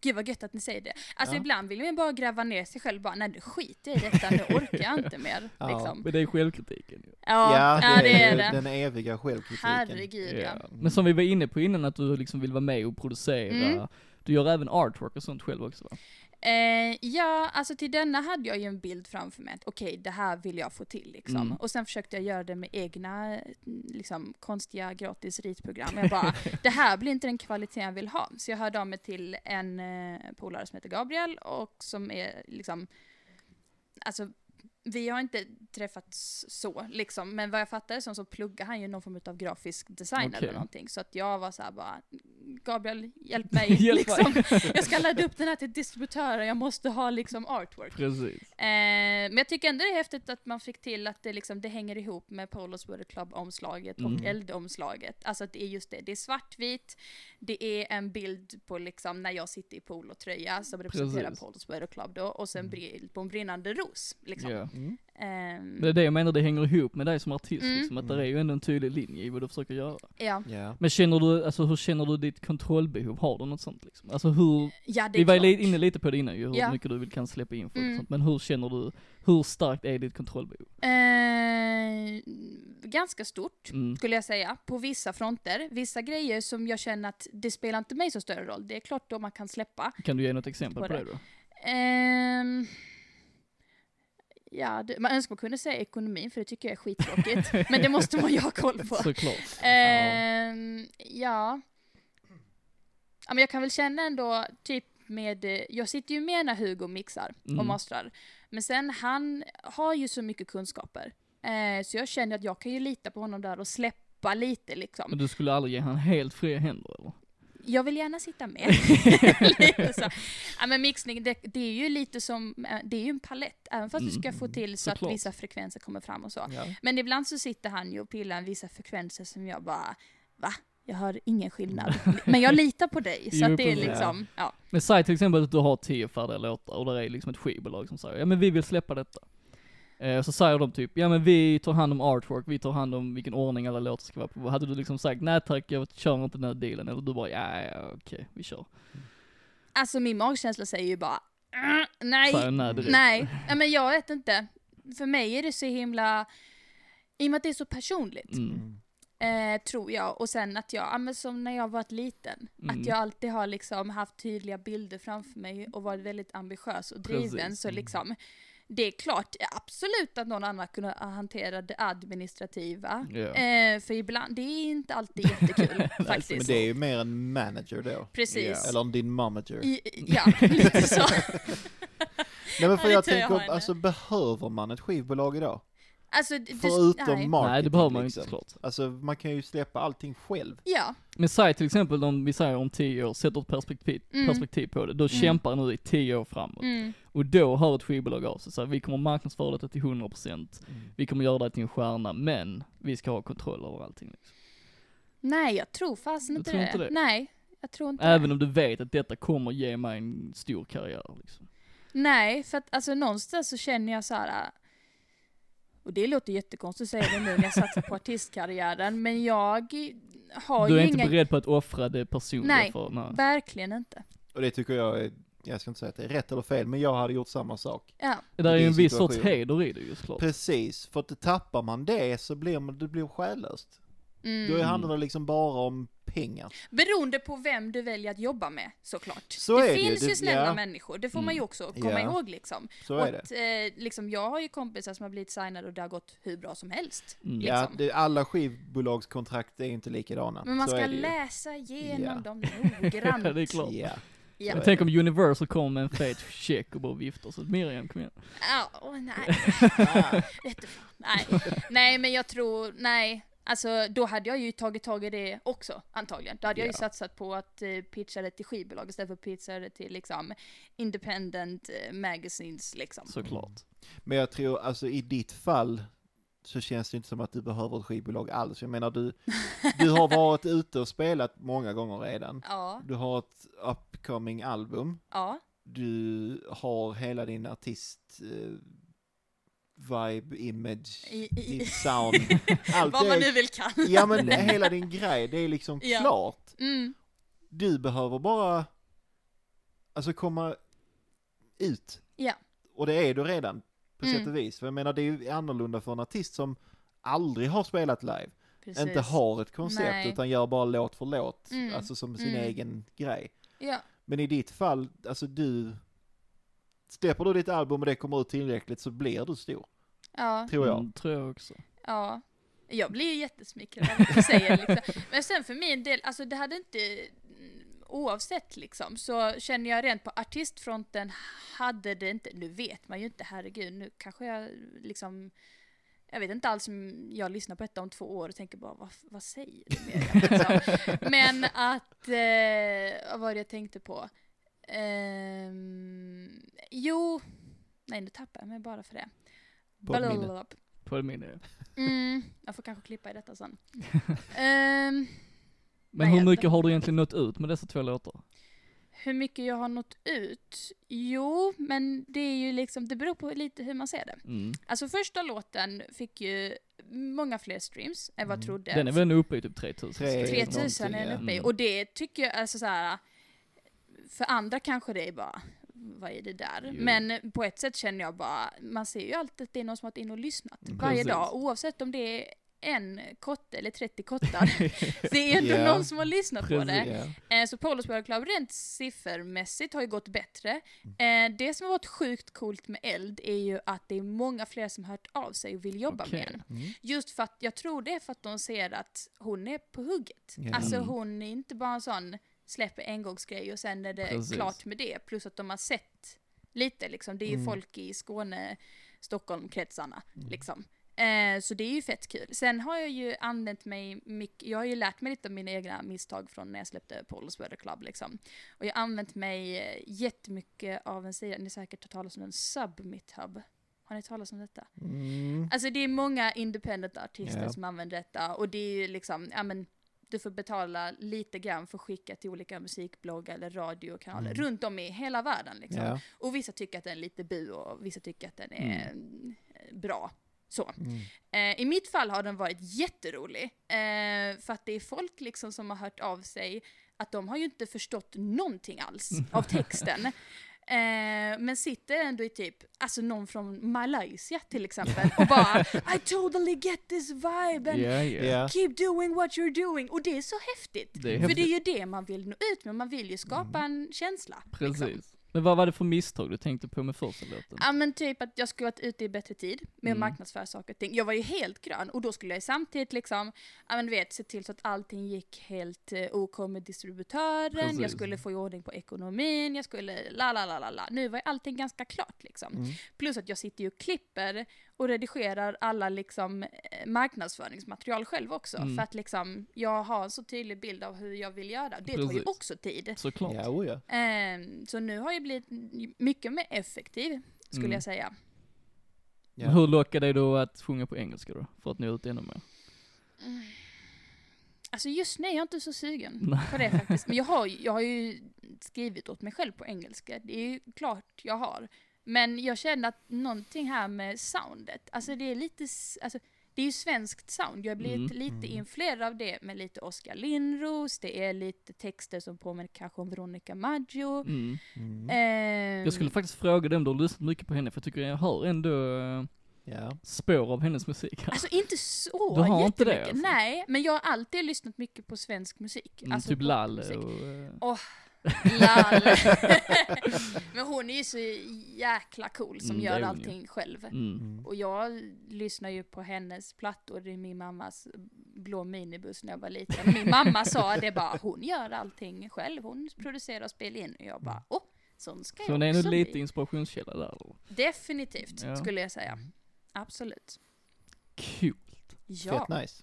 Speaker 3: Gud vad gött att ni säger det. Alltså
Speaker 2: Ja.
Speaker 3: ibland vill man bara gräva ner sig själv bara, nej du skiter i detta, nu orkar jag inte mer.
Speaker 2: Ja.
Speaker 3: Liksom.
Speaker 1: Men det är självkritiken ju.
Speaker 3: Ja, ja, det är
Speaker 2: ju
Speaker 3: det.
Speaker 2: den eviga självkritiken.
Speaker 3: Herregud ja.
Speaker 2: Mm.
Speaker 1: Ja. Men som vi var inne på innan, att du liksom vill vara med och producera.
Speaker 3: Mm.
Speaker 1: Du gör även artwork och sånt själv också va?
Speaker 3: Eh, ja, alltså till denna hade jag ju en bild framför mig att okej, det här vill jag få till liksom.
Speaker 1: Mm.
Speaker 3: Och sen försökte jag göra det med egna eh, liksom, konstiga gratis ritprogram.
Speaker 1: [LAUGHS]
Speaker 3: Jag bara, det här blir inte den kvaliteten jag vill ha. Så jag hörde av mig till en eh, polare som heter Gabriel och som är liksom, alltså vi har inte träffats så liksom, men vad jag fattade som så pluggar han ju någon form av grafisk design
Speaker 1: Okej.
Speaker 3: eller någonting. Så att jag var så här bara, "Mm, Gabriel
Speaker 1: [LAUGHS]
Speaker 3: hjälp mig
Speaker 1: Hjälp mig.
Speaker 3: liksom. Jag ska ladda upp den här till distributören, jag måste ha liksom artwork.
Speaker 1: Precis.
Speaker 3: Eh, men jag tycker ändå det är häftigt att man fick till att det, liksom, det hänger ihop med Polos World Club-omslaget och
Speaker 1: Mm.
Speaker 3: eldomslaget. Alltså att det är just det, det är svartvitt, det är en bild på liksom när jag sitter i polotröja som representerar
Speaker 1: Precis. Mm.
Speaker 3: Polos World Club då, och sen bild på en brinnande ros. Liksom. Ehm,
Speaker 1: Ja.
Speaker 2: Mm.
Speaker 1: Men det är det jag menar, det hänger ihop med dig som artist
Speaker 3: Mm.
Speaker 1: liksom, att det är ju ändå en tydlig linje i vad du försöker göra.
Speaker 3: ja.
Speaker 2: Ja.
Speaker 1: Men känner du, alltså hur känner du ditt kontrollbehov? Har du något sånt liksom? Alltså hur,
Speaker 3: ja, det är
Speaker 1: vi var
Speaker 3: klart.
Speaker 1: li- inne lite på det innan ju, hur
Speaker 3: Ja.
Speaker 1: mycket du vill kan släppa in folk och
Speaker 3: Mm.
Speaker 1: sånt. Men hur känner du, hur starkt är ditt kontrollbehov?
Speaker 3: Eh, ganska stort.
Speaker 1: Mm.
Speaker 3: skulle jag säga, på vissa fronter. Vissa grejer som jag känner att det spelar inte mig så större roll. Det är klart då man kan släppa.
Speaker 1: Kan du ge något exempel
Speaker 3: På
Speaker 1: på
Speaker 3: det.
Speaker 1: det då?
Speaker 3: Ehm, ja, det, man önskar man kunde säga ekonomin för det tycker jag är skittråkigt. men det måste man ju ha koll på.
Speaker 1: Såklart.
Speaker 3: Ehm, ja. Ehm, Ja, men jag kan väl känna ändå, typ med, eh, jag sitter ju med när Hugo mixar och
Speaker 1: Mm.
Speaker 3: mastrar. Men sen han har ju så mycket kunskaper. Eh, så jag känner att jag kan ju lita på honom där och släppa lite liksom.
Speaker 1: Men du skulle aldrig ge han helt fria händer eller?
Speaker 3: Jag vill gärna sitta med.
Speaker 1: [LAUGHS]
Speaker 3: lite så. Ja, men mixning, det, det är ju lite som, eh, det är ju en palett. Även fast du ska få till så
Speaker 1: Mm, såklart.
Speaker 3: att vissa frekvenser kommer fram och så.
Speaker 2: Ja.
Speaker 3: Men ibland så sitter han ju och pillar i vissa frekvenser som jag bara, va? Jag hör
Speaker 1: [LAUGHS]
Speaker 3: ingen skillnad. Men jag litar på dig, så
Speaker 1: Jo,
Speaker 3: att det är
Speaker 1: precis.
Speaker 3: liksom, ja.
Speaker 1: Men säg till exempel att du har tio färdiga låtar och det är liksom ett skivbolag som säger ja men vi vill släppa detta. Eh, så säger de typ, ja men vi tar hand om artwork, vi tar hand om vilken ordning alla låtar ska vara på. Hade du liksom sagt nej tack jag kör inte den här dealen, eller du bara ja, ja okej vi kör.
Speaker 3: Alltså min magkänsla säger ju bara, "Mm, nej,
Speaker 1: Säger nej direkt.
Speaker 3: nej, ja, men jag vet inte. För mig är det så himla, i och med att det är så personligt,
Speaker 1: Mm.
Speaker 3: eh, tror jag. Och sen att jag, ja, men som när jag varit liten,
Speaker 1: Mm.
Speaker 3: att jag alltid har liksom haft tydliga bilder framför mig och varit väldigt ambitiös och driven.
Speaker 1: Precis,
Speaker 3: Så liksom, det är klart, absolut att någon annan kunde hantera det administrativa.
Speaker 1: Ja.
Speaker 3: Eh, för ibland, det är inte alltid jättekul
Speaker 2: Men
Speaker 3: faktiskt.
Speaker 2: det är ju mer en manager då.
Speaker 3: Precis.
Speaker 2: Eller din manager.
Speaker 3: I, ja, [LAUGHS] lite så.
Speaker 2: Nej men för
Speaker 3: Ja, det
Speaker 2: jag
Speaker 3: tror jag
Speaker 2: tänker,
Speaker 3: har henne.
Speaker 2: alltså behöver man ett skivbolag idag?
Speaker 3: Alltså, du,
Speaker 2: Förutom
Speaker 3: nej.
Speaker 2: marketing
Speaker 1: Nej det behöver man ju
Speaker 2: liksom.
Speaker 1: inte såklart.
Speaker 2: Alltså man kan ju släppa allting själv.
Speaker 3: Ja,
Speaker 1: Men säg till exempel om vi säger om tio år, sätter ett perspektiv,
Speaker 3: Mm.
Speaker 1: perspektiv på det, då kämpar nu i tio år framåt.
Speaker 3: mm,
Speaker 1: Och då hör ett skivbolag av sig så här, vi kommer marknadsföra detta till 100%,
Speaker 3: Mm.
Speaker 1: vi kommer göra det till en stjärna, men vi ska ha kontroll över allting. Liksom.
Speaker 3: nej jag tror fasen
Speaker 1: Du
Speaker 3: inte,
Speaker 1: tror
Speaker 3: det.
Speaker 1: inte det?
Speaker 3: Nej, jag tror inte det.
Speaker 1: Även om du vet att detta kommer ge mig en stor karriär liksom.
Speaker 3: Nej, för att alltså någonstans så känner jag så här. äh, Och det låter jättekonstigt att säga det nu när jag satsar på artistkarriären, men jag har
Speaker 1: Du är
Speaker 3: ju
Speaker 1: inte
Speaker 3: inga...
Speaker 1: beredd på att offra det personliga
Speaker 3: Nej.
Speaker 1: för, nej.
Speaker 3: Verkligen inte.
Speaker 2: Och det tycker jag är, jag ska inte säga att det är rätt eller fel, men jag hade gjort samma sak.
Speaker 3: Ja,
Speaker 1: Det där är ju en
Speaker 2: Din
Speaker 1: viss sorts
Speaker 2: situation.
Speaker 1: heder i det ju såklart. [LAUGHS]
Speaker 2: Precis, för att tappar man det så blir man, det blir själlöst. Då
Speaker 3: mm.
Speaker 2: handlar det liksom bara om pengar.
Speaker 3: Beroende på vem du väljer att jobba med såklart.
Speaker 2: Så
Speaker 3: det
Speaker 2: är det ju,
Speaker 3: finns
Speaker 2: det-
Speaker 3: ju snälla
Speaker 2: ja. Mm.
Speaker 3: människor, det får man ju också komma
Speaker 2: Ja.
Speaker 3: ihåg liksom.
Speaker 2: Så
Speaker 3: och
Speaker 2: är det.
Speaker 3: att, eh, liksom. Jag har ju kompisar som har blivit signade och det har gått hur bra som helst.
Speaker 1: Mm.
Speaker 3: Liksom.
Speaker 2: Ja, det, alla skivbolagskontrakt är ju inte likadana.
Speaker 3: Men man
Speaker 2: så
Speaker 3: ska
Speaker 2: är det ju.
Speaker 3: läsa igenom
Speaker 2: Ja. [LAUGHS]
Speaker 3: dem noggrant.
Speaker 1: det är klart.
Speaker 2: Ja.
Speaker 3: Ja.
Speaker 1: Men tänk om Universal kom med en fet check och bara viftar så att Miriam kom igen.
Speaker 3: Ja,
Speaker 2: [LAUGHS]
Speaker 3: åh, nej. Vet du fan, nej. nej, men jag tror, nej. Alltså då hade jag ju tagit tag i det också antagligen. Då hade jag ju
Speaker 2: Ja.
Speaker 3: satsat på att eh, pitcha det till skivbolag istället för att pitcha det till liksom independent eh, magazines liksom.
Speaker 1: Såklart.
Speaker 2: Men jag tror, alltså i ditt fall så känns det inte som att du behöver ett skivbolag alls. Jag menar du, du
Speaker 3: [LAUGHS]
Speaker 2: har varit ute och spelat många gånger redan.
Speaker 3: Ja,
Speaker 2: Du har ett upcoming album.
Speaker 3: ja,
Speaker 2: Du har hela din artist eh, vibe, image,
Speaker 3: I- i-
Speaker 2: ditt
Speaker 3: [LAUGHS]
Speaker 2: sound. Allt
Speaker 3: vad
Speaker 2: det
Speaker 3: man nu
Speaker 2: är,
Speaker 3: vill kan.
Speaker 2: [LAUGHS] ja
Speaker 3: [LAUGHS]
Speaker 2: men hela din grej, det är liksom
Speaker 3: Ja.
Speaker 2: klart.
Speaker 3: Mm,
Speaker 2: Du behöver bara, alltså komma ut.
Speaker 3: ja,
Speaker 2: Och det är du redan, på
Speaker 3: Mm.
Speaker 2: sätt och vis. För jag menar, det är ju annorlunda för en artist som aldrig har spelat live,
Speaker 3: precis.
Speaker 2: inte har ett koncept
Speaker 3: Nej.
Speaker 2: utan gör bara låt för låt,
Speaker 3: Mm.
Speaker 2: alltså som sin
Speaker 3: Mm.
Speaker 2: egen grej.
Speaker 3: Ja,
Speaker 2: Men i ditt fall, alltså du, släpper du ditt album och det kommer ut tillräckligt så blir du stor,
Speaker 3: ja,
Speaker 2: tror jag.
Speaker 1: Mm, tror jag också.
Speaker 3: ja. Jag blir ju jättesmickrad av
Speaker 2: [LAUGHS]
Speaker 3: vad du säger liksom. Men sen för min del, alltså det hade inte, mm, oavsett liksom, så känner jag rent på artistfronten hade det inte, nu vet man ju inte, herregud, nu kanske jag liksom, jag vet inte alls om jag lyssnar på detta om två år och tänker bara, vad, vad säger du mer? Liksom. Men att, eh, vad var det jag tänkte på? Ehm, jo, nej nu tappar jag mig bara för det.
Speaker 2: Poddminne.
Speaker 3: Blablabla. [LAUGHS]
Speaker 1: Påminner jag.
Speaker 3: Mm, jag får kanske klippa i detta sen. Ehm,
Speaker 1: Men
Speaker 3: Nej,
Speaker 1: hur
Speaker 3: jag-
Speaker 1: mycket har du egentligen nått ut med dessa två låtar?
Speaker 3: hur mycket jag har nått ut? Jo, men det är ju liksom, det beror på lite hur man ser det.
Speaker 1: Mm.
Speaker 3: Alltså första låten fick ju många fler streams än vad jag trodde.
Speaker 1: Mm. Den är väl nu uppe i typ 3000?
Speaker 2: Tre-
Speaker 3: 3000 är den
Speaker 2: någonting,
Speaker 3: uppe i.
Speaker 1: ja. Mm.
Speaker 3: Och det tycker jag, alltså så här. För andra kanske det är bara, vad är det där?
Speaker 1: Jo.
Speaker 3: Men på ett sätt känner jag bara, man ser ju alltid att det är någon som har varit inne och lyssnat
Speaker 2: Mm.
Speaker 3: varje
Speaker 1: Precis.
Speaker 3: dag. Oavsett om det är en kotte eller 30 kottar. [LAUGHS] det är ju ändå
Speaker 2: Ja.
Speaker 3: någon som har lyssnat på det.
Speaker 1: Precis.
Speaker 2: Ja. Mm.
Speaker 3: Eh, Så Polospelare Club rent siffermässigt har ju gått bättre. Eh, Det som har varit sjukt coolt med Eld är ju att det är många fler som hört av sig och vill jobba
Speaker 1: Okej.
Speaker 3: med en.
Speaker 2: Mm.
Speaker 3: Just för att jag tror det är för att de ser att hon är på hugget.
Speaker 2: Ja.
Speaker 3: Alltså
Speaker 1: Mm.
Speaker 3: hon är inte bara en sån släpper engångsgrejer och sen är det
Speaker 1: Precis.
Speaker 3: klart med det. Plus att de har sett lite liksom. Det är ju
Speaker 2: Mm.
Speaker 3: folk i Skåne, Stockholm-kretsarna liksom. Eh, så det är ju fett kul. Sen har jag ju använt mig mycket, jag har ju lärt mig lite av mina egna misstag från när jag släppte Paul's Weather Club liksom. Och jag har använt mig eh, jättemycket av en sida, ni har säkert hört talas om den, Submit Hub. Har ni hört talas om detta?
Speaker 2: Mm.
Speaker 3: Alltså det är många independent artister
Speaker 2: Ja.
Speaker 3: som använder detta och det är ju liksom, ja men du får betala lite grann för att skicka till olika musikbloggar eller radiokanaler
Speaker 2: Mm.
Speaker 3: runt om i hela världen liksom.
Speaker 2: Ja.
Speaker 3: Och vissa tycker att den är lite bu och vissa tycker att den är eh, bra. Så.
Speaker 2: Mm.
Speaker 3: Eh, I mitt fall har den varit jätterolig. Eh, för att det är folk liksom som har hört av sig att de har ju inte förstått någonting alls
Speaker 1: [LAUGHS]
Speaker 3: av texten. Eh, men sitter ändå i typ, alltså någon från Malaysia till exempel och bara I totally get this vibe and
Speaker 1: Ja,
Speaker 2: Ja.
Speaker 1: ja.
Speaker 3: keep doing what you're doing. Och det är så häftigt.
Speaker 1: Det är
Speaker 3: För det
Speaker 1: häftigt. Mm.
Speaker 3: är ju det man vill nå ut med, man vill ju skapa en känsla. liksom.
Speaker 1: Precis. Men vad var det för misstag du tänkte på med första låten?
Speaker 3: Ja men typ att jag skulle varit ute i bättre tid med att
Speaker 1: Mm.
Speaker 3: marknadsföra saker och ting. Jag var ju helt grön och då skulle jag ju samtidigt liksom, ja men du vet, se till så att allting gick helt eh, OK med distributören, jag
Speaker 1: Precis.
Speaker 3: skulle få i ordning på ekonomin, jag skulle la la la la la. Nu var ju allting ganska klart liksom.
Speaker 2: Mm.
Speaker 3: Plus att jag sitter ju och klipper och redigerar alla liksom eh, marknadsföringsmaterial själv också.
Speaker 1: Mm.
Speaker 3: För att liksom, jag har en så tydlig bild av hur jag vill göra. Det tar ju
Speaker 1: Precis.
Speaker 3: också tid.
Speaker 1: Såklart.
Speaker 2: Ja, oh ja.
Speaker 3: Ehm, så nu har jag blivit mycket mer effektiv, skulle
Speaker 1: Mm.
Speaker 3: jag säga.
Speaker 2: Ja.
Speaker 1: Hur lockar dig då att sjunga på engelska då? För att nå ut ännu mer?
Speaker 3: Alltså just nu är jag inte så sugen
Speaker 1: Nej.
Speaker 3: på det faktiskt. Men jag har, ju- jag har ju skrivit åt mig själv på engelska. Det är ju klart jag har. Men jag känner att någonting här med soundet, alltså det är lite, s- alltså det är ju svenskt sound. Jag har blivit
Speaker 1: Mm.
Speaker 3: lite
Speaker 2: Mm.
Speaker 3: influerad av det med lite Oskar Lindros, det är lite texter som påminner kanske om Veronica Maggio.
Speaker 1: Mm.
Speaker 2: Mm.
Speaker 3: Ehm,
Speaker 1: Jag skulle faktiskt fråga dig om du har lyssnat mycket på henne, för jag tycker jag hör ändå eh,
Speaker 2: Ja. Mm.
Speaker 1: spår av hennes musik här.
Speaker 3: Alltså inte så
Speaker 1: Du har inte det,
Speaker 3: jättemycket.
Speaker 1: alltså?
Speaker 3: Nej, men jag har alltid lyssnat mycket på svensk musik.
Speaker 1: Mm,
Speaker 3: alltså
Speaker 1: typ Lall
Speaker 3: popmusik.
Speaker 1: och... eh, [LAUGHS]
Speaker 3: Lall. Men hon är ju så jäkla cool som
Speaker 1: Mm, det
Speaker 3: gör
Speaker 1: är hon
Speaker 3: allting själv.
Speaker 1: Mm.
Speaker 2: Mm.
Speaker 3: Och jag lyssnar ju på hennes plattor i min mammas blå minibuss när jag var liten. Min
Speaker 1: [LAUGHS]
Speaker 3: mamma sa det bara, hon gör allting själv. Hon producerar och spelar in. Och jag bara, åh, sån ska
Speaker 1: Mm. Så
Speaker 3: jag
Speaker 1: hon är
Speaker 3: också
Speaker 1: nog lite
Speaker 3: bli.
Speaker 1: inspirationskälla där. då.
Speaker 3: Definitivt,
Speaker 1: Ja.
Speaker 3: skulle jag säga. Absolut.
Speaker 1: Coolt.
Speaker 3: Ja.
Speaker 2: Fett
Speaker 3: [LAUGHS]
Speaker 2: nice.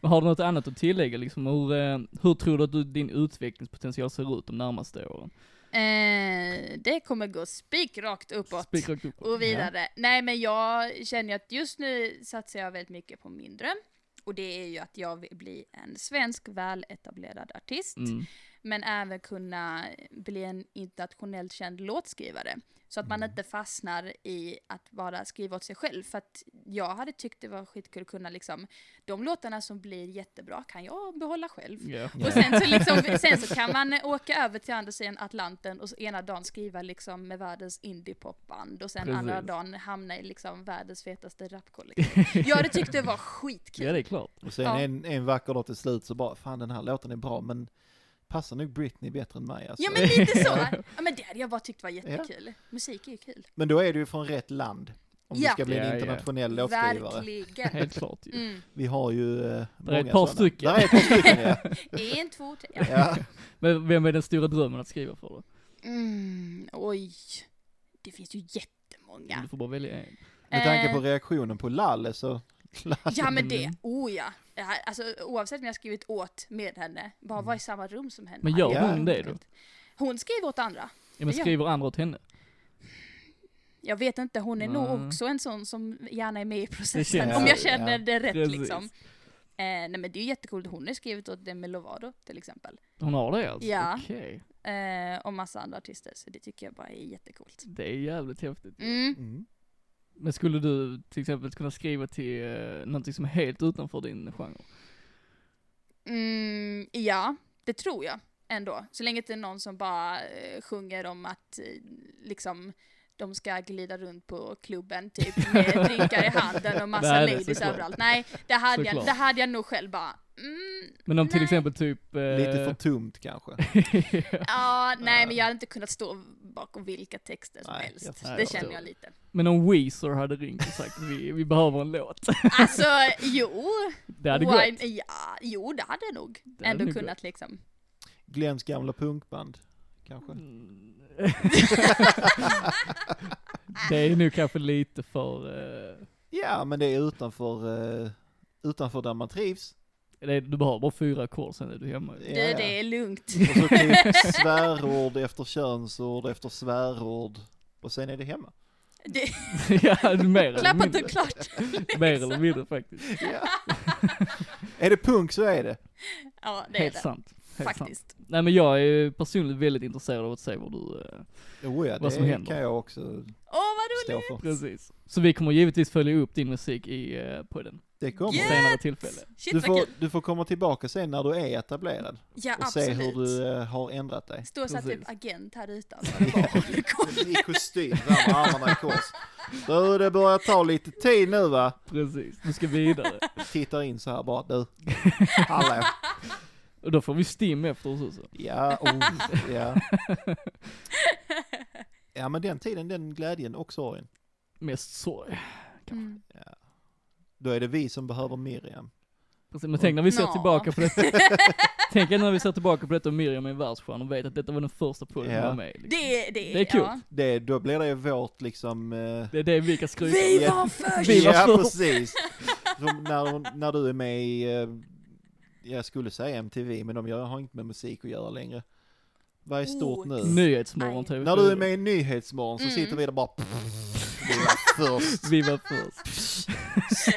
Speaker 1: Men har du något annat att tillägga liksom? Hur, eh, hur tror du att du, din utvecklingspotential ser ut de närmaste åren?
Speaker 3: Eh, det kommer gå spikrakt uppåt.
Speaker 1: Spikrakt uppåt.
Speaker 3: Och vidare. Nej men jag känner ju att just nu satsar jag väldigt mycket på min dröm. Och det är ju att jag vill bli en svensk väletablerad artist.
Speaker 1: Mm.
Speaker 3: Men även kunna bli en internationellt känd låtskrivare. Så att man inte fastnar i att bara skriva åt sig själv. För att jag hade tyckt det var skitkul att kunna liksom, de låtarna som blir jättebra kan jag behålla själv.
Speaker 1: Ja.
Speaker 2: Ja.
Speaker 3: Och sen så, liksom, sen så kan man eh, åka över till andra sidan Atlanten och så ena dagen skriva liksom med världens indiepopband och sen
Speaker 1: Precis.
Speaker 3: andra dagen hamna i liksom världens fetaste rapkollektiv. Jag hade tyckt det var skitkul.
Speaker 1: ja, det är klart.
Speaker 3: [LAUGHS]
Speaker 2: Och sen
Speaker 3: Ja.
Speaker 2: en, en vacker dag till slut så bara, fan den här låten är bra men passar nog Britney bättre än mig alltså.
Speaker 3: Ja men lite så. Ja, men det hade jag bara tyckt var jättekul. Musik är ju kul.
Speaker 2: [LAUGHS] Men då är du ju från rätt land. Om
Speaker 3: Ja.
Speaker 2: du ska bli
Speaker 1: Ja,
Speaker 2: en
Speaker 1: ja.
Speaker 2: internationell låtskrivare.
Speaker 3: Verkligen.
Speaker 1: Helt klart ju.
Speaker 3: Mm.
Speaker 2: Vi har ju eh, många
Speaker 1: ett par
Speaker 2: sådana.
Speaker 1: stycken.
Speaker 2: Där är ett par stycken
Speaker 1: [LAUGHS]
Speaker 2: ja.
Speaker 3: En, två, tre. Ja.
Speaker 2: ja.
Speaker 1: Men vem är den stora drömmen att skriva för då?
Speaker 3: Mm, oj. Det finns ju jättemånga.
Speaker 1: Du får bara välja en.
Speaker 2: Med tanke på
Speaker 3: Eh.
Speaker 2: reaktionen på Lalle så...
Speaker 3: Ja men det,
Speaker 1: Mm.
Speaker 3: oh ja. Det här- Alltså oavsett om jag skrivit åt med henne, bara vara i samma rum som henne.
Speaker 1: Men gör
Speaker 2: Ja.
Speaker 1: hon det då?
Speaker 3: Hon skriver åt andra.
Speaker 1: Ja, men
Speaker 3: Ja.
Speaker 1: skriver andra åt henne?
Speaker 3: Jag vet inte, hon är nog
Speaker 1: Nej.
Speaker 3: också en sån som gärna är med i
Speaker 1: Det
Speaker 3: processen.
Speaker 1: känns
Speaker 3: Om jag
Speaker 2: så,
Speaker 3: känner
Speaker 2: ja.
Speaker 3: det rätt
Speaker 1: Precis.
Speaker 3: liksom. Eh, nej men det är ju jättekult, hon har skrivit åt Demi Lovato till exempel.
Speaker 1: Hon har det alltså?
Speaker 3: Ja.
Speaker 1: Okej.
Speaker 3: Eh, och massa andra artister, så det tycker jag bara är jättekult.
Speaker 1: Det är jävligt häftigt.
Speaker 3: Mm.
Speaker 2: Mm.
Speaker 1: Men skulle du till exempel kunna skriva till uh, någonting som är helt utanför din genre?
Speaker 3: Mm, ja, det tror jag ändå. Så länge det är någon som bara eh, sjunger om att eh, liksom de ska glida runt på klubben typ med drinkar i handen och
Speaker 1: [LAUGHS]
Speaker 3: massa
Speaker 1: Nej, det är
Speaker 3: ladies
Speaker 1: såklart.
Speaker 3: överallt. Nej, det hade, jag,
Speaker 1: Såklart.
Speaker 3: det hade jag nog själv bara, mm,
Speaker 1: Men om till
Speaker 3: Nej.
Speaker 1: exempel typ... eh,
Speaker 2: Lite för tumt kanske.
Speaker 1: [LAUGHS]
Speaker 3: Ja, nej men jag hade inte kunnat stå bakom vilka texter som
Speaker 2: Nej, jag
Speaker 3: helst.
Speaker 2: förstår.
Speaker 3: Det känner jag lite.
Speaker 1: men om Weezer hade ringt och sagt vi, vi behöver en låt.
Speaker 3: Alltså, jo.
Speaker 1: Det hade
Speaker 3: why-
Speaker 1: gått.
Speaker 3: ja, jo, det hade jag nog
Speaker 1: Det hade
Speaker 3: ändå
Speaker 1: nog
Speaker 3: kunnat liksom.
Speaker 2: Glens gamla punkband, kanske?
Speaker 1: Mm. det är nu kanske lite för, eh,
Speaker 2: Ja, men det är utanför, eh, utanför där man trivs.
Speaker 1: det är, du behöver bara fyra ackord sen är du hemma.
Speaker 2: Ja,
Speaker 1: ju.
Speaker 3: Du,
Speaker 2: ja.
Speaker 3: det är lugnt.
Speaker 2: Och så
Speaker 3: [LAUGHS]
Speaker 2: typ svärord efter könsord efter svärord. Och sen är det hemma.
Speaker 3: Det,
Speaker 1: [LAUGHS] ja, mer eller
Speaker 3: klappat och
Speaker 1: mindre.
Speaker 3: klart.
Speaker 1: [LAUGHS] Mer eller mindre faktiskt.
Speaker 2: [LAUGHS] Ja. är det punk så är det.
Speaker 3: Ja, det är
Speaker 1: Helt
Speaker 3: det.
Speaker 1: sant. Helt sant.
Speaker 3: Faktiskt.
Speaker 1: Nej men jag är ju personligen väldigt intresserad av att se vad du, eh,
Speaker 2: Oh ja,
Speaker 1: Vad som
Speaker 2: det
Speaker 1: händer.
Speaker 2: kan jag också
Speaker 3: Åh, vad
Speaker 2: stå
Speaker 3: roligt!
Speaker 2: för.
Speaker 1: precis. Så vi kommer givetvis följa upp din musik i eh, podden.
Speaker 2: Det kommer.
Speaker 1: Vid
Speaker 3: Yeah.
Speaker 1: senare tillfälle.
Speaker 3: Shit
Speaker 2: Du
Speaker 3: vad
Speaker 2: får,
Speaker 3: kul.
Speaker 2: du får komma tillbaka sen när du är etablerad
Speaker 3: Ja,
Speaker 2: och
Speaker 3: absolut.
Speaker 2: se hur du eh, har ändrat dig.
Speaker 3: Stå så här
Speaker 1: Precis.
Speaker 3: typ agent
Speaker 1: [LAUGHS]
Speaker 3: här utanför och bara håller koll.
Speaker 2: I kostym, där med armarna i kors. Du, det börjar ta lite tid nu va?
Speaker 1: Precis, du ska vidare.
Speaker 2: Tittar in så här bara, du. Hallå.
Speaker 1: Och då får vi stim efter oss också.
Speaker 2: Ja, oh, ja. Ja men den tiden, den glädjen och sorgen.
Speaker 1: Mest sorg.
Speaker 3: Mm.
Speaker 2: Då är det vi som behöver Miriam.
Speaker 1: Precis, Alltså, men tänk när vi ser
Speaker 3: Nå.
Speaker 1: tillbaka på detta. tänk när vi ser tillbaka på detta och Miriam är världsstjärna och vet att detta var den första podden
Speaker 2: Ja.
Speaker 1: hon var med i, liksom.
Speaker 3: Det, det,
Speaker 1: Det är kul.
Speaker 3: Ja.
Speaker 2: Det, då blir det vårt liksom... eh,
Speaker 1: Det är det vi kan skryta om.
Speaker 3: Vi
Speaker 2: Ja.
Speaker 3: var först!
Speaker 1: Vi var
Speaker 2: ja
Speaker 1: först.
Speaker 2: precis. Som när, hon- när du är med i, eh, jag skulle säga MTV, men de gör, har inte med musik att göra längre. Vad är stort
Speaker 3: Oh,
Speaker 2: nu?
Speaker 1: Nyhetsmorgon
Speaker 3: Aj.
Speaker 1: TV4.
Speaker 2: När du är med i Nyhetsmorgon så
Speaker 3: Mm.
Speaker 2: sitter vi där bara... Vi var först.
Speaker 1: Vi var först.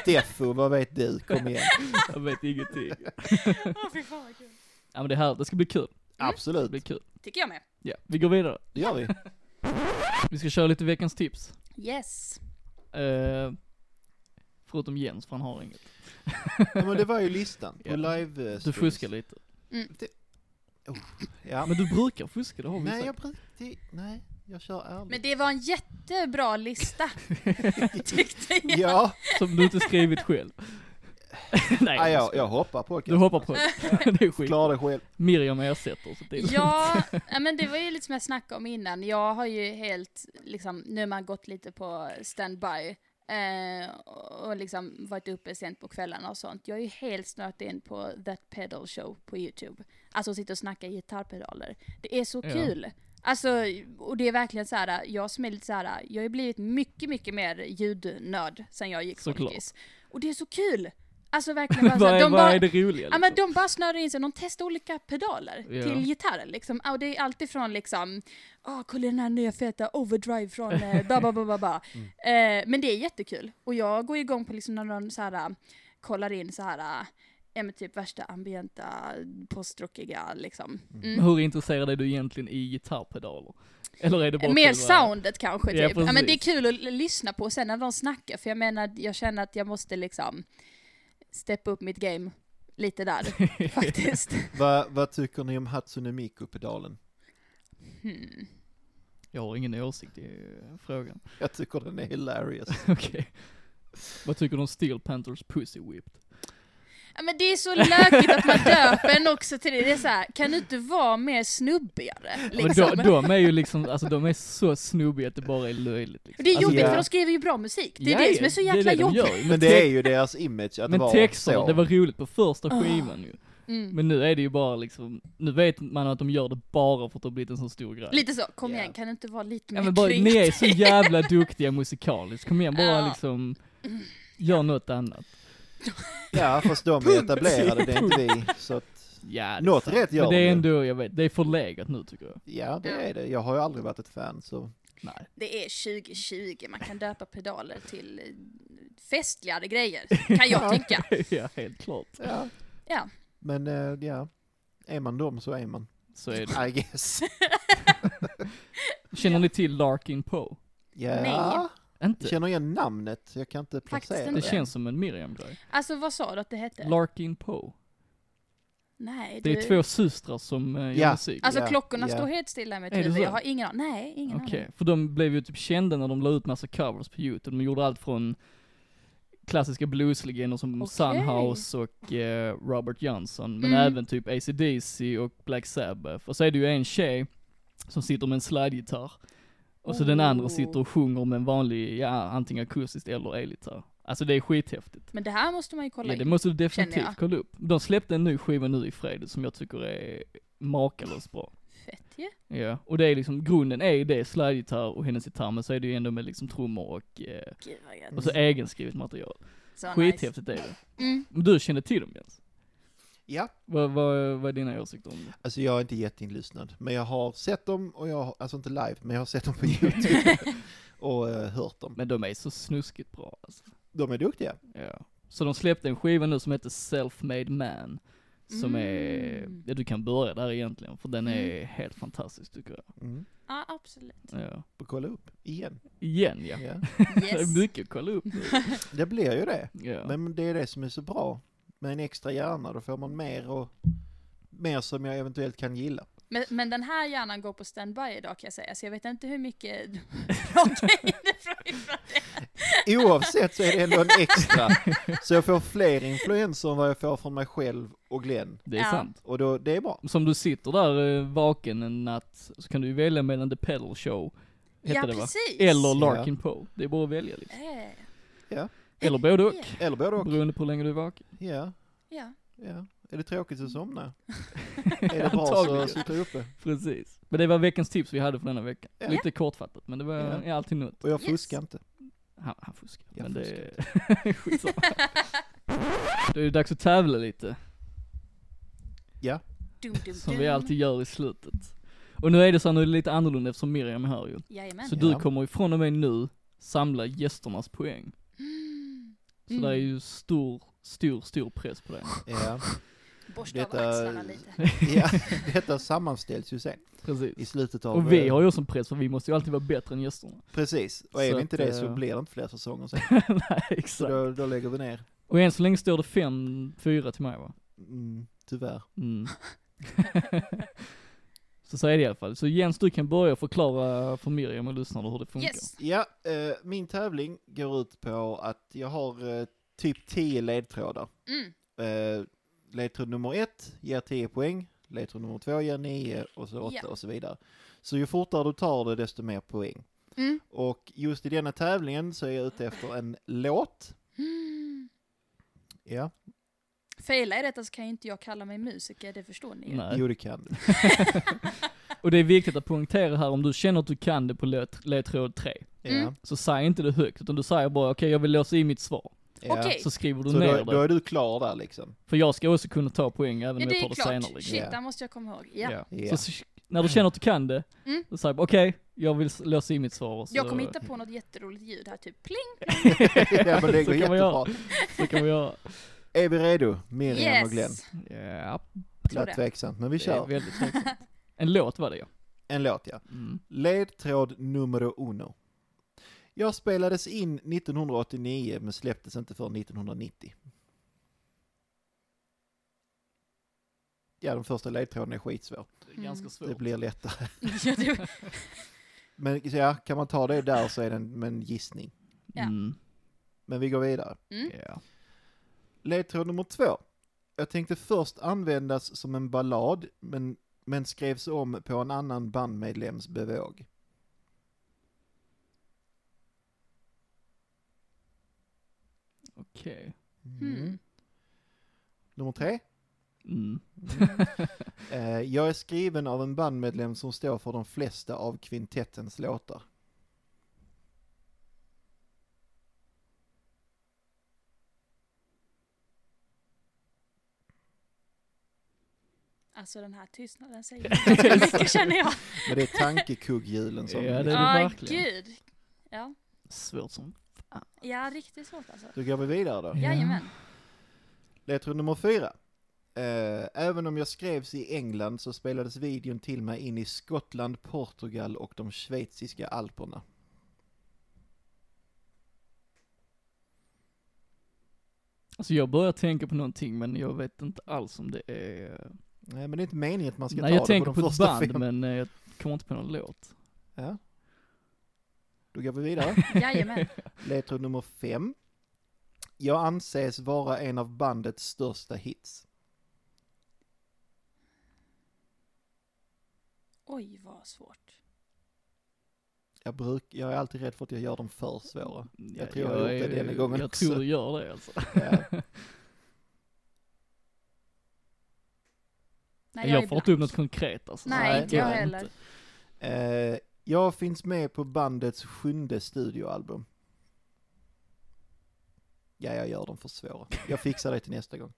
Speaker 2: Steffo, vad vet du? Kom igen.
Speaker 1: Jag vet ingenting.
Speaker 3: Åh, fy fan vad kul.
Speaker 1: Ja men det här, det ska bli kul. Det
Speaker 2: Absolut,
Speaker 1: blir kul.
Speaker 3: Tycker jag med.
Speaker 1: Ja, vi går vidare.
Speaker 2: det gör vi.
Speaker 1: Vi ska köra lite veckans tips.
Speaker 3: Yes.
Speaker 1: Eh, förutom Jens, för han har inget.
Speaker 2: Ja, men det var ju listan.
Speaker 1: Ja.
Speaker 2: Och live eh,
Speaker 1: Du
Speaker 2: streams.
Speaker 1: fuskar lite.
Speaker 2: Ja,
Speaker 1: Men du brukar fuska, det har vi
Speaker 2: nej,
Speaker 1: sagt.
Speaker 2: jag brukar... det- Nej, jag kör ärligt.
Speaker 3: Men det var en jättebra lista. [LAUGHS] Tyckte jag.
Speaker 2: Ja,
Speaker 1: [LAUGHS] Som du inte skrivit
Speaker 2: [LAUGHS]
Speaker 1: själv. nej,
Speaker 2: ja jag,
Speaker 1: ska-
Speaker 2: jag hoppar på
Speaker 1: Du
Speaker 2: det.
Speaker 1: hoppar på
Speaker 2: [LAUGHS]
Speaker 1: det. [LAUGHS] det är skit.
Speaker 2: Klara dig själv.
Speaker 1: Miriam ersätter, så det är [LAUGHS]
Speaker 3: Ja, ja, men det var ju lite som jag snackade om innan. Jag har ju helt, liksom, nu har man gått lite på standby. Eh, och liksom varit uppe sent på kvällarna och sånt. Jag är ju helt snart in på That Pedal Show på YouTube. Alltså sitta och snacka gitarrpedaler. Det är så
Speaker 1: Ja.
Speaker 3: kul. Alltså, och det är verkligen så här, jag som är lite så här, jag har ju blivit mycket, mycket mer ljudnörd sen jag gick
Speaker 1: Såklart.
Speaker 3: folkis. Och det är så kul! Alltså verkligen
Speaker 1: [LAUGHS]
Speaker 3: bara,
Speaker 1: vad,
Speaker 3: så här,
Speaker 1: är,
Speaker 3: de
Speaker 1: vad
Speaker 3: bara,
Speaker 1: är det roliga?
Speaker 3: Ja
Speaker 1: Liksom?
Speaker 3: men de bara snörar in sig, de testar olika pedaler
Speaker 1: Ja.
Speaker 3: till gitarrer liksom. Ja, Och det är alltifrån liksom, ah kolla den här nya feta overdrive från eh,
Speaker 1: [LAUGHS]
Speaker 3: ba ba ba ba ba.
Speaker 1: Mm.
Speaker 3: Eh, men det är jättekul. Och jag går igång på liksom när någon så här, äh, kollar in så här, äh, ja men typ värsta ambienta, postrockiga liksom. Mm.
Speaker 1: Hur intresserad är du egentligen i gitarrpedaler? Eller är det [LAUGHS] bara
Speaker 3: Mer
Speaker 1: själva- [LAUGHS]
Speaker 3: soundet kanske
Speaker 1: Ja,
Speaker 3: typ. Ja, men det är
Speaker 1: precis.
Speaker 3: kul att l- lyssna på sen när de snackar, för jag menar, jag känner att jag måste liksom steppa upp mitt game
Speaker 1: [LAUGHS]
Speaker 3: lite där faktiskt.
Speaker 2: Vad, vad tycker ni om Hatsune Miku-pedalen?
Speaker 3: Hmm.
Speaker 1: Jag har ingen åsikt i eh, frågan.
Speaker 2: Jag tycker den är [LAUGHS] hilarious.
Speaker 1: Okej. Vad tycker du om Steel Panthers Pussy Whipped?
Speaker 3: Ja, men det är så lökigt att man döper en också till det. Det är så här, kan du inte vara mer snubbigare? Liksom.
Speaker 1: Men de, de är ju liksom, alltså de är så snubbiga att det bara är löjligt. Liksom.
Speaker 3: Och det är
Speaker 2: Alltså,
Speaker 3: jobbigt
Speaker 2: ja.
Speaker 3: för de skriver ju bra musik. Det är
Speaker 1: Ja,
Speaker 3: det
Speaker 1: ja,
Speaker 3: som är så jäkla
Speaker 1: det är det de
Speaker 3: jobbigt.
Speaker 1: gör ju.
Speaker 2: Men det är ju deras image att
Speaker 1: Men
Speaker 2: vara
Speaker 1: texterna,
Speaker 2: så.
Speaker 1: det var roligt på första
Speaker 3: Ah.
Speaker 1: skivan ju.
Speaker 3: Mm.
Speaker 1: Men nu är det ju bara liksom, nu vet man att de gör det bara för att det har blivit en så stor grej.
Speaker 3: Lite så, kom
Speaker 2: Ja.
Speaker 3: igen, kan du inte vara lite mer
Speaker 1: ja, men bara, ni är så
Speaker 3: kreativ?
Speaker 1: jävla duktiga musikaliskt, kom igen bara
Speaker 3: Ja.
Speaker 1: liksom, gör något annat.
Speaker 2: Ja, fast de är etablerade, det är inte
Speaker 1: [LAUGHS]
Speaker 2: vi. Så att,
Speaker 1: Ja,
Speaker 2: något
Speaker 1: sant.
Speaker 2: rätt gör
Speaker 1: Men det
Speaker 2: de
Speaker 1: är
Speaker 2: ju.
Speaker 1: ändå, jag vet, det är förlegat nu tycker jag.
Speaker 2: Ja, det är det. Jag har ju aldrig varit ett fan, så.
Speaker 1: Nej.
Speaker 3: Det är 2020, man kan döpa pedaler till eh, festligare grejer,
Speaker 1: [LAUGHS]
Speaker 3: kan jag tycka.
Speaker 1: ja, helt klart.
Speaker 2: Ja.
Speaker 3: Ja.
Speaker 2: Men, eh, ja. Är man dem så är man.
Speaker 1: Så är
Speaker 2: I
Speaker 1: [LAUGHS]
Speaker 2: guess.
Speaker 1: det. Känner ni till Larkin Poe?
Speaker 2: Ja.
Speaker 3: Nej.
Speaker 2: Jag
Speaker 1: Inte?
Speaker 2: känner igen namnet, jag kan inte
Speaker 3: Faktiskt
Speaker 2: placera
Speaker 1: Det
Speaker 3: inte.
Speaker 1: känns som en Miriam-grej.
Speaker 3: Alltså vad sa du att det hette?
Speaker 1: Larkin Poe.
Speaker 3: Nej,
Speaker 1: Det
Speaker 3: du-
Speaker 1: är två systrar som eh, gör
Speaker 2: Ja.
Speaker 1: musik.
Speaker 3: Alltså
Speaker 2: Ja,
Speaker 3: klockorna
Speaker 2: ja.
Speaker 3: står helt stilla i mitt
Speaker 1: Är det
Speaker 3: huvud,
Speaker 1: så?
Speaker 3: jag har ingen aning. Nej, ingen
Speaker 1: Okej,
Speaker 3: aning.
Speaker 1: för de blev ju typ kända när de la ut massa covers på youtube. De gjorde allt från klassiska blueslegender som
Speaker 3: Okej.
Speaker 1: Sunhouse och eh, Robert Johnson, men
Speaker 3: Mm.
Speaker 1: även typ AC/DC och Black Sabbath. Och så är det ju en tjej som sitter med en slidegitarr. Och så den andra
Speaker 3: Oh.
Speaker 1: sitter och sjunger med en vanlig, ja antingen akustiskt eller elgitarr. Alltså det är skithäftigt.
Speaker 3: Men det här måste man ju kolla
Speaker 1: Ja, det
Speaker 3: in.
Speaker 1: måste du
Speaker 3: känner
Speaker 1: definitivt
Speaker 3: jag.
Speaker 1: kolla upp. De släppte en ny skiva nu i fredags som jag tycker är makalöst bra.
Speaker 3: Fett ju.
Speaker 1: Ja, och det är liksom, grunden är ju det, slaggitarr och hennes gitarr, men så är det ju ändå med liksom trummor och, eh,
Speaker 3: Gud vad gött.
Speaker 1: och så egenskrivet material.
Speaker 3: Så nice.
Speaker 1: Skithäftigt är det.
Speaker 3: Mm.
Speaker 1: Men du kände till dem Jens?
Speaker 2: Ja.
Speaker 1: Vad, vad, vad är dina åsikter om det?
Speaker 2: Alltså jag är inte jätteinlyssnad, men jag har sett dem och jag har, alltså inte live, men jag har sett
Speaker 1: [LAUGHS]
Speaker 2: dem på YouTube och eh, hört dem.
Speaker 1: Men de är så snuskigt bra alltså.
Speaker 2: De är duktiga.
Speaker 1: Ja. Så de släppte en skiva nu som heter Self-Made Man. Som
Speaker 3: Mm.
Speaker 1: är, ja, du kan börja där egentligen, för den är
Speaker 3: Mm.
Speaker 1: helt fantastisk tycker jag.
Speaker 2: Mm.
Speaker 3: Ja,
Speaker 1: [LAUGHS]
Speaker 3: absolut.
Speaker 1: Ja.
Speaker 2: Får kolla upp igen.
Speaker 1: Igen ja.
Speaker 2: Ja.
Speaker 1: Det
Speaker 3: Yes.
Speaker 1: är mycket att kolla upp
Speaker 3: [LAUGHS]
Speaker 1: nu.
Speaker 2: Det blir ju det.
Speaker 1: Ja.
Speaker 2: Men det är det som är så bra. Med en extra hjärna, då får man mer och mer som jag eventuellt kan gilla.
Speaker 3: Men, men den här hjärnan går på standby idag kan jag säga, så jag vet inte hur mycket
Speaker 1: [LAUGHS]
Speaker 3: proteiner från ifrån det.
Speaker 2: Oavsett så är det ändå en extra. Så jag får fler influenser än vad jag får från mig själv och Glenn.
Speaker 1: det är
Speaker 3: Ja.
Speaker 1: sant.
Speaker 2: Och då, det är bra.
Speaker 1: Som du sitter där eh, vaken en natt, så kan du ju välja mellan The Pedal Show, hette
Speaker 3: Ja,
Speaker 1: det va?
Speaker 3: precis.
Speaker 1: Eller Larkin Poe. Det är bara att välja liksom.
Speaker 3: Eh,
Speaker 1: Eller både och,
Speaker 2: Eller både och.
Speaker 1: beroende på hur länge du är vaken.
Speaker 2: Ja,
Speaker 3: Ja.
Speaker 2: ja. Är det tråkigt så somna. Är
Speaker 1: [LAUGHS]
Speaker 2: det bra så
Speaker 1: Antagligen.
Speaker 2: sitter jag uppe.
Speaker 1: Precis. Men det var veckans tips vi hade för denna veckan.
Speaker 2: Ja.
Speaker 1: Lite kortfattat, men det var
Speaker 2: Ja.
Speaker 1: ja. alltid något.
Speaker 2: Och jag
Speaker 3: Yes.
Speaker 2: fuskar inte.
Speaker 1: Han, han fuskar.
Speaker 2: Jag
Speaker 1: men
Speaker 2: fuskar
Speaker 1: det... [LAUGHS] Skitsamma. Då är det dags att tävla lite,
Speaker 3: Dum, dum,
Speaker 1: som
Speaker 3: dum.
Speaker 1: vi alltid gör i slutet. Och nu är det så här, nu är det lite annorlunda eftersom Miriam är här ju.
Speaker 3: Jajamän.
Speaker 1: Så du
Speaker 2: Ja.
Speaker 1: kommer ifrån och med nu samla gästernas poäng.
Speaker 3: Mm.
Speaker 1: Så
Speaker 3: Mm.
Speaker 1: det är ju stor, stor, stor press på dig. [LAUGHS]
Speaker 2: Ja.
Speaker 3: Borsta
Speaker 2: Detta-
Speaker 3: av axlarna lite.
Speaker 2: [LAUGHS] ja, detta sammanställs ju sen i
Speaker 1: Precis.
Speaker 2: slutet av... eh,
Speaker 1: Och vi har ju också en press för vi måste ju alltid vara bättre än
Speaker 2: [LAUGHS]
Speaker 1: gästerna.
Speaker 2: Precis, och är
Speaker 1: Så
Speaker 2: vi inte
Speaker 1: att,
Speaker 2: det så
Speaker 1: eh,
Speaker 2: blir det inte fler
Speaker 1: [LAUGHS]
Speaker 2: säsonger sen.
Speaker 1: Nej,
Speaker 2: Så
Speaker 1: exakt.
Speaker 2: då, då lägger vi ner.
Speaker 1: Och än så länge står det 5-4 till mig va?
Speaker 2: Mm, tyvärr. [LAUGHS]
Speaker 1: Mm. så så är det i alla fall. Så Jens, du kan börja förklara för Miriam och lyssnarna hur det funkar.
Speaker 3: Yes.
Speaker 2: Ja, eh, min tävling går ut på att jag har eh, typ 10 ledtrådar.
Speaker 3: Mm.
Speaker 2: Eh, ledtråd nummer ett ger 10 poäng, ledtråd nummer två ger 9 och så 8
Speaker 3: Ja.
Speaker 2: och så vidare. Så ju fortare du tar det desto mer poäng.
Speaker 3: Mm.
Speaker 2: Och just i denna tävlingen så är jag ute efter en låt.
Speaker 3: Mm.
Speaker 2: Ja,
Speaker 3: Failar jag detta så kan ju inte jag kalla mig musiker, det förstår ni ju.
Speaker 1: Nej.
Speaker 2: jo det kan du.
Speaker 1: Och det är viktigt att poängtera här, om du känner att du kan det på led- ledtråd 3,
Speaker 2: Ja,
Speaker 3: Mm.
Speaker 1: så säg inte det högt, utan du säger bara okej jag vill låsa i mitt svar.
Speaker 2: ja.
Speaker 3: Okej.
Speaker 1: Så skriver du
Speaker 2: Så
Speaker 1: ner
Speaker 2: då, då
Speaker 1: det.
Speaker 2: är du klar
Speaker 1: [LAUGHS]
Speaker 2: där liksom.
Speaker 1: För jag ska också kunna ta poäng även om
Speaker 3: Ja,
Speaker 1: jag
Speaker 3: det
Speaker 1: tar
Speaker 3: är
Speaker 1: det
Speaker 3: klart.
Speaker 1: senare. liksom.
Speaker 3: Shit,
Speaker 2: Ja.
Speaker 3: där måste jag komma ihåg. Ja.
Speaker 2: Ja.
Speaker 1: Så s- när du känner att du kan det,
Speaker 3: Mm.
Speaker 1: då säger du bara, okej, jag vill s- låsa i mitt svar. och Så,
Speaker 3: Jag kommer hitta på något jätteroligt ljud här, typ pling.
Speaker 2: [LAUGHS] ja, men det
Speaker 1: Så
Speaker 2: går
Speaker 1: kan man
Speaker 2: jättebra.
Speaker 1: göra. så kan vi göra.
Speaker 2: Är vi redo? Miriam och Glenn.
Speaker 3: Yes!
Speaker 1: Ja,
Speaker 3: Tror
Speaker 2: Lät
Speaker 3: det.
Speaker 2: tveksamt, men vi
Speaker 1: det är
Speaker 2: kör. [LAUGHS]
Speaker 1: väldigt tveksamt. En låt var det ja.
Speaker 2: En låt ja.
Speaker 1: Mm.
Speaker 2: Ledtråd numero uno. Jag spelades in 1989 men släpptes inte förrän 1990. Ja, den första ledtråden är skitsvår.
Speaker 1: Det är ganska svårt.
Speaker 2: Det blir lättare.
Speaker 3: [LAUGHS] Ja, det-
Speaker 2: Men ja, kan man ta det där så är det en, en gissning.
Speaker 3: Ja.
Speaker 1: Mm.
Speaker 2: Men vi går vidare.
Speaker 3: Mm.
Speaker 1: Ja.
Speaker 2: Ledtråd nummer två. Jag tänkte först användas som en ballad, men, men skrevs om på en annan bandmedlems bevåg.
Speaker 1: Okej.
Speaker 3: Mm.
Speaker 2: Nummer tre.
Speaker 1: Mm.
Speaker 2: Eh, jag är skriven av en bandmedlem som står för de flesta av kvintettens låtar.
Speaker 3: Alltså den här
Speaker 1: [LAUGHS]
Speaker 3: tystnaden säger inte så mycket känner jag.
Speaker 2: Men det är tankekugghjulen som...
Speaker 1: Ja, det är det.
Speaker 3: Ja,
Speaker 1: verkligen.
Speaker 3: gud. Ja.
Speaker 1: Svårt som
Speaker 3: ja, riktigt svårt alltså.
Speaker 2: Då går vi vidare då.
Speaker 1: Ja.
Speaker 3: Jajamän.
Speaker 2: Ledtråd nummer fyra. Eh, även om jag skrevs i England så spelades videon till mig in i Skottland, Portugal och de schweiziska alperna.
Speaker 1: Alltså jag börjar tänka på någonting men jag vet inte alls om det är...
Speaker 2: Nej, Eh, men det är inte meningen att man ska
Speaker 1: Nej
Speaker 2: ta
Speaker 1: jag
Speaker 2: det
Speaker 1: tänker
Speaker 2: på
Speaker 1: på
Speaker 2: de
Speaker 1: ett
Speaker 2: första
Speaker 1: band
Speaker 2: fem.
Speaker 1: men eh, jag kommer inte på någon låt.
Speaker 2: Ja. Då går
Speaker 1: [LAUGHS]
Speaker 2: vi vidare.
Speaker 3: Jajamän.
Speaker 2: Ledtråd nummer fem. Jag anses vara en av bandets största hits.
Speaker 3: Oj, vad svårt.
Speaker 2: Jag, bruk, jag är alltid rädd för att jag gör dem för svåra.
Speaker 1: Ja,
Speaker 2: tror jag har gjort
Speaker 1: är-
Speaker 2: det denna gången
Speaker 1: Jag
Speaker 2: också.
Speaker 1: tror du gör
Speaker 2: Eh,
Speaker 1: det alltså.
Speaker 2: Ja.
Speaker 3: Nej,
Speaker 1: jag
Speaker 3: är
Speaker 1: får inte upp
Speaker 3: blank.
Speaker 1: något konkret alltså.
Speaker 3: Nej,
Speaker 2: Nej,
Speaker 3: inte jag
Speaker 2: det är
Speaker 3: heller.
Speaker 2: Eh, jag finns med på bandets sjunde studioalbum. Ja, jag gör dem för svåra. Jag fixar det till
Speaker 1: [LAUGHS]
Speaker 2: nästa gång.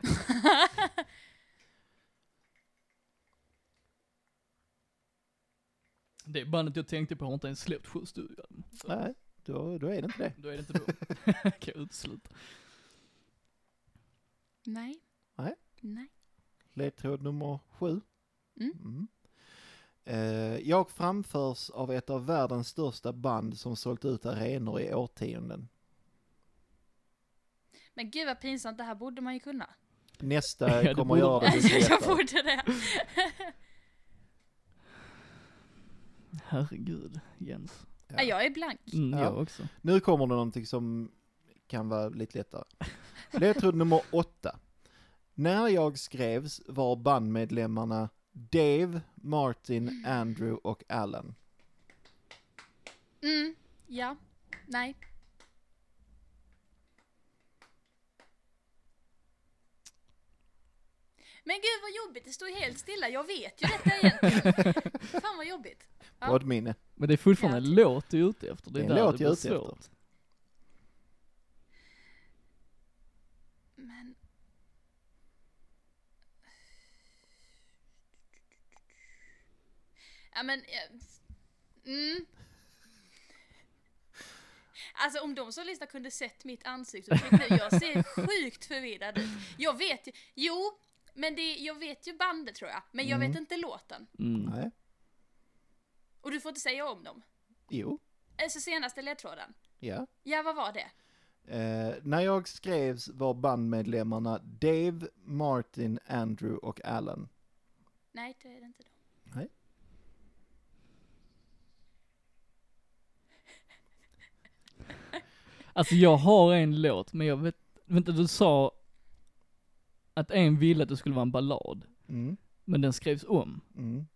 Speaker 1: Det bandet jag tänkte på har inte ens släppt sju studioalbum. Så
Speaker 2: Nej, då, då är det inte det.
Speaker 1: Då är det inte
Speaker 2: [LAUGHS]
Speaker 1: då. kan jag utesluta.
Speaker 3: [LAUGHS] Nej.
Speaker 2: Nej.
Speaker 3: Nej.
Speaker 2: Ledtråd nummer sju.
Speaker 3: Mm.
Speaker 2: Mm. Eh, jag framförs av ett av världens största band som sålt ut arenor i årtionden.
Speaker 3: Men gud vad pinsamt, det här borde man ju kunna.
Speaker 1: [LAUGHS] Ja,
Speaker 2: Nästa
Speaker 1: det
Speaker 2: kommer göra
Speaker 1: borde
Speaker 2: det lite
Speaker 3: [LAUGHS] jag
Speaker 2: lättare.
Speaker 1: [LAUGHS]
Speaker 3: borde det.
Speaker 1: Herregud, Jens.
Speaker 2: Ja.
Speaker 3: Ja. Jag är blank.
Speaker 1: Mm,
Speaker 2: Ja.
Speaker 1: Jag också.
Speaker 2: Nu kommer det någonting som kan vara lite lättare. Ledtråd nummer åtta. När jag skrevs var bandmedlemmarna Dave, Martin, Andrew och Alan.
Speaker 3: Mm, ja. Nej. Men gud vad jobbigt, det står ju helt stilla. Jag vet ju detta egentligen. Fan vad jobbigt. Ja.
Speaker 2: Poddminne.
Speaker 1: Men det är fortfarande en låt du är ute efter. Det
Speaker 2: Det
Speaker 1: är,
Speaker 2: är en
Speaker 1: där
Speaker 2: låt
Speaker 1: det blir
Speaker 2: jag är ute
Speaker 1: svårt.
Speaker 3: Men... Ja men... eh, Mm. Alltså om de som lyssnar kunde sett mitt ansikte och tänkte,
Speaker 1: [LAUGHS]
Speaker 3: jag ser sjukt förvirrad ut. Jag vet ju, jo, men det, jag vet ju bandet tror jag, men jag
Speaker 2: Mm.
Speaker 3: vet inte låten.
Speaker 1: Mm.
Speaker 2: Nej.
Speaker 3: Och du får inte säga om dem.
Speaker 2: Jo.
Speaker 3: Alltså senaste ledtråden.
Speaker 2: Ja.
Speaker 3: Ja, vad var det?
Speaker 2: Eh, när jag skrevs var bandmedlemmarna Dave, Martin, Andrew och Alan.
Speaker 3: Nej, det är det inte. Då.
Speaker 2: Nej.
Speaker 1: Alltså jag har en låt, men jag vet, vänta du sa att en ville att det skulle vara en ballad,
Speaker 2: Mm,
Speaker 1: men den skrevs om.
Speaker 2: mm.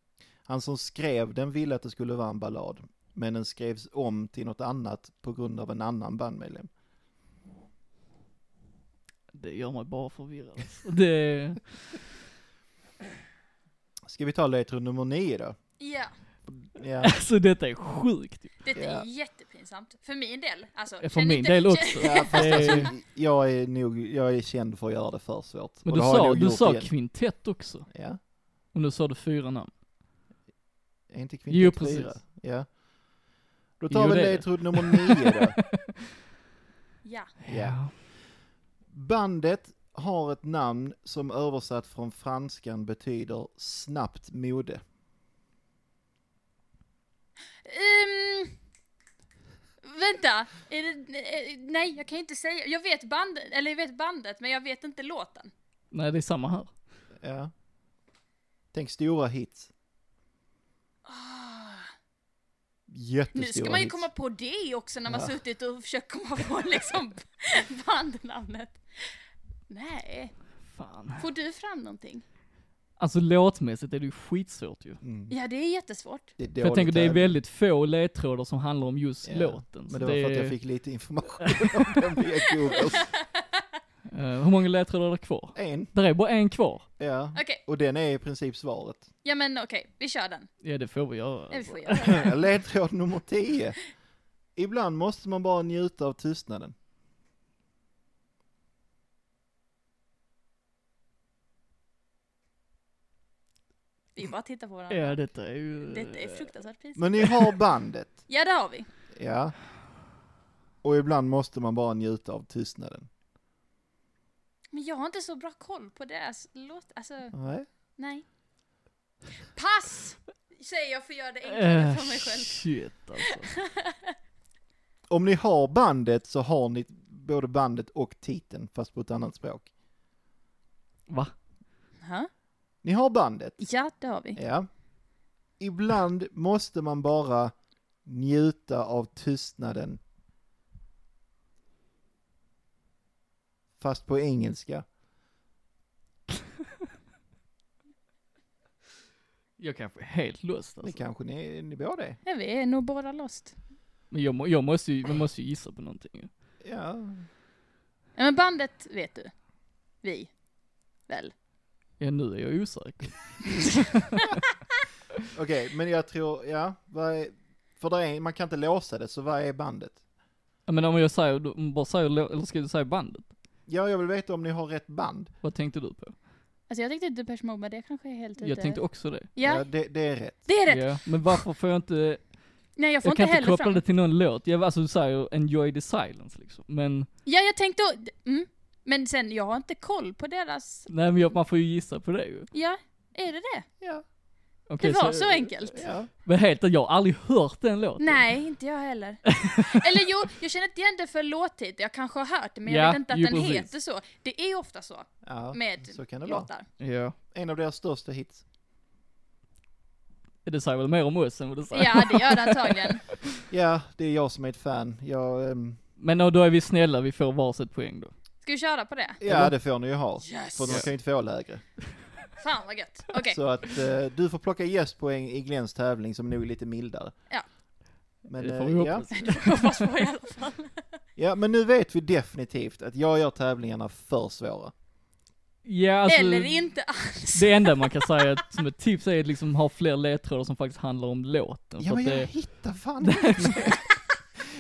Speaker 2: Han som skrev den ville att det skulle vara en ballad, men den skrevs om till något annat på grund av en annan bandmedlem.
Speaker 1: Det gör mig bara förvirrad. alltså. Det,
Speaker 2: Ska vi ta ledtråd nummer nio då?
Speaker 3: Ja,
Speaker 2: Ja.
Speaker 1: alltså detta är sjukt.
Speaker 3: detta
Speaker 2: Ja.
Speaker 3: är jättepinsamt. För min del, alltså.
Speaker 1: För
Speaker 3: känn
Speaker 1: min
Speaker 3: inte-
Speaker 1: del
Speaker 3: känn-
Speaker 1: också.
Speaker 2: Ja, fast
Speaker 1: Det-
Speaker 2: alltså, jag är nog, jag är känd för att göra det för svårt.
Speaker 1: Men
Speaker 2: Och
Speaker 1: du
Speaker 2: det har jag
Speaker 1: sa,
Speaker 2: nog
Speaker 1: du
Speaker 2: gjort
Speaker 1: sa
Speaker 2: igen.
Speaker 1: kvintett också.
Speaker 2: Ja,
Speaker 1: Och nu sa du fyra namn.
Speaker 2: är inte
Speaker 1: Jo,
Speaker 2: kvintett
Speaker 1: precis.
Speaker 2: fyra? Ja. Då tar
Speaker 1: Jo,
Speaker 2: vi
Speaker 1: det är det.
Speaker 2: ledtråd nummer nio då.
Speaker 3: [LAUGHS] Ja.
Speaker 2: Ja. Bandet har ett namn som översatt från franskan betyder snabbt mode.
Speaker 3: Ehm, vänta, är det, eh, nej jag kan ju inte säga, jag vet bandet, eller jag vet bandet men jag vet inte låten.
Speaker 1: Nej det är samma här.
Speaker 2: Ja. Tänk stora hits. Jättestora
Speaker 3: Ah, Nu ska man ju
Speaker 2: hits.
Speaker 3: komma på det också när man
Speaker 2: Ja.
Speaker 3: suttit och försökt komma på [LAUGHS] liksom bandnamnet. Nej,
Speaker 1: Fan.
Speaker 3: får du fram någonting?
Speaker 1: Alltså låtmässigt är det ju skitsvårt ju.
Speaker 2: Mm.
Speaker 3: Ja det är jättesvårt. [LAUGHS]
Speaker 2: Det är
Speaker 1: För jag tänker det är
Speaker 2: dåligt
Speaker 1: väldigt få ledtrådar som handlar om just
Speaker 2: Ja,
Speaker 1: låten.
Speaker 2: här.
Speaker 1: så
Speaker 2: Men det var för att
Speaker 1: är-
Speaker 2: jag fick lite information om den via
Speaker 3: [LAUGHS]
Speaker 2: Google.
Speaker 1: eh, hur många ledtrådar är det kvar?
Speaker 2: En,
Speaker 1: Där är bara en kvar.
Speaker 2: ja.
Speaker 3: Okej,
Speaker 2: Och den är i princip svaret.
Speaker 3: ja men okej, vi kör den.
Speaker 1: Ja det får vi göra.
Speaker 3: Ja, vi
Speaker 1: alltså.
Speaker 3: får göra
Speaker 2: [LAUGHS]
Speaker 3: det.
Speaker 2: Ledtråd nummer 10. Ibland måste man bara njuta av tystnaden.
Speaker 3: Vi bara tittar på varandra.
Speaker 1: Ja detta är ju...
Speaker 3: Detta är fruktansvärt pinsamt.
Speaker 2: Men ni har bandet.
Speaker 3: Ja det har vi.
Speaker 2: Ja. Och ibland måste man bara njuta av tystnaden.
Speaker 3: Men jag har inte så bra koll på deras låt, alltså.
Speaker 2: Nej.
Speaker 3: Nej. Pass! Säger jag för att göra det enklare
Speaker 1: Eh,
Speaker 3: för mig själv. [LAUGHS]
Speaker 1: shit alltså.
Speaker 2: Om ni har bandet så har ni både bandet och titeln fast på ett annat språk.
Speaker 1: Va?
Speaker 2: Ni har bandet.
Speaker 3: Ja, det har vi.
Speaker 2: Ja. Ibland måste man bara njuta av tystnaden. Fast på engelska.
Speaker 1: Jag kanske är helt lost
Speaker 2: Det
Speaker 1: alltså.
Speaker 2: kanske ni, ni båda är.
Speaker 3: Ja, vi är nog båda lost.
Speaker 1: Men jag, må- jag måste ju, man måste ju gissa på någonting ju.
Speaker 2: Ja.
Speaker 3: Ja, men bandet vet du. Vi. Väl.
Speaker 1: Ja, nu är jag osäker.
Speaker 2: Okej, men jag tror, ja, vad är, för det är, man kan inte låsa det, så vad är bandet?
Speaker 1: Ja, Men om jag säger, du bara säger, lå- eller ska du säga bandet?
Speaker 2: Ja, jag vill veta om ni har rätt band.
Speaker 1: Vad tänkte du på?
Speaker 3: Alltså jag tänkte Depeche Mode, men det kanske är helt ute.
Speaker 1: Jag tänkte också det.
Speaker 3: Ja,
Speaker 2: det, det är rätt.
Speaker 3: det är rätt.
Speaker 1: Ja, men varför får jag inte,
Speaker 3: Nej, jag får
Speaker 1: jag
Speaker 3: inte
Speaker 1: kan inte
Speaker 3: heller
Speaker 1: koppla
Speaker 3: fram.
Speaker 1: det till någon låt. Jag, alltså du säger 'Enjoy the silence' liksom, men,
Speaker 3: Ja, jag tänkte... Mm. Men sen, jag har inte koll på deras...
Speaker 1: nej men jag, man får ju gissa på det ju.
Speaker 3: Ja, är det det?
Speaker 2: Ja,
Speaker 1: Okej,
Speaker 3: Det var så enkelt.
Speaker 2: ja.
Speaker 1: Men helt jag har aldrig hört den låten.
Speaker 3: Nej, inte jag
Speaker 2: [LAUGHS]
Speaker 3: heller. Eller jo, jag känner inte igen det för låttitel. Jag kanske har hört det, men jag
Speaker 1: Ja,
Speaker 3: vet inte att
Speaker 1: jo,
Speaker 3: den
Speaker 1: precis.
Speaker 3: heter så. Det är ju ofta så
Speaker 2: ja
Speaker 3: med
Speaker 2: så kan det vara. [LAUGHS]
Speaker 3: låtar.
Speaker 1: Ja.
Speaker 2: En av deras största hits.
Speaker 1: Det säger väl mer om oss än vad det säger.
Speaker 3: Ja, det gör det antagligen.
Speaker 2: Ja, det är jag som är ett fan. Jag, ehm,
Speaker 1: Men och då är vi snälla, vi får varsitt poäng då.
Speaker 3: Ska vi köra på det?
Speaker 2: ja,
Speaker 1: Eller?
Speaker 2: det får ni ju ha.
Speaker 3: Yes!
Speaker 2: För de kan ju inte få lägre.
Speaker 3: Fan vad gött. Okej,
Speaker 2: Så att eh, du får plocka gästpoäng i Glens tävling som nog är lite mildare.
Speaker 3: Ja.
Speaker 2: Men,
Speaker 1: det får
Speaker 2: eh,
Speaker 1: vi
Speaker 2: ja.
Speaker 1: hoppas.
Speaker 3: [LAUGHS] hoppas på i alla fall.
Speaker 2: ja, men nu vet vi definitivt att jag gör tävlingarna för svåra.
Speaker 1: Ja, alltså,
Speaker 3: Eller inte alls.
Speaker 1: Det enda man kan säga att, som ett tips är att liksom ha fler ledtrådar som faktiskt handlar om låten.
Speaker 2: Ja
Speaker 1: för
Speaker 2: men
Speaker 1: att
Speaker 2: jag
Speaker 1: det,
Speaker 2: hittar fan
Speaker 1: [LAUGHS]
Speaker 2: inte.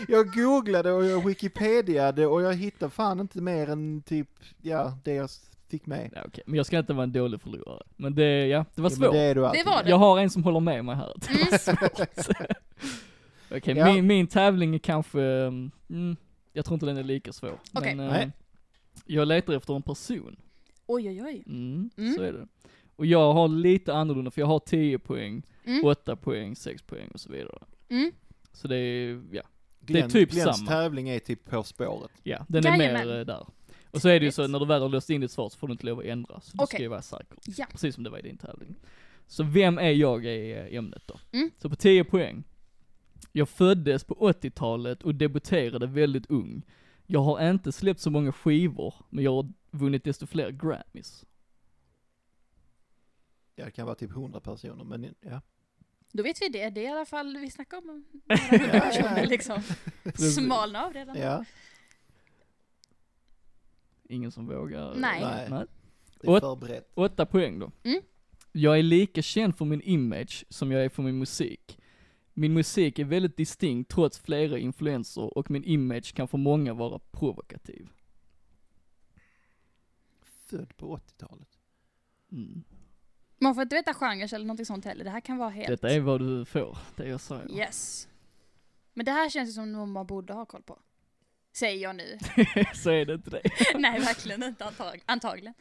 Speaker 2: Jag googlade och jag wikipediade och jag hittade fan inte mer än typ, ja, det jag fick med.
Speaker 1: ja, okej. Men jag ska inte vara en dålig förlorare. Men det, ja, det var
Speaker 2: Ja, men
Speaker 1: svårt.
Speaker 2: det är du
Speaker 3: Det
Speaker 2: alltid.
Speaker 3: var
Speaker 1: Jag
Speaker 3: det.
Speaker 1: har en som håller med mig här. att det var
Speaker 3: Mm.
Speaker 1: svårt. Okej,
Speaker 2: Ja.
Speaker 1: min, min tävling är kanske, mm, jag tror inte den är lika svår.
Speaker 3: Okej.
Speaker 1: Men, eh,
Speaker 2: Nej.
Speaker 1: jag letar efter en person.
Speaker 3: Oj, oj, oj.
Speaker 1: Mm,
Speaker 3: Mm.
Speaker 1: så är det. Och jag har lite annorlunda, för jag har 10 poäng,
Speaker 3: Mm.
Speaker 1: 8 poäng, 6 poäng och så vidare.
Speaker 3: Mm.
Speaker 1: Så det är, ja,
Speaker 2: Glens,
Speaker 1: det är typ
Speaker 2: Glens
Speaker 1: samma.
Speaker 2: tävling är typ På spåret.
Speaker 1: ja den är mer
Speaker 3: Jajamän.
Speaker 1: eh, där. Och så är det ju så,
Speaker 3: Trevligt.
Speaker 1: när du väl har löst in ditt svar så får du inte lov att ändra, så det
Speaker 3: Okej.
Speaker 1: ska ju vara säkert.
Speaker 3: Ja.
Speaker 1: Precis som det var i din tävling. Så vem är jag i eh, ämnet då?
Speaker 3: Mm.
Speaker 1: Så på 10 poäng. Jag föddes på 80-talet och debuterade väldigt ung. Jag har inte släppt så många skivor, men jag har vunnit desto fler Grammys.
Speaker 2: Ja, det kan vara typ 100 personer, men ja.
Speaker 3: Då vet vi det. Det är i alla fall vi snackar om.
Speaker 2: [LAUGHS] Ja,
Speaker 3: Personer
Speaker 2: ja.
Speaker 3: liksom.
Speaker 1: Precis.
Speaker 3: Smalna av redan.
Speaker 2: ja.
Speaker 1: [LAUGHS] Ingen som vågar?
Speaker 3: Nej.
Speaker 2: Nej.
Speaker 1: Nej.
Speaker 2: Det är
Speaker 1: Och-
Speaker 2: förberett.
Speaker 1: Åtta poäng då.
Speaker 3: Mm.
Speaker 1: Jag är lika känd för min image som jag är för min musik. Min musik är väldigt distinkt trots flera influenser och min image kan för många vara provokativ.
Speaker 2: Född på 80-talet.
Speaker 1: Mm.
Speaker 3: Man får inte veta genre eller någonting sånt heller. Det här kan vara helt...
Speaker 1: Detta är vad du får, det jag säger.
Speaker 3: Yes. Men det här känns ju som någon man borde ha koll på. Säger jag nu.
Speaker 1: [LAUGHS]
Speaker 3: [LAUGHS]
Speaker 1: Så är det inte det.
Speaker 3: Nej, verkligen inte antag antagligen.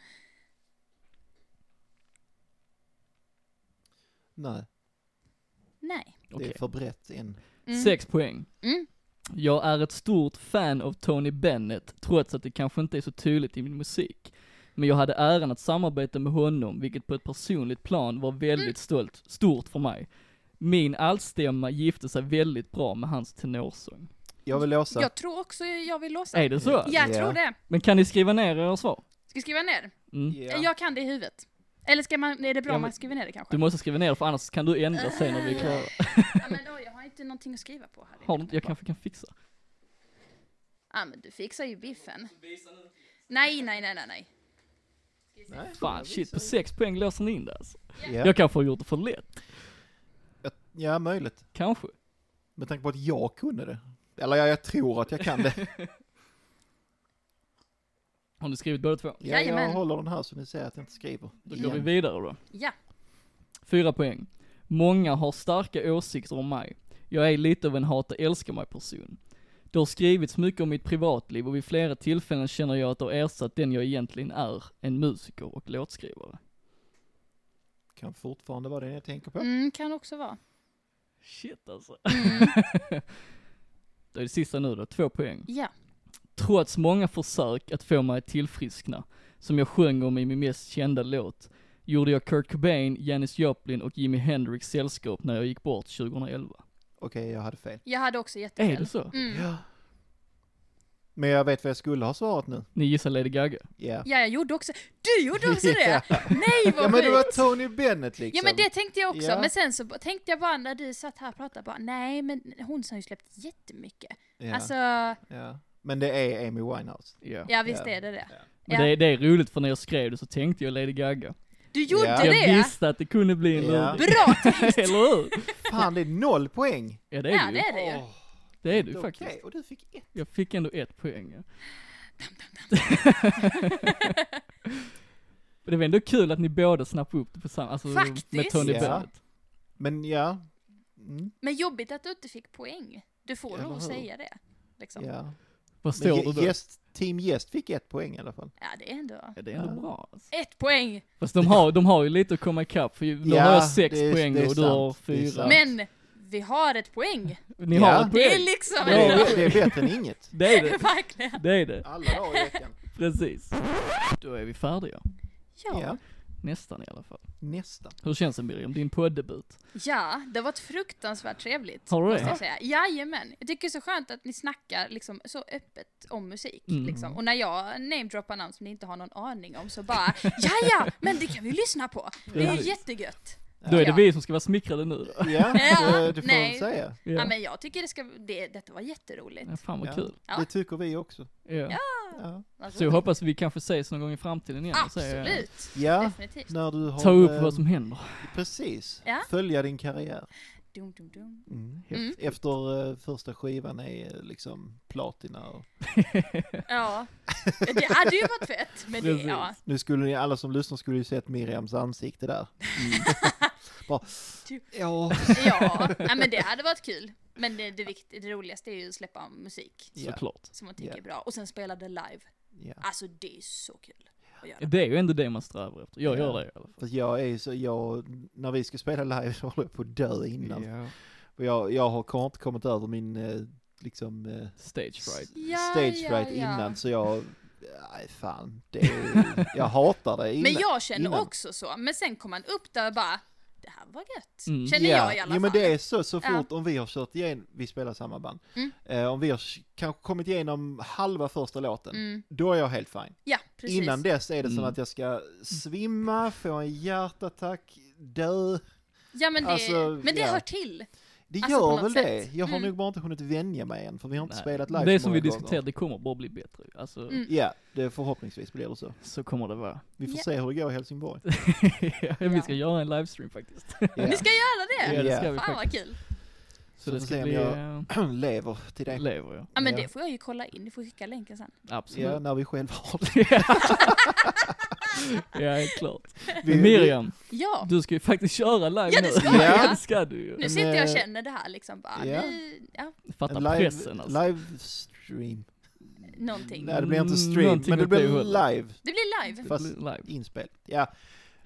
Speaker 2: Nej,
Speaker 3: Nej.
Speaker 2: det
Speaker 1: Okej.
Speaker 2: är förberett in.
Speaker 3: Mm.
Speaker 1: Sex poäng.
Speaker 3: Mm.
Speaker 1: Jag är ett stort fan av Tony Bennett, trots att det kanske inte är så tydligt i min musik. Men jag hade äran att samarbeta med honom, vilket på ett personligt plan var
Speaker 2: Mm.
Speaker 1: väldigt stolt, stort för mig. Min allstämma gifte sig väldigt bra med hans tenorsång.
Speaker 2: Jag vill låsa.
Speaker 3: Jag tror också jag vill låsa.
Speaker 1: Är det så?
Speaker 3: Jag
Speaker 2: Ja.
Speaker 3: tror det.
Speaker 1: Men kan ni skriva ner era svar?
Speaker 3: Ska vi skriva ner? Eh,
Speaker 1: Mm.
Speaker 2: Ja.
Speaker 3: Jag kan det i huvudet. Eller ska man, är det bra
Speaker 1: Ja, men-
Speaker 3: om man skriver ner det kanske?
Speaker 1: Du måste skriva ner för annars kan du ändra sen när vi är klara.
Speaker 3: Ja, men då, jag har inte någonting att skriva på här.
Speaker 1: Har du inte? Jag kanske kan fixa.
Speaker 3: Ja, men du fixar ju biffen. Nej, nej, nej, nej, nej.
Speaker 2: Nej.
Speaker 1: Fan shit, på sex poäng låser ni in det alltså.
Speaker 2: Ja.
Speaker 1: Jag kanske har gjort det för lätt.
Speaker 2: ja, möjligt.
Speaker 1: Kanske.
Speaker 2: Med tanke på att jag kunde det. Eller ja, jag tror att jag kan det.
Speaker 1: Har ni skrivit båda två?
Speaker 2: Ja, jag
Speaker 3: Jajamän.
Speaker 2: håller den här så ni ser att jag inte skriver.
Speaker 1: Då går
Speaker 2: Igen.
Speaker 1: vi vidare då.
Speaker 3: Ja.
Speaker 1: Fyra poäng. Många har starka åsikter om mig. Jag är lite av en hata älska mig person. Det har skrivits mycket om mitt privatliv och vid flera tillfällen känner jag att det har ersatt den jag egentligen är, en musiker och låtskrivare.
Speaker 2: Kan fortfarande vara den jag tänker på.
Speaker 3: Mm, kan också vara.
Speaker 1: Shit alltså. det är det sista nu [LAUGHS] då, två poäng.
Speaker 3: Ja.
Speaker 1: Trots många försök att få mig att tillfriskna, som jag sjöng om i min mest kända låt, gjorde jag Kurt Cobain, Janis Joplin och Jimi Hendrix sällskap när jag gick bort 2011.
Speaker 2: Okej, jag hade fel.
Speaker 3: Jag hade också jättefel.
Speaker 1: Är det så?
Speaker 3: Mm.
Speaker 2: Ja. Men jag vet vad jag skulle ha svarat nu.
Speaker 1: Ni gissar Lady Gaga?
Speaker 2: Ja.
Speaker 3: Ja, jag gjorde också. Du
Speaker 2: [LAUGHS]
Speaker 3: gjorde också
Speaker 2: Ja.
Speaker 3: det! Nej, vad
Speaker 2: Ja men det var
Speaker 3: sjukt.
Speaker 2: Tony Bennett liksom.
Speaker 3: Ja men det tänkte jag också,
Speaker 2: Ja.
Speaker 3: men sen så tänkte jag bara när du satt här och pratade bara, nej men hon har ju släppt jättemycket.
Speaker 2: Ja,
Speaker 3: Alltså,
Speaker 2: ja. Men det är Amy Winehouse.
Speaker 1: Ja.
Speaker 3: ja visst
Speaker 2: Ja.
Speaker 3: är det det.
Speaker 1: Men det, är- det är roligt för när jag skrev det så tänkte jag Lady Gaga.
Speaker 3: Du gjorde
Speaker 2: Ja.
Speaker 3: det?
Speaker 1: Jag visste att det kunde bli en
Speaker 2: Ja.
Speaker 1: luring.
Speaker 3: Bra!
Speaker 1: [LAUGHS] Eller hur?
Speaker 2: Fan, det är noll poäng!
Speaker 1: Ja det är
Speaker 3: Ja,
Speaker 1: du
Speaker 3: det
Speaker 1: ju.
Speaker 3: är [LAUGHS] det ju.
Speaker 2: Åh,
Speaker 1: Det är du
Speaker 2: okej,
Speaker 1: faktiskt.
Speaker 2: och du fick ett.
Speaker 1: Jag fick ändå ett poäng. ja. [LAUGHS] Men det var ändå kul att ni båda snappade upp det på samma, alltså med
Speaker 3: Faktiskt.
Speaker 1: Tony
Speaker 2: Ja.
Speaker 1: Bennett.
Speaker 2: Men ja. Mm,
Speaker 3: Men jobbigt att du inte fick poäng. Du får
Speaker 2: Eller hur?
Speaker 3: nog säga det. Liksom. Ja.
Speaker 2: ja.
Speaker 1: Vad
Speaker 2: Men
Speaker 1: står
Speaker 2: gä-
Speaker 1: det då?
Speaker 2: gäst, team gäst fick ett poäng i alla fall.
Speaker 3: det är ändå...
Speaker 1: Ja, det är ändå
Speaker 2: Ja.
Speaker 1: bra alltså.
Speaker 3: Ett poäng!
Speaker 1: Fast de har, de har ju lite att komma ikapp, för ju- nu
Speaker 2: Ja,
Speaker 1: har jag sex
Speaker 2: det är-
Speaker 1: poäng
Speaker 2: det är
Speaker 1: och du har
Speaker 2: sant, det är
Speaker 1: fyra.
Speaker 2: sant.
Speaker 3: Men vi har ett poäng!
Speaker 1: Ni
Speaker 2: Ja.
Speaker 1: har ett
Speaker 3: Det är
Speaker 1: poäng.
Speaker 3: liksom...
Speaker 2: Det är,
Speaker 1: Ja.
Speaker 2: det är bättre än
Speaker 3: [LAUGHS]
Speaker 2: inget.
Speaker 1: Det är det,
Speaker 3: Verkligen.
Speaker 1: det är det.
Speaker 2: Alla dagar i veckan.
Speaker 1: Precis. Då är vi färdiga.
Speaker 3: Ja.
Speaker 2: Ja,
Speaker 3: ja.
Speaker 1: Nästan i alla fall.
Speaker 2: nästan.
Speaker 1: Hur känns det Miriam, din poddebut?
Speaker 3: det har varit fruktansvärt trevligt.
Speaker 1: Har du
Speaker 3: måste
Speaker 1: det?
Speaker 3: jag säga. Jajamän. Jag tycker det är så skönt att ni snackar liksom, så öppet om musik.
Speaker 1: Mm.
Speaker 3: Liksom. Och när jag namedroppar namn som ni inte har någon aning om så bara [LAUGHS] ja ja, men det kan vi lyssna på. Det är
Speaker 1: Precis.
Speaker 3: jättegött.
Speaker 1: Då är det
Speaker 3: Ja.
Speaker 1: vi som ska vara smickrade nu då.
Speaker 2: Ja,
Speaker 3: Ja,
Speaker 2: det, det får man
Speaker 3: nej.
Speaker 2: säga.
Speaker 3: Ja.
Speaker 1: Ja.
Speaker 3: men jag tycker det ska, det, detta var jätteroligt.
Speaker 1: Ja, fan
Speaker 2: Ja.
Speaker 1: vad kul.
Speaker 3: Ja.
Speaker 2: Det tycker vi också.
Speaker 1: Ja.
Speaker 2: Ja,
Speaker 3: Vad
Speaker 1: Så jag
Speaker 3: roligt.
Speaker 1: hoppas vi kanske ses någon gång i framtiden igen. så är jag-
Speaker 3: Alltså, Absolut,
Speaker 2: ja
Speaker 3: definitivt.
Speaker 2: när du har...
Speaker 1: Ta upp
Speaker 2: eh,
Speaker 1: vad som händer.
Speaker 2: Precis.
Speaker 3: Ja.
Speaker 2: Följa din karriär.
Speaker 3: Dum, dum, dum.
Speaker 2: Mm.
Speaker 3: Mm.
Speaker 2: Efter eh, första skivan är eh, liksom platina och...
Speaker 3: Ja, det hade ju varit fett. Men det,
Speaker 1: Precis.
Speaker 3: ja.
Speaker 2: Nu skulle ni, alla som lyssnar skulle ju sett Miriams ansikte där.
Speaker 1: Mm.
Speaker 2: [LAUGHS] Bara, ja,
Speaker 3: Ja, ja, men det hade varit kul. Men det, det, vikt, det roligaste är ju att släppa musik
Speaker 2: Ja.
Speaker 1: Såklart.
Speaker 3: som man tycker
Speaker 2: Ja.
Speaker 3: är bra. Och sen spela det live.
Speaker 2: ja.
Speaker 3: Alltså det är så kul att göra.
Speaker 1: Det är ju ändå det man strävar efter. Jag
Speaker 2: Ja.
Speaker 1: gör det i alla fall.
Speaker 2: För jag är ju så, jag, när vi ska spela live så håller jag på att dö innan.
Speaker 1: Ja.
Speaker 2: För jag, jag har kom- inte kommit över min, eh, liksom, eh,
Speaker 1: Stage fright.
Speaker 3: Ja,
Speaker 2: stage
Speaker 3: ja,
Speaker 2: fright
Speaker 3: ja.
Speaker 2: innan så jag, nej fan, det är, jag hatar det innan.
Speaker 3: Men jag känner
Speaker 2: innan.
Speaker 3: också så. Men sen kom man upp där och bara, det här var gött.
Speaker 1: Mm.
Speaker 3: Känner
Speaker 2: Ja,
Speaker 3: jag i alla fall.
Speaker 2: Jo men det är så, så
Speaker 3: Ja.
Speaker 2: fort om vi har kört igen, vi spelar samma band,
Speaker 3: Mm.
Speaker 2: eh, om vi har sh- kanske kommit igenom halva första låten,
Speaker 3: Mm.
Speaker 2: då är jag helt fine.
Speaker 3: Ja, precis.
Speaker 2: Innan dess är det som
Speaker 1: Mm.
Speaker 2: att jag ska svimma, få en hjärtattack, dö.
Speaker 3: ja, men det,
Speaker 2: alltså,
Speaker 3: men det
Speaker 2: ja.
Speaker 3: hör till.
Speaker 2: Det
Speaker 3: Alltså, på
Speaker 2: gör
Speaker 3: något
Speaker 2: väl det?
Speaker 3: sätt.
Speaker 2: Jag har
Speaker 3: Mm.
Speaker 2: nog bara inte hunnit vänja mig än, för vi har inte
Speaker 1: Nej.
Speaker 2: spelat live
Speaker 1: Det
Speaker 2: så
Speaker 1: som vi
Speaker 2: många
Speaker 1: diskuterade,
Speaker 2: gånger.
Speaker 1: det kommer bara bli bättre. Alltså,
Speaker 3: Mm.
Speaker 2: Ja, det förhoppningsvis blir det så.
Speaker 1: så kommer det vara. [LAUGHS]
Speaker 2: Vi får
Speaker 3: Ja.
Speaker 2: se hur det går i Helsingborg.
Speaker 1: ja, vi ska göra en livestream faktiskt.
Speaker 2: Ja.
Speaker 3: Ni ska göra det!
Speaker 1: Ja, det
Speaker 2: Ja.
Speaker 1: ska vi
Speaker 3: Fan
Speaker 1: faktiskt.
Speaker 3: vad kul.
Speaker 1: Så
Speaker 2: Så
Speaker 1: det
Speaker 2: får
Speaker 1: ska
Speaker 2: se om
Speaker 1: bli,
Speaker 2: jag-
Speaker 1: eh,
Speaker 2: [CLEARS THROAT] Lever till det.
Speaker 1: lever jag.
Speaker 3: Ja men
Speaker 2: Ja.
Speaker 3: det får jag ju kolla in, du får skicka länken sen.
Speaker 2: Ja,
Speaker 1: Absolut.
Speaker 2: när vi själva
Speaker 1: [LAUGHS]
Speaker 2: har det.
Speaker 1: Ja, helt klart.
Speaker 2: Vi-
Speaker 1: Men Miriam,
Speaker 3: Ja,
Speaker 1: du ska ju faktiskt köra live
Speaker 3: Ja, det
Speaker 1: nu.
Speaker 3: ska
Speaker 1: [LAUGHS]
Speaker 2: jag.
Speaker 1: det ska du ju.
Speaker 3: nu sitter jag och
Speaker 2: eh,
Speaker 3: känner det här liksom bara,
Speaker 2: ja.
Speaker 3: ni, ja,
Speaker 1: Fatta
Speaker 2: En live,
Speaker 1: pressen alltså.
Speaker 2: livestream.
Speaker 3: någonting.
Speaker 2: Nej, det blir inte stream,
Speaker 1: Mm, Någonting
Speaker 2: men det
Speaker 1: åt det
Speaker 2: blir
Speaker 1: hållet.
Speaker 2: live
Speaker 3: Det blir live.
Speaker 1: Det blir
Speaker 2: fast-
Speaker 1: live.
Speaker 2: inspel. Ja.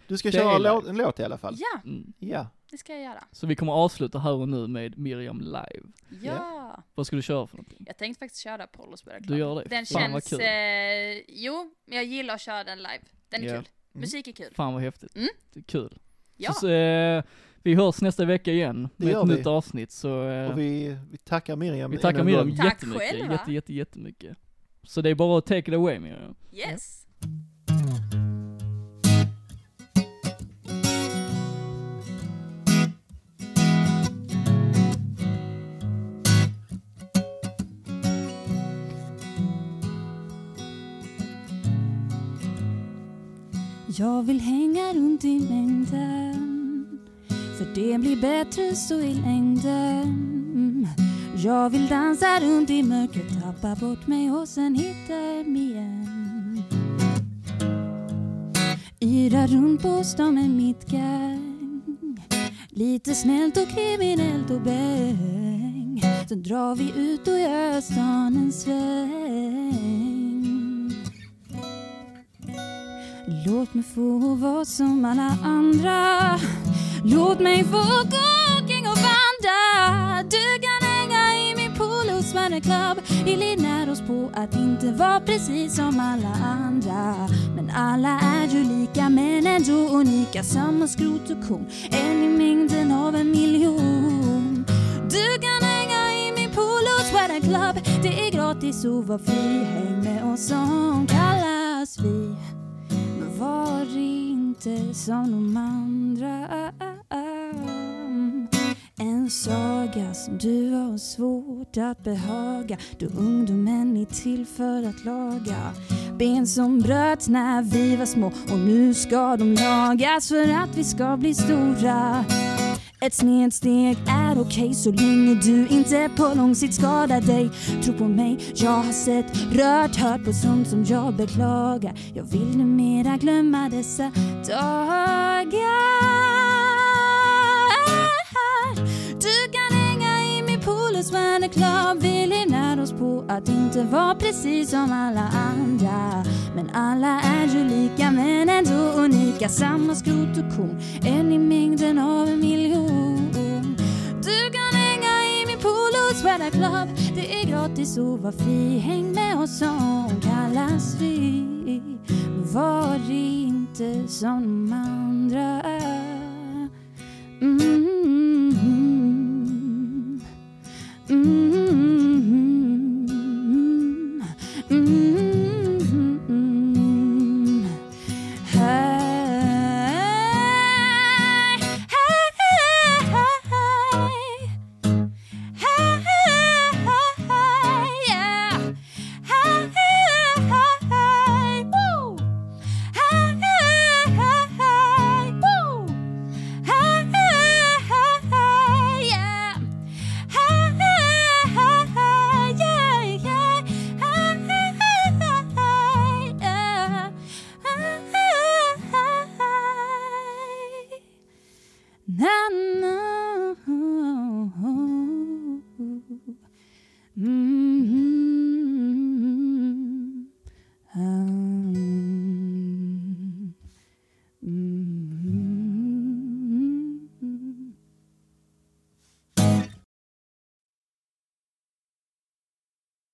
Speaker 2: Du ska
Speaker 1: Det
Speaker 2: köra
Speaker 1: är
Speaker 2: en låt,
Speaker 1: live.
Speaker 2: en låt i alla fall.
Speaker 3: Ja,
Speaker 1: Mm.
Speaker 2: Ja.
Speaker 3: det ska jag göra.
Speaker 1: Så vi kommer avsluta här och nu med Miriam live.
Speaker 3: Ja.
Speaker 1: Vad ska du köra för någonting?
Speaker 3: Jag tänkte faktiskt köra Polos Burger
Speaker 1: Du gör det?
Speaker 3: Den
Speaker 1: Fan vad
Speaker 3: känns,
Speaker 1: kul.
Speaker 3: eh, jo, men jag gillar att köra den live. Den är
Speaker 1: Ja.
Speaker 3: kul.
Speaker 2: Mm.
Speaker 3: Musik är kul.
Speaker 1: Fan vad häftigt.
Speaker 3: Mm.
Speaker 1: Det är kul.
Speaker 3: Ja.
Speaker 1: Så, eh, vi hörs nästa vecka igen
Speaker 2: Det
Speaker 1: med
Speaker 2: gör
Speaker 1: ett
Speaker 2: vi.
Speaker 1: nytt avsnitt så eh,
Speaker 2: Och
Speaker 1: vi,
Speaker 2: vi, vi tackar Miriam. än
Speaker 1: tackar
Speaker 2: en
Speaker 1: Miriam
Speaker 2: gång.
Speaker 3: Tack
Speaker 1: jättemycket.
Speaker 3: själva.
Speaker 1: Jätte, jätte, jättemycket. Så det är bara att take it away Miriam.
Speaker 3: Yes.
Speaker 4: Jag vill hänga runt i mängden För det blir bättre så i längden Jag vill dansa runt i mörkret, tappa bort mig och sen hitta hem igen Yra runt på stan med mitt gang Lite snällt och kriminellt och bäng Sen drar vi ut och gör stan en sväng Låt mig få vara som alla andra Låt mig få gå omkring och vandra Du kan hänga i min pool hos Manor Club Vi lär oss på att inte vara precis som alla andra Men alla är ju lika men ändå unika Samma skrot och korn, en i mängden av en miljon Du kan hänga i min pool hos Manor Club Det är gratis och var fri Häng med oss som kallas vi men var inte som de andra En saga som du har svårt att behaga Då ungdomen är till för att laga ben som bröts när vi var små och nu ska de lagas för att vi ska bli stora. Ett snedsteg är okej så länge du inte på lång sikt skadar dig. Tro på mig, jag har sett, rört, hört på sånt som jag beklagar. Jag vill numera glömma dessa dagar. Du kan hänga i min pool och svärna klar. Vi lär oss på att inte vara precis som alla andra. Men alla är ju lika men ändå unika. Samma skrot och korn, en i mängden av en miljon. Du kan hänga i min polo sweater club. Det är gratis och var fri. Häng med oss som kallas vi. Men Var inte som de andra. Mm. Mm. Mm-hmm. Mm-hmm. Mm-hmm.